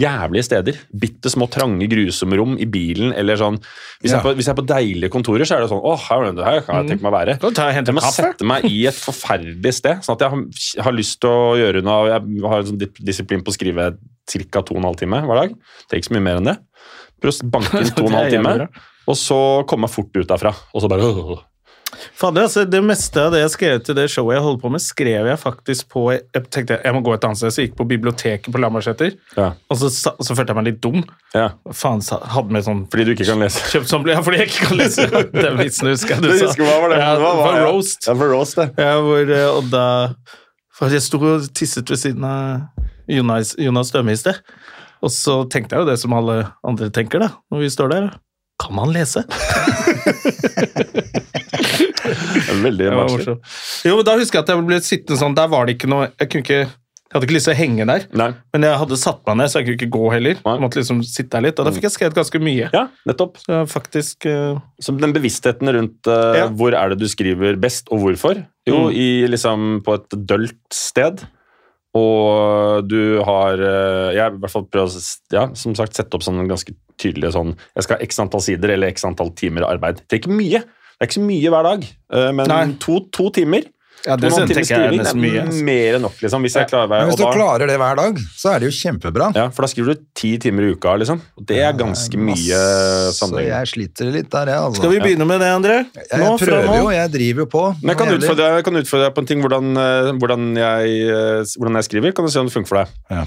Speaker 2: jævlige steder. Bitte små, trange, grusomme rom i bilen, eller sånn Hvis, jeg,
Speaker 1: Ja.
Speaker 2: er på, hvis jeg er på deilige kontorer, så er det sånn Å, her, er det- her
Speaker 3: Mm.
Speaker 2: kan jeg tenke meg å være.
Speaker 3: Kan du ta og hente
Speaker 2: Jeg må
Speaker 3: kaffe?
Speaker 2: sette meg i et forferdelig sted, sånn at jeg har, har lyst til å gjøre noe. Jeg har en sånn dip- disiplin på å skrive ca. 2 12 timer hver dag. Det er ikke så mye mer enn det. Prøv å banke inn 2 12
Speaker 3: Det er jævlig
Speaker 2: timer, og så komme meg fort ut derfra. Og så bare øh.
Speaker 3: Fader, altså, det meste av det jeg skrev til det showet jeg holdt på med, skrev jeg faktisk på Jeg tenkte jeg må gå et annet sted, så jeg gikk på biblioteket på Lambertseter.
Speaker 2: Ja.
Speaker 3: Og så, sa- så følte jeg meg litt dum.
Speaker 2: ja.
Speaker 3: Faen, sa- hadde med sånn
Speaker 2: Fordi du ikke kan lese.
Speaker 3: kjøpt sånn ja, fordi jeg ikke kan lese. Den vitsen husker jeg du sa. Ja, det var roast.
Speaker 2: for roast, det.
Speaker 3: Ja, hvor, eh, og da for Jeg sto og tisset ved siden av Jonas, Jonas Dømme i sted. Og så tenkte jeg jo det som alle andre tenker, da, når vi står der. Kan man lese?
Speaker 2: Veldig
Speaker 3: Det var
Speaker 2: barnslig.
Speaker 3: morsomt. Jo, men da husker jeg at jeg ble sittende sånn, der var det ikke noe Jeg kunne ikke jeg hadde ikke lyst til å henge der,
Speaker 2: Nei.
Speaker 3: men jeg hadde satt meg ned, så jeg kunne ikke gå heller.
Speaker 2: Nei.
Speaker 3: Jeg måtte liksom sitte der litt, Og da fikk jeg skrevet ganske mye.
Speaker 2: Ja, nettopp.
Speaker 3: Så jeg faktisk eh,
Speaker 2: Så den bevisstheten rundt eh,
Speaker 3: Ja.
Speaker 2: hvor er det du skriver best, og hvorfor, jo,
Speaker 3: Mm.
Speaker 2: i, liksom, på et dølt sted. Og du har eh, Jeg har i hvert fall prøvd å s- ja, som sagt, sette opp sånn ganske tydelige sånn Jeg skal ha x antall sider eller x antall timer arbeid. Det er ikke mye. Det er ikke så mye hver dag, eh,
Speaker 3: Nei.
Speaker 2: men to, to timer
Speaker 3: Ja,
Speaker 2: to
Speaker 3: det
Speaker 2: og en halv
Speaker 3: tenker
Speaker 2: time
Speaker 3: jeg er
Speaker 2: skriving
Speaker 3: nesten mye.
Speaker 2: er
Speaker 3: altså.
Speaker 2: mer enn nok, liksom, hvis jeg klarer
Speaker 1: Men
Speaker 2: meg.
Speaker 1: hvis du klarer det hver dag, så er det jo kjempebra.
Speaker 2: Ja, for da skriver du ti timer i uka, liksom. Og det er ganske mye
Speaker 1: Så
Speaker 2: sammenheng.
Speaker 1: jeg sliter litt der, jeg, altså.
Speaker 3: Skal vi begynne med det, André?
Speaker 1: Jeg, jeg prøver jo, jeg driver jo på.
Speaker 2: Men jeg kan utfordre, jeg kan utfordre deg på en ting, hvordan, eh, hvordan, jeg, eh, s- hvordan jeg skriver. Kan du se om det funker for deg?
Speaker 1: Ja.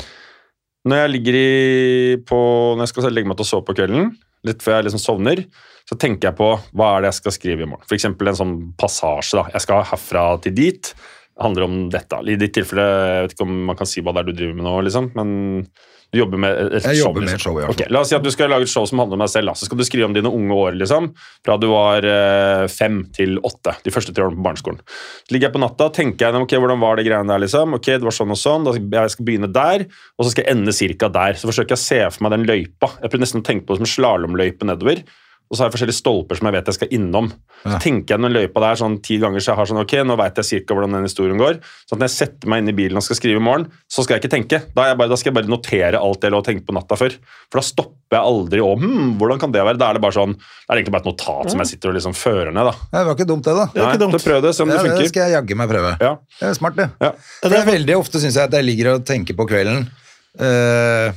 Speaker 2: Når jeg ligger i, på, når jeg skal legge meg til å sove på kvelden, litt før jeg liksom sovner, så tenker jeg på hva er det jeg skal skrive i morgen. For eksempel en sånn passasje. da. Jeg skal herfra til dit. Det handler om dette. I ditt tilfelle, jeg vet ikke om man kan si hva det er du driver med nå, liksom, men du jobber med et-
Speaker 1: Jeg
Speaker 2: et show, liksom.
Speaker 1: jobber med et show, i hvert
Speaker 2: Ok, La oss si at du skal lage et show som handler om deg selv. Da. Så skal du skrive om dine unge år, liksom. Fra du var eh, fem til åtte. De første tre årene på barneskolen. Så ligger jeg på natta tenker jeg, ok, hvordan var det greiene der, liksom? Ok, det var sånn og sånn. Da skal, jeg skal begynne der, og så skal jeg ende cirka der. Så forsøker jeg å se for meg den løypa. Jeg prøver nesten å tenke på det som en slalåmløype nedover. Og så har jeg forskjellige stolper som jeg vet jeg skal innom. Så
Speaker 1: Ja.
Speaker 2: tenker jeg den løypa der sånn ti ganger, så jeg har sånn ok, nå vet jeg cirka hvordan den historien går. Så at når jeg setter meg inn i bilen og skal skrive i morgen, så skal jeg ikke tenke. Da, er jeg bare, da skal jeg bare notere alt det jeg lå og tenkte på natta før. For da stopper jeg aldri og hm, hvordan kan det være? Da er det bare sånn, da er det egentlig bare et notat som jeg sitter og liksom fører ned, da.
Speaker 1: Det var ikke dumt, det, da.
Speaker 3: Det er ikke
Speaker 2: Nei,
Speaker 3: dumt.
Speaker 2: så prøv det, se om
Speaker 1: Ja,
Speaker 2: det
Speaker 1: det
Speaker 2: funker.
Speaker 1: skal jeg jaggu meg prøve.
Speaker 2: Ja.
Speaker 1: Det er smart, det.
Speaker 2: Ja.
Speaker 1: For det er veldig ofte syns jeg at jeg ligger og tenker på kvelden. eh,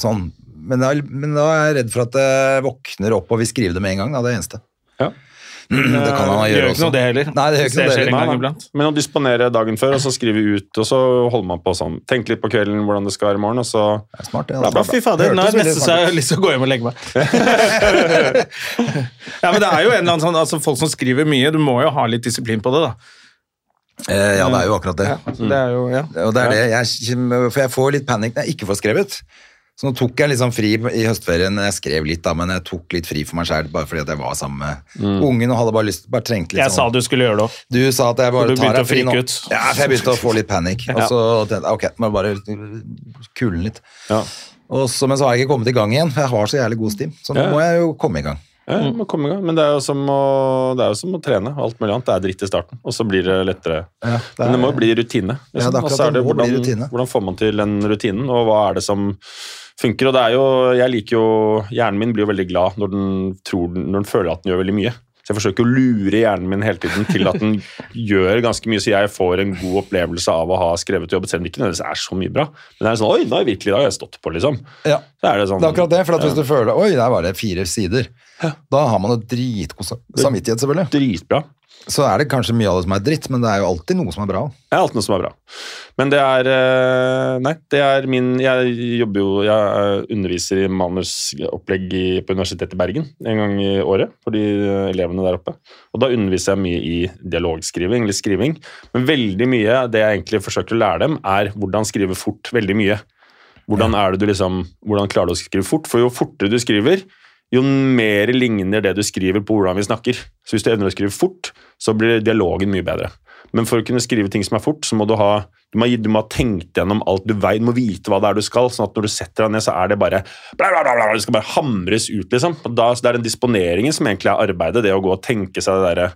Speaker 1: sånn. Men da, men da er jeg redd for at jeg våkner opp og vil skrive det med en gang. Da, det eneste.
Speaker 2: Ja.
Speaker 1: Det kan man gjøre
Speaker 3: Det gjør ikke
Speaker 1: også.
Speaker 3: noe, det heller.
Speaker 1: Nei, det gjør ikke noe, det
Speaker 3: skjer en
Speaker 1: heller.
Speaker 2: Nei,
Speaker 3: gang
Speaker 2: nei.
Speaker 3: iblant.
Speaker 2: Men å disponere dagen før, og så skrive ut, og så holder man på sånn. Tenk litt på kvelden hvordan det skal være i morgen, og så
Speaker 1: Det er smart, det.
Speaker 3: Ja,
Speaker 1: altså.
Speaker 3: fy fader, nå
Speaker 1: Hørtes
Speaker 3: er det
Speaker 1: veldig
Speaker 3: neste så
Speaker 1: smart ut.
Speaker 3: jeg har lyst til å gå hjem og legge meg. ja, men det er jo en eller annen sånn, altså Folk som skriver mye, du må jo ha litt disiplin på det, da.
Speaker 1: Eh, ja, det er jo akkurat det.
Speaker 3: Så det er jo, ja.
Speaker 1: Og det er det. Jeg, for jeg får litt panikk når jeg ikke får skrevet. Så nå tok jeg litt sånn fri i høstferien. Jeg skrev litt, da, men jeg tok litt fri for meg sjæl bare fordi at jeg var sammen med ungen og hadde bare lyst, bare trengte litt
Speaker 3: Mm. Jeg sa
Speaker 1: sånn.
Speaker 3: du skulle gjøre det òg.
Speaker 1: Du sa at jeg
Speaker 3: Du
Speaker 1: bare
Speaker 3: begynte
Speaker 1: tar
Speaker 3: å
Speaker 1: deg fri nå.
Speaker 3: frike ut.
Speaker 1: Ja, for jeg begynte å få litt panikk. Og så tenkte jeg ok, må jeg bare kulen litt.
Speaker 2: ja.
Speaker 1: Og så, men så har jeg ikke kommet i gang igjen, for jeg har så jævlig god stim. Så nå
Speaker 2: Ja.
Speaker 1: må jeg jo komme i gang. Mm.
Speaker 2: Ja, ja, må komme i gang. Men det er, jo som å, det er jo som å trene og alt mulig annet. Det er dritt i starten, og så blir det lettere.
Speaker 1: Ja, det
Speaker 2: Men det
Speaker 1: er-
Speaker 2: må jo bli rutine. liksom.
Speaker 1: Ja, det er akkurat
Speaker 2: Og så
Speaker 1: det må bli
Speaker 2: hvordan,
Speaker 1: rutine.
Speaker 2: hvordan får man til den rutinen, og hva er det som funker? Og det er jo, jeg liker jo, Hjernen min blir jo veldig glad når den, tror den, når den føler at den gjør veldig mye. Så jeg forsøker å lure hjernen min hele tiden til at den gjør ganske mye, så jeg får en god opplevelse av å ha skrevet og jobbet, selv om det ikke nødvendigvis er så mye bra. Men det er sånn, oi, da, har jeg virkelig, da har jeg stått på, liksom.
Speaker 1: Ja.
Speaker 2: Så er det sånn,
Speaker 1: Det er akkurat det, for at hvis du føler Oi, der var det fire sider. Da har man jo dritgod sam- samvittighet, selvfølgelig.
Speaker 2: dritbra.
Speaker 1: Så er det kanskje mye av det som er dritt, men det er jo alltid noe som er bra.
Speaker 2: Det er alt noe som er bra. Men det er eh, Nei, det er min Jeg jobber jo Jeg eh, underviser i manusopplegg i- på Universitetet i Bergen en gang i året for de eh, elevene der oppe. Og da underviser jeg mye i dialogskriving, eller skriving. Men veldig mye av det jeg egentlig forsøker å lære dem, er hvordan skrive fort. Veldig mye. Hvordan er det du liksom Hvordan klarer du å skrive fort? For jo fortere du skriver, jo mer ligner det du skriver på hvordan vi snakker. Så hvis du evner å skrive fort, så blir dialogen mye bedre. Men for å kunne skrive ting som er fort, så må du ha du må, du må ha tenkt gjennom alt du veier, du må vite hva det er du skal, sånn at når du setter deg ned, så er det bare bla, bla, bla, bla, det skal bare hamres ut, liksom. Og Da, så det er den disponeringen som egentlig er arbeidet, det å gå og tenke seg det derre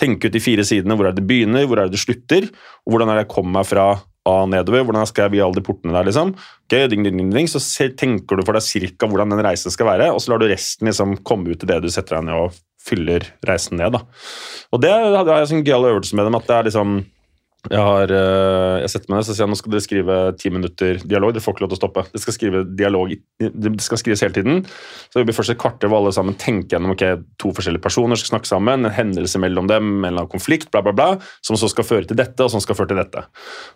Speaker 2: Tenke ut de fire sidene, hvor er det det begynner, hvor er det det slutter, og hvordan er det jeg kommer meg fra A nedover, hvordan skal jeg via alle de portene der, liksom. Ok, ding, ding, ding, ding, Så se, tenker du for deg cirka hvordan den reisen skal være, og så lar du resten liksom komme ut i det du setter deg ned og fyller reisen ned. da. Og det hadde jeg en sånn gøyal øvelse med dem. at det er liksom, jeg har, eh, jeg setter meg ned så sier jeg, nå skal dere skrive ti minutter dialog. Dere får ikke lov til å stoppe. Dere skal skrive dialog, i- det skal skrives hele tiden. Så det blir først et kvarter hvor alle sammen tenker gjennom ok, to forskjellige personer skal snakke sammen, en hendelse mellom dem, en eller annen konflikt, bla, bla, bla, som så skal føre til dette, og som skal føre til dette.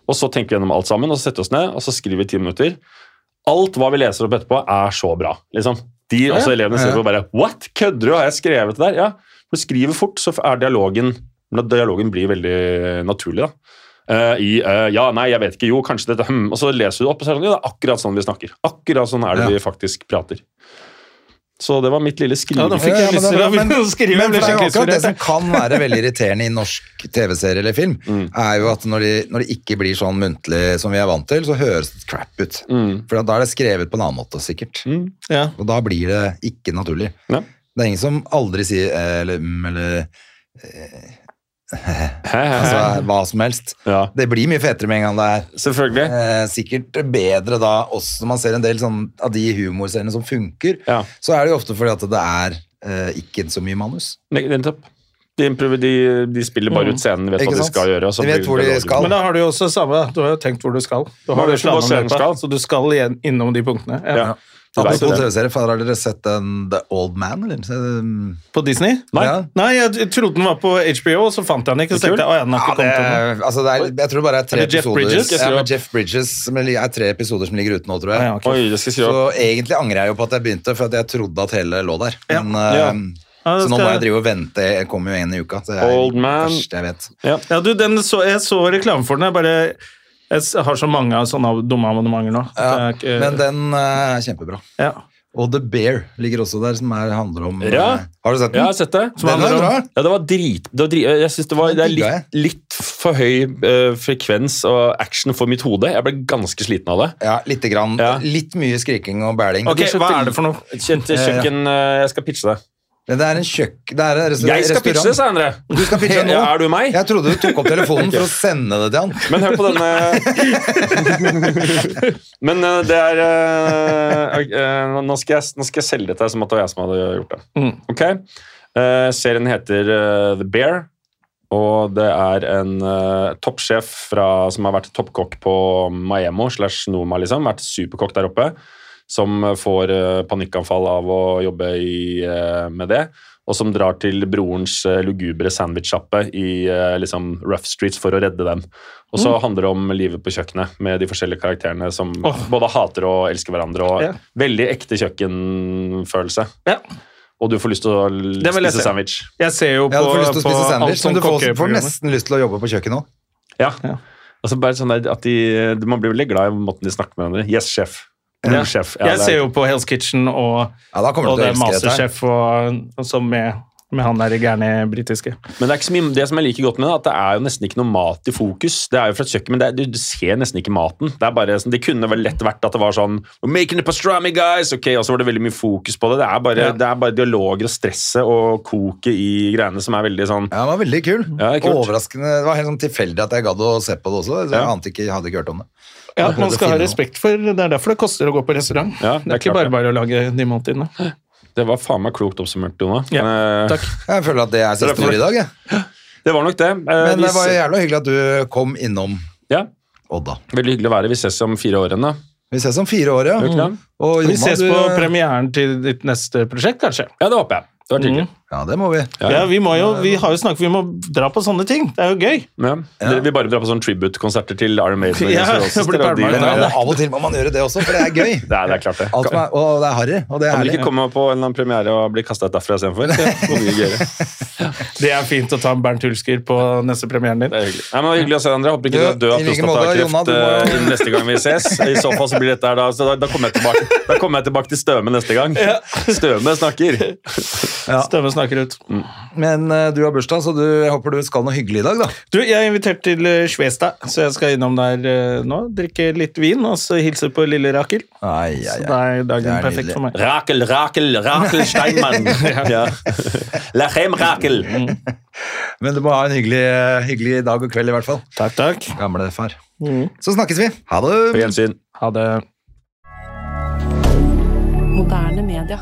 Speaker 2: Og så tenker vi gjennom alt sammen, og så setter vi oss ned, og så skriver vi ti minutter. Alt hva vi leser opp etterpå, er så bra. liksom. De, altså Elevene ser på og bare What? Kødder du? Har jeg skrevet det der? Ja. Når du skriver fort, så er dialogen men dialogen blir veldig naturlig. da. Eh, I eh, 'ja, nei, jeg vet ikke, jo, kanskje dette', hm. Og så leser du det opp, og så er det sånn, ja, det er akkurat sånn vi snakker. Akkurat sånn er det
Speaker 1: Ja.
Speaker 2: vi faktisk prater. Så det var mitt lille
Speaker 3: Ja,
Speaker 2: skrive...
Speaker 3: da fikk jeg lyst til å
Speaker 1: men,
Speaker 3: begynne å skrive.
Speaker 1: men
Speaker 3: jeg ble
Speaker 1: for det er jo
Speaker 3: skikkelig
Speaker 1: akkurat det som
Speaker 3: inspirert.
Speaker 1: kan være veldig irriterende i norsk TV-serie eller film, er jo at når det de ikke blir sånn muntlig som vi er vant til, så høres det crap ut.
Speaker 2: Mm.
Speaker 1: For da er det skrevet på en annen måte, sikkert.
Speaker 3: Ja.
Speaker 1: Og da blir det ikke naturlig.
Speaker 2: Ja.
Speaker 1: Det er ingen som aldri sier eh, eller, mm, eller
Speaker 2: Hæ, hæ, hæ.
Speaker 1: altså, hva som helst.
Speaker 2: ja,
Speaker 1: Det blir mye fetere med en gang det er
Speaker 2: selvfølgelig.
Speaker 1: Eh, sikkert bedre da, også når man ser en del sånn, av de humorseriene som funker,
Speaker 2: Ja.
Speaker 1: så er det jo ofte fordi at det er eh, ikke så mye manus.
Speaker 2: Ne- Nettopp. De, improv- de, de spiller bare ut scenen, vet
Speaker 1: Mm. Ikke
Speaker 2: hva de
Speaker 1: sant?
Speaker 2: skal gjøre. og så
Speaker 1: De vet
Speaker 2: blir
Speaker 1: hvor de
Speaker 2: dialogen-
Speaker 1: skal.
Speaker 3: Men da har du jo også samme, du har jo tenkt hvor du skal. Du
Speaker 2: Hva er
Speaker 3: har jo
Speaker 2: det som går
Speaker 3: slangen i
Speaker 2: scenen
Speaker 3: løpet,
Speaker 2: skal?
Speaker 3: så du skal igjen innom de punktene.
Speaker 2: Ja.
Speaker 3: Ja.
Speaker 2: Du vet
Speaker 1: Apropos
Speaker 2: jo det.
Speaker 1: TV-serie, fader, har dere sett den The Old Man, eller? Så, um,
Speaker 3: På Disney?
Speaker 2: Nei.
Speaker 1: Ja.
Speaker 3: Nei, jeg trodde den var på HBO, og så fant jeg den ikke.
Speaker 2: Det er
Speaker 3: Så tenkte jeg, å, ja, den har
Speaker 1: Ja,
Speaker 3: ikke
Speaker 1: det,
Speaker 3: kommet til den.
Speaker 1: altså det er, jeg tror det bare er tre
Speaker 3: Er det Jeff
Speaker 1: episoder.
Speaker 3: Bridges?
Speaker 1: Ja, men Jeff Bridges som er, er tre episoder som ligger ute nå, tror jeg.
Speaker 3: Ah, ja, ok.
Speaker 2: Oi, det skal jeg skrive
Speaker 1: Så
Speaker 2: opp.
Speaker 1: egentlig angrer jeg jo på at jeg begynte, for at jeg trodde at hele lå der. Men,
Speaker 2: Ja.
Speaker 1: um,
Speaker 3: Ja, det
Speaker 1: så nå må
Speaker 3: skal jeg-
Speaker 1: jeg drive og vente. Jeg kommer jo en i uka. Så jeg,
Speaker 2: Old Man.
Speaker 1: Først, jeg vet.
Speaker 2: Ja.
Speaker 3: Ja, du, den så, jeg så reklame for den. Jeg bare jeg s- har så mange av sånne dumme abonnementer nå.
Speaker 1: Ja,
Speaker 3: Det er ikke-
Speaker 1: men den eh, er kjempebra.
Speaker 3: ja.
Speaker 1: Og The Bear ligger også der, som er, handler om
Speaker 2: Ja.
Speaker 1: eh, Har du sett den?
Speaker 2: Ja, jeg har sett det.
Speaker 1: den
Speaker 3: handler
Speaker 1: er
Speaker 3: om-
Speaker 1: bra.
Speaker 2: Ja, det var drit... Det var drit jeg synes det, var, det er
Speaker 1: Den digga
Speaker 2: litt, litt for høy eh, frekvens og action for mitt hode. Jeg ble ganske sliten av det.
Speaker 1: Ja, lite grann.
Speaker 2: Ja.
Speaker 1: Litt mye skriking og bæling.
Speaker 3: Ok, hva er det for noe?
Speaker 2: Kjente kjøkken eh, Jeg skal pitche det.
Speaker 1: Men det er en kjøkk... Det er en res-
Speaker 2: Jeg skal pitche det,
Speaker 1: restaurant.
Speaker 2: sa Endre.
Speaker 1: Du skal pitche nå?
Speaker 2: Ja, er du meg?
Speaker 1: Jeg trodde du tok opp telefonen for å sende det til han.
Speaker 2: Men hør på denne Men eh, det er eh, ok, eh, nå, skal jeg, nå skal jeg selge det til deg som at det var jeg som hadde gjort det.
Speaker 3: Mm.
Speaker 2: Ok? Eh, serien heter eh, The Bear, og det er en eh, toppsjef fra, som har vært toppkokk på Maemo slash Noma, liksom. Vært superkokk der oppe. Som eh, får eh, panikkanfall av å jobbe i, eh, med det. Og som drar til brorens eh, lugubre sandwichsjappe i eh, liksom Rough Streets for å redde dem. Og så handler det om livet på kjøkkenet med de forskjellige karakterene som
Speaker 3: Mm. Åh.
Speaker 2: både hater og elsker hverandre. Og
Speaker 3: Ja.
Speaker 2: Veldig ekte kjøkkenfølelse.
Speaker 3: Ja.
Speaker 2: Og du får lyst til å l-
Speaker 3: Den vil jeg
Speaker 2: spise
Speaker 3: se.
Speaker 2: sandwich.
Speaker 3: Jeg ser jo
Speaker 1: Jeg
Speaker 3: på,
Speaker 1: hadde fått lyst til å
Speaker 3: på
Speaker 1: spise
Speaker 3: alt
Speaker 1: sandwich,
Speaker 3: sånn
Speaker 1: men du får, også- får
Speaker 3: kokkeprogrammer.
Speaker 1: nesten lyst til å jobbe på kjøkkenet òg.
Speaker 2: Ja.
Speaker 3: Ja.
Speaker 2: Og så bare sånn der at de, de- Man blir veldig glad i måten de snakker med hverandre. Yes, sjef. Ja. sjef. Ja,
Speaker 3: Jeg
Speaker 2: det er-
Speaker 3: ser jo på Hell's Kitchen og,
Speaker 1: Ja, da kommer
Speaker 3: og
Speaker 1: du til
Speaker 3: det
Speaker 1: å elske dette. her.
Speaker 3: Masterchef og, og så med, med han der gærne britiske.
Speaker 2: Men det er ikke så mye, det som jeg liker godt med det, er at det er jo nesten ikke noe mat i fokus. Det er jo fra et kjøkken, men det er, du, du ser nesten ikke maten. Det er bare sånn, det kunne vel lett vært at det var sånn We're making a pastrami, guys! Ok, Og så var det veldig mye fokus på det. Det er bare,
Speaker 3: Ja.
Speaker 2: det er bare dialoger og stresset og koket i greiene som er veldig sånn
Speaker 1: Ja, den var veldig kul.
Speaker 2: Ja, det er kult.
Speaker 1: Overraskende. Det var helt sånn tilfeldig at jeg gadd å se på det også. Så jeg
Speaker 2: Ja.
Speaker 1: ante ikke, hadde ikke hørt om det.
Speaker 3: Ja,
Speaker 1: Jeg prøvde
Speaker 3: man
Speaker 1: å
Speaker 3: skal ha
Speaker 1: finne noe.
Speaker 3: respekt for Det er derfor det koster å gå på restaurant.
Speaker 2: Ja,
Speaker 3: det er ikke
Speaker 2: klart
Speaker 3: bare bare å lage de måltidene.
Speaker 2: Det var faen meg klokt oppsummert, Jonah.
Speaker 3: Ja,
Speaker 2: Men, eh,
Speaker 3: Takk.
Speaker 1: Jeg føler at det er
Speaker 2: Det er
Speaker 1: siste
Speaker 2: derfor-
Speaker 1: ord i dag, jeg.
Speaker 2: Det var nok det. Eh,
Speaker 1: Men
Speaker 2: vi
Speaker 1: det var
Speaker 2: se-
Speaker 1: jævla hyggelig at du kom innom
Speaker 2: ja,
Speaker 1: Odda.
Speaker 2: Veldig hyggelig å være Vi ses om fire år igjen, da.
Speaker 1: Vi ses om fire år, ja.
Speaker 2: Gjør Mm. vi
Speaker 3: Mm.
Speaker 2: ikke det?
Speaker 1: Og
Speaker 3: Vi
Speaker 1: Jonna,
Speaker 3: ses
Speaker 1: du-
Speaker 3: på premieren til ditt neste prosjekt, kanskje.
Speaker 2: Ja, det håper jeg. Det var
Speaker 3: Mm.
Speaker 2: hyggelig.
Speaker 1: Ja, det må vi.
Speaker 2: Ja,
Speaker 3: Ja, vi, må jo, vi har jo snakket, vi må dra på sånne ting. Det er jo gøy.
Speaker 2: Ja.
Speaker 1: Mm.
Speaker 2: Det- Vi bare drar på sånn tribute-konserter til Iron Maiden. og
Speaker 3: Ja,
Speaker 2: Guns N' Roses,
Speaker 3: det blir
Speaker 2: det er
Speaker 3: permanent.
Speaker 1: Men
Speaker 2: de-
Speaker 3: Ja,
Speaker 1: av
Speaker 3: det-
Speaker 1: av og til må man gjøre det også, for det er gøy.
Speaker 2: Det er, det er klart, det.
Speaker 1: Alt som er, og det er harry, og det er
Speaker 2: Kan du
Speaker 1: herlig.
Speaker 2: ikke komme på en eller annen premiere og bli kasta ut derfra istedenfor? Det var mye gøyere.
Speaker 3: Det er fint å ta en Bernt Hulsker på neste premieren din.
Speaker 2: Det er hyggelig. Nei, men det var hyggelig å se deg, André. Håper ikke du,
Speaker 1: Du,
Speaker 2: er død av
Speaker 1: i like måte, Jonna,
Speaker 2: prostatakreft
Speaker 1: du må-
Speaker 2: eh, innen neste gang vi ses. I så fall så blir dette her da, så da, da kommer jeg tilbake Da kommer jeg tilbake til Støme neste gang. Støme snakker.
Speaker 1: Ja.
Speaker 3: Stemmen snakker ut.
Speaker 1: Men eh, du har bursdag, så du, jeg håper du skal noe hyggelig i dag, da.
Speaker 3: Du, jeg er invitert til eh, Svestad, så jeg skal innom der eh, nå. Drikke litt vin og så hilse på lille Rakel.
Speaker 1: Ai,
Speaker 3: Så
Speaker 1: ai,
Speaker 3: da
Speaker 1: ai.
Speaker 3: er dagen
Speaker 1: Det er
Speaker 3: perfekt
Speaker 1: nydelig.
Speaker 3: for meg.
Speaker 2: Rakel, Rakel, Rakel Steinmann. ja. La hem, Rakel.
Speaker 1: Men du må ha en hyggelig, eh, hyggelig dag og kveld, i hvert fall.
Speaker 3: Takk, takk.
Speaker 1: Gamle far.
Speaker 3: Mm.
Speaker 1: Så snakkes vi. Ha det.
Speaker 2: På gjensyn.
Speaker 3: Ha det.
Speaker 4: Moderne media.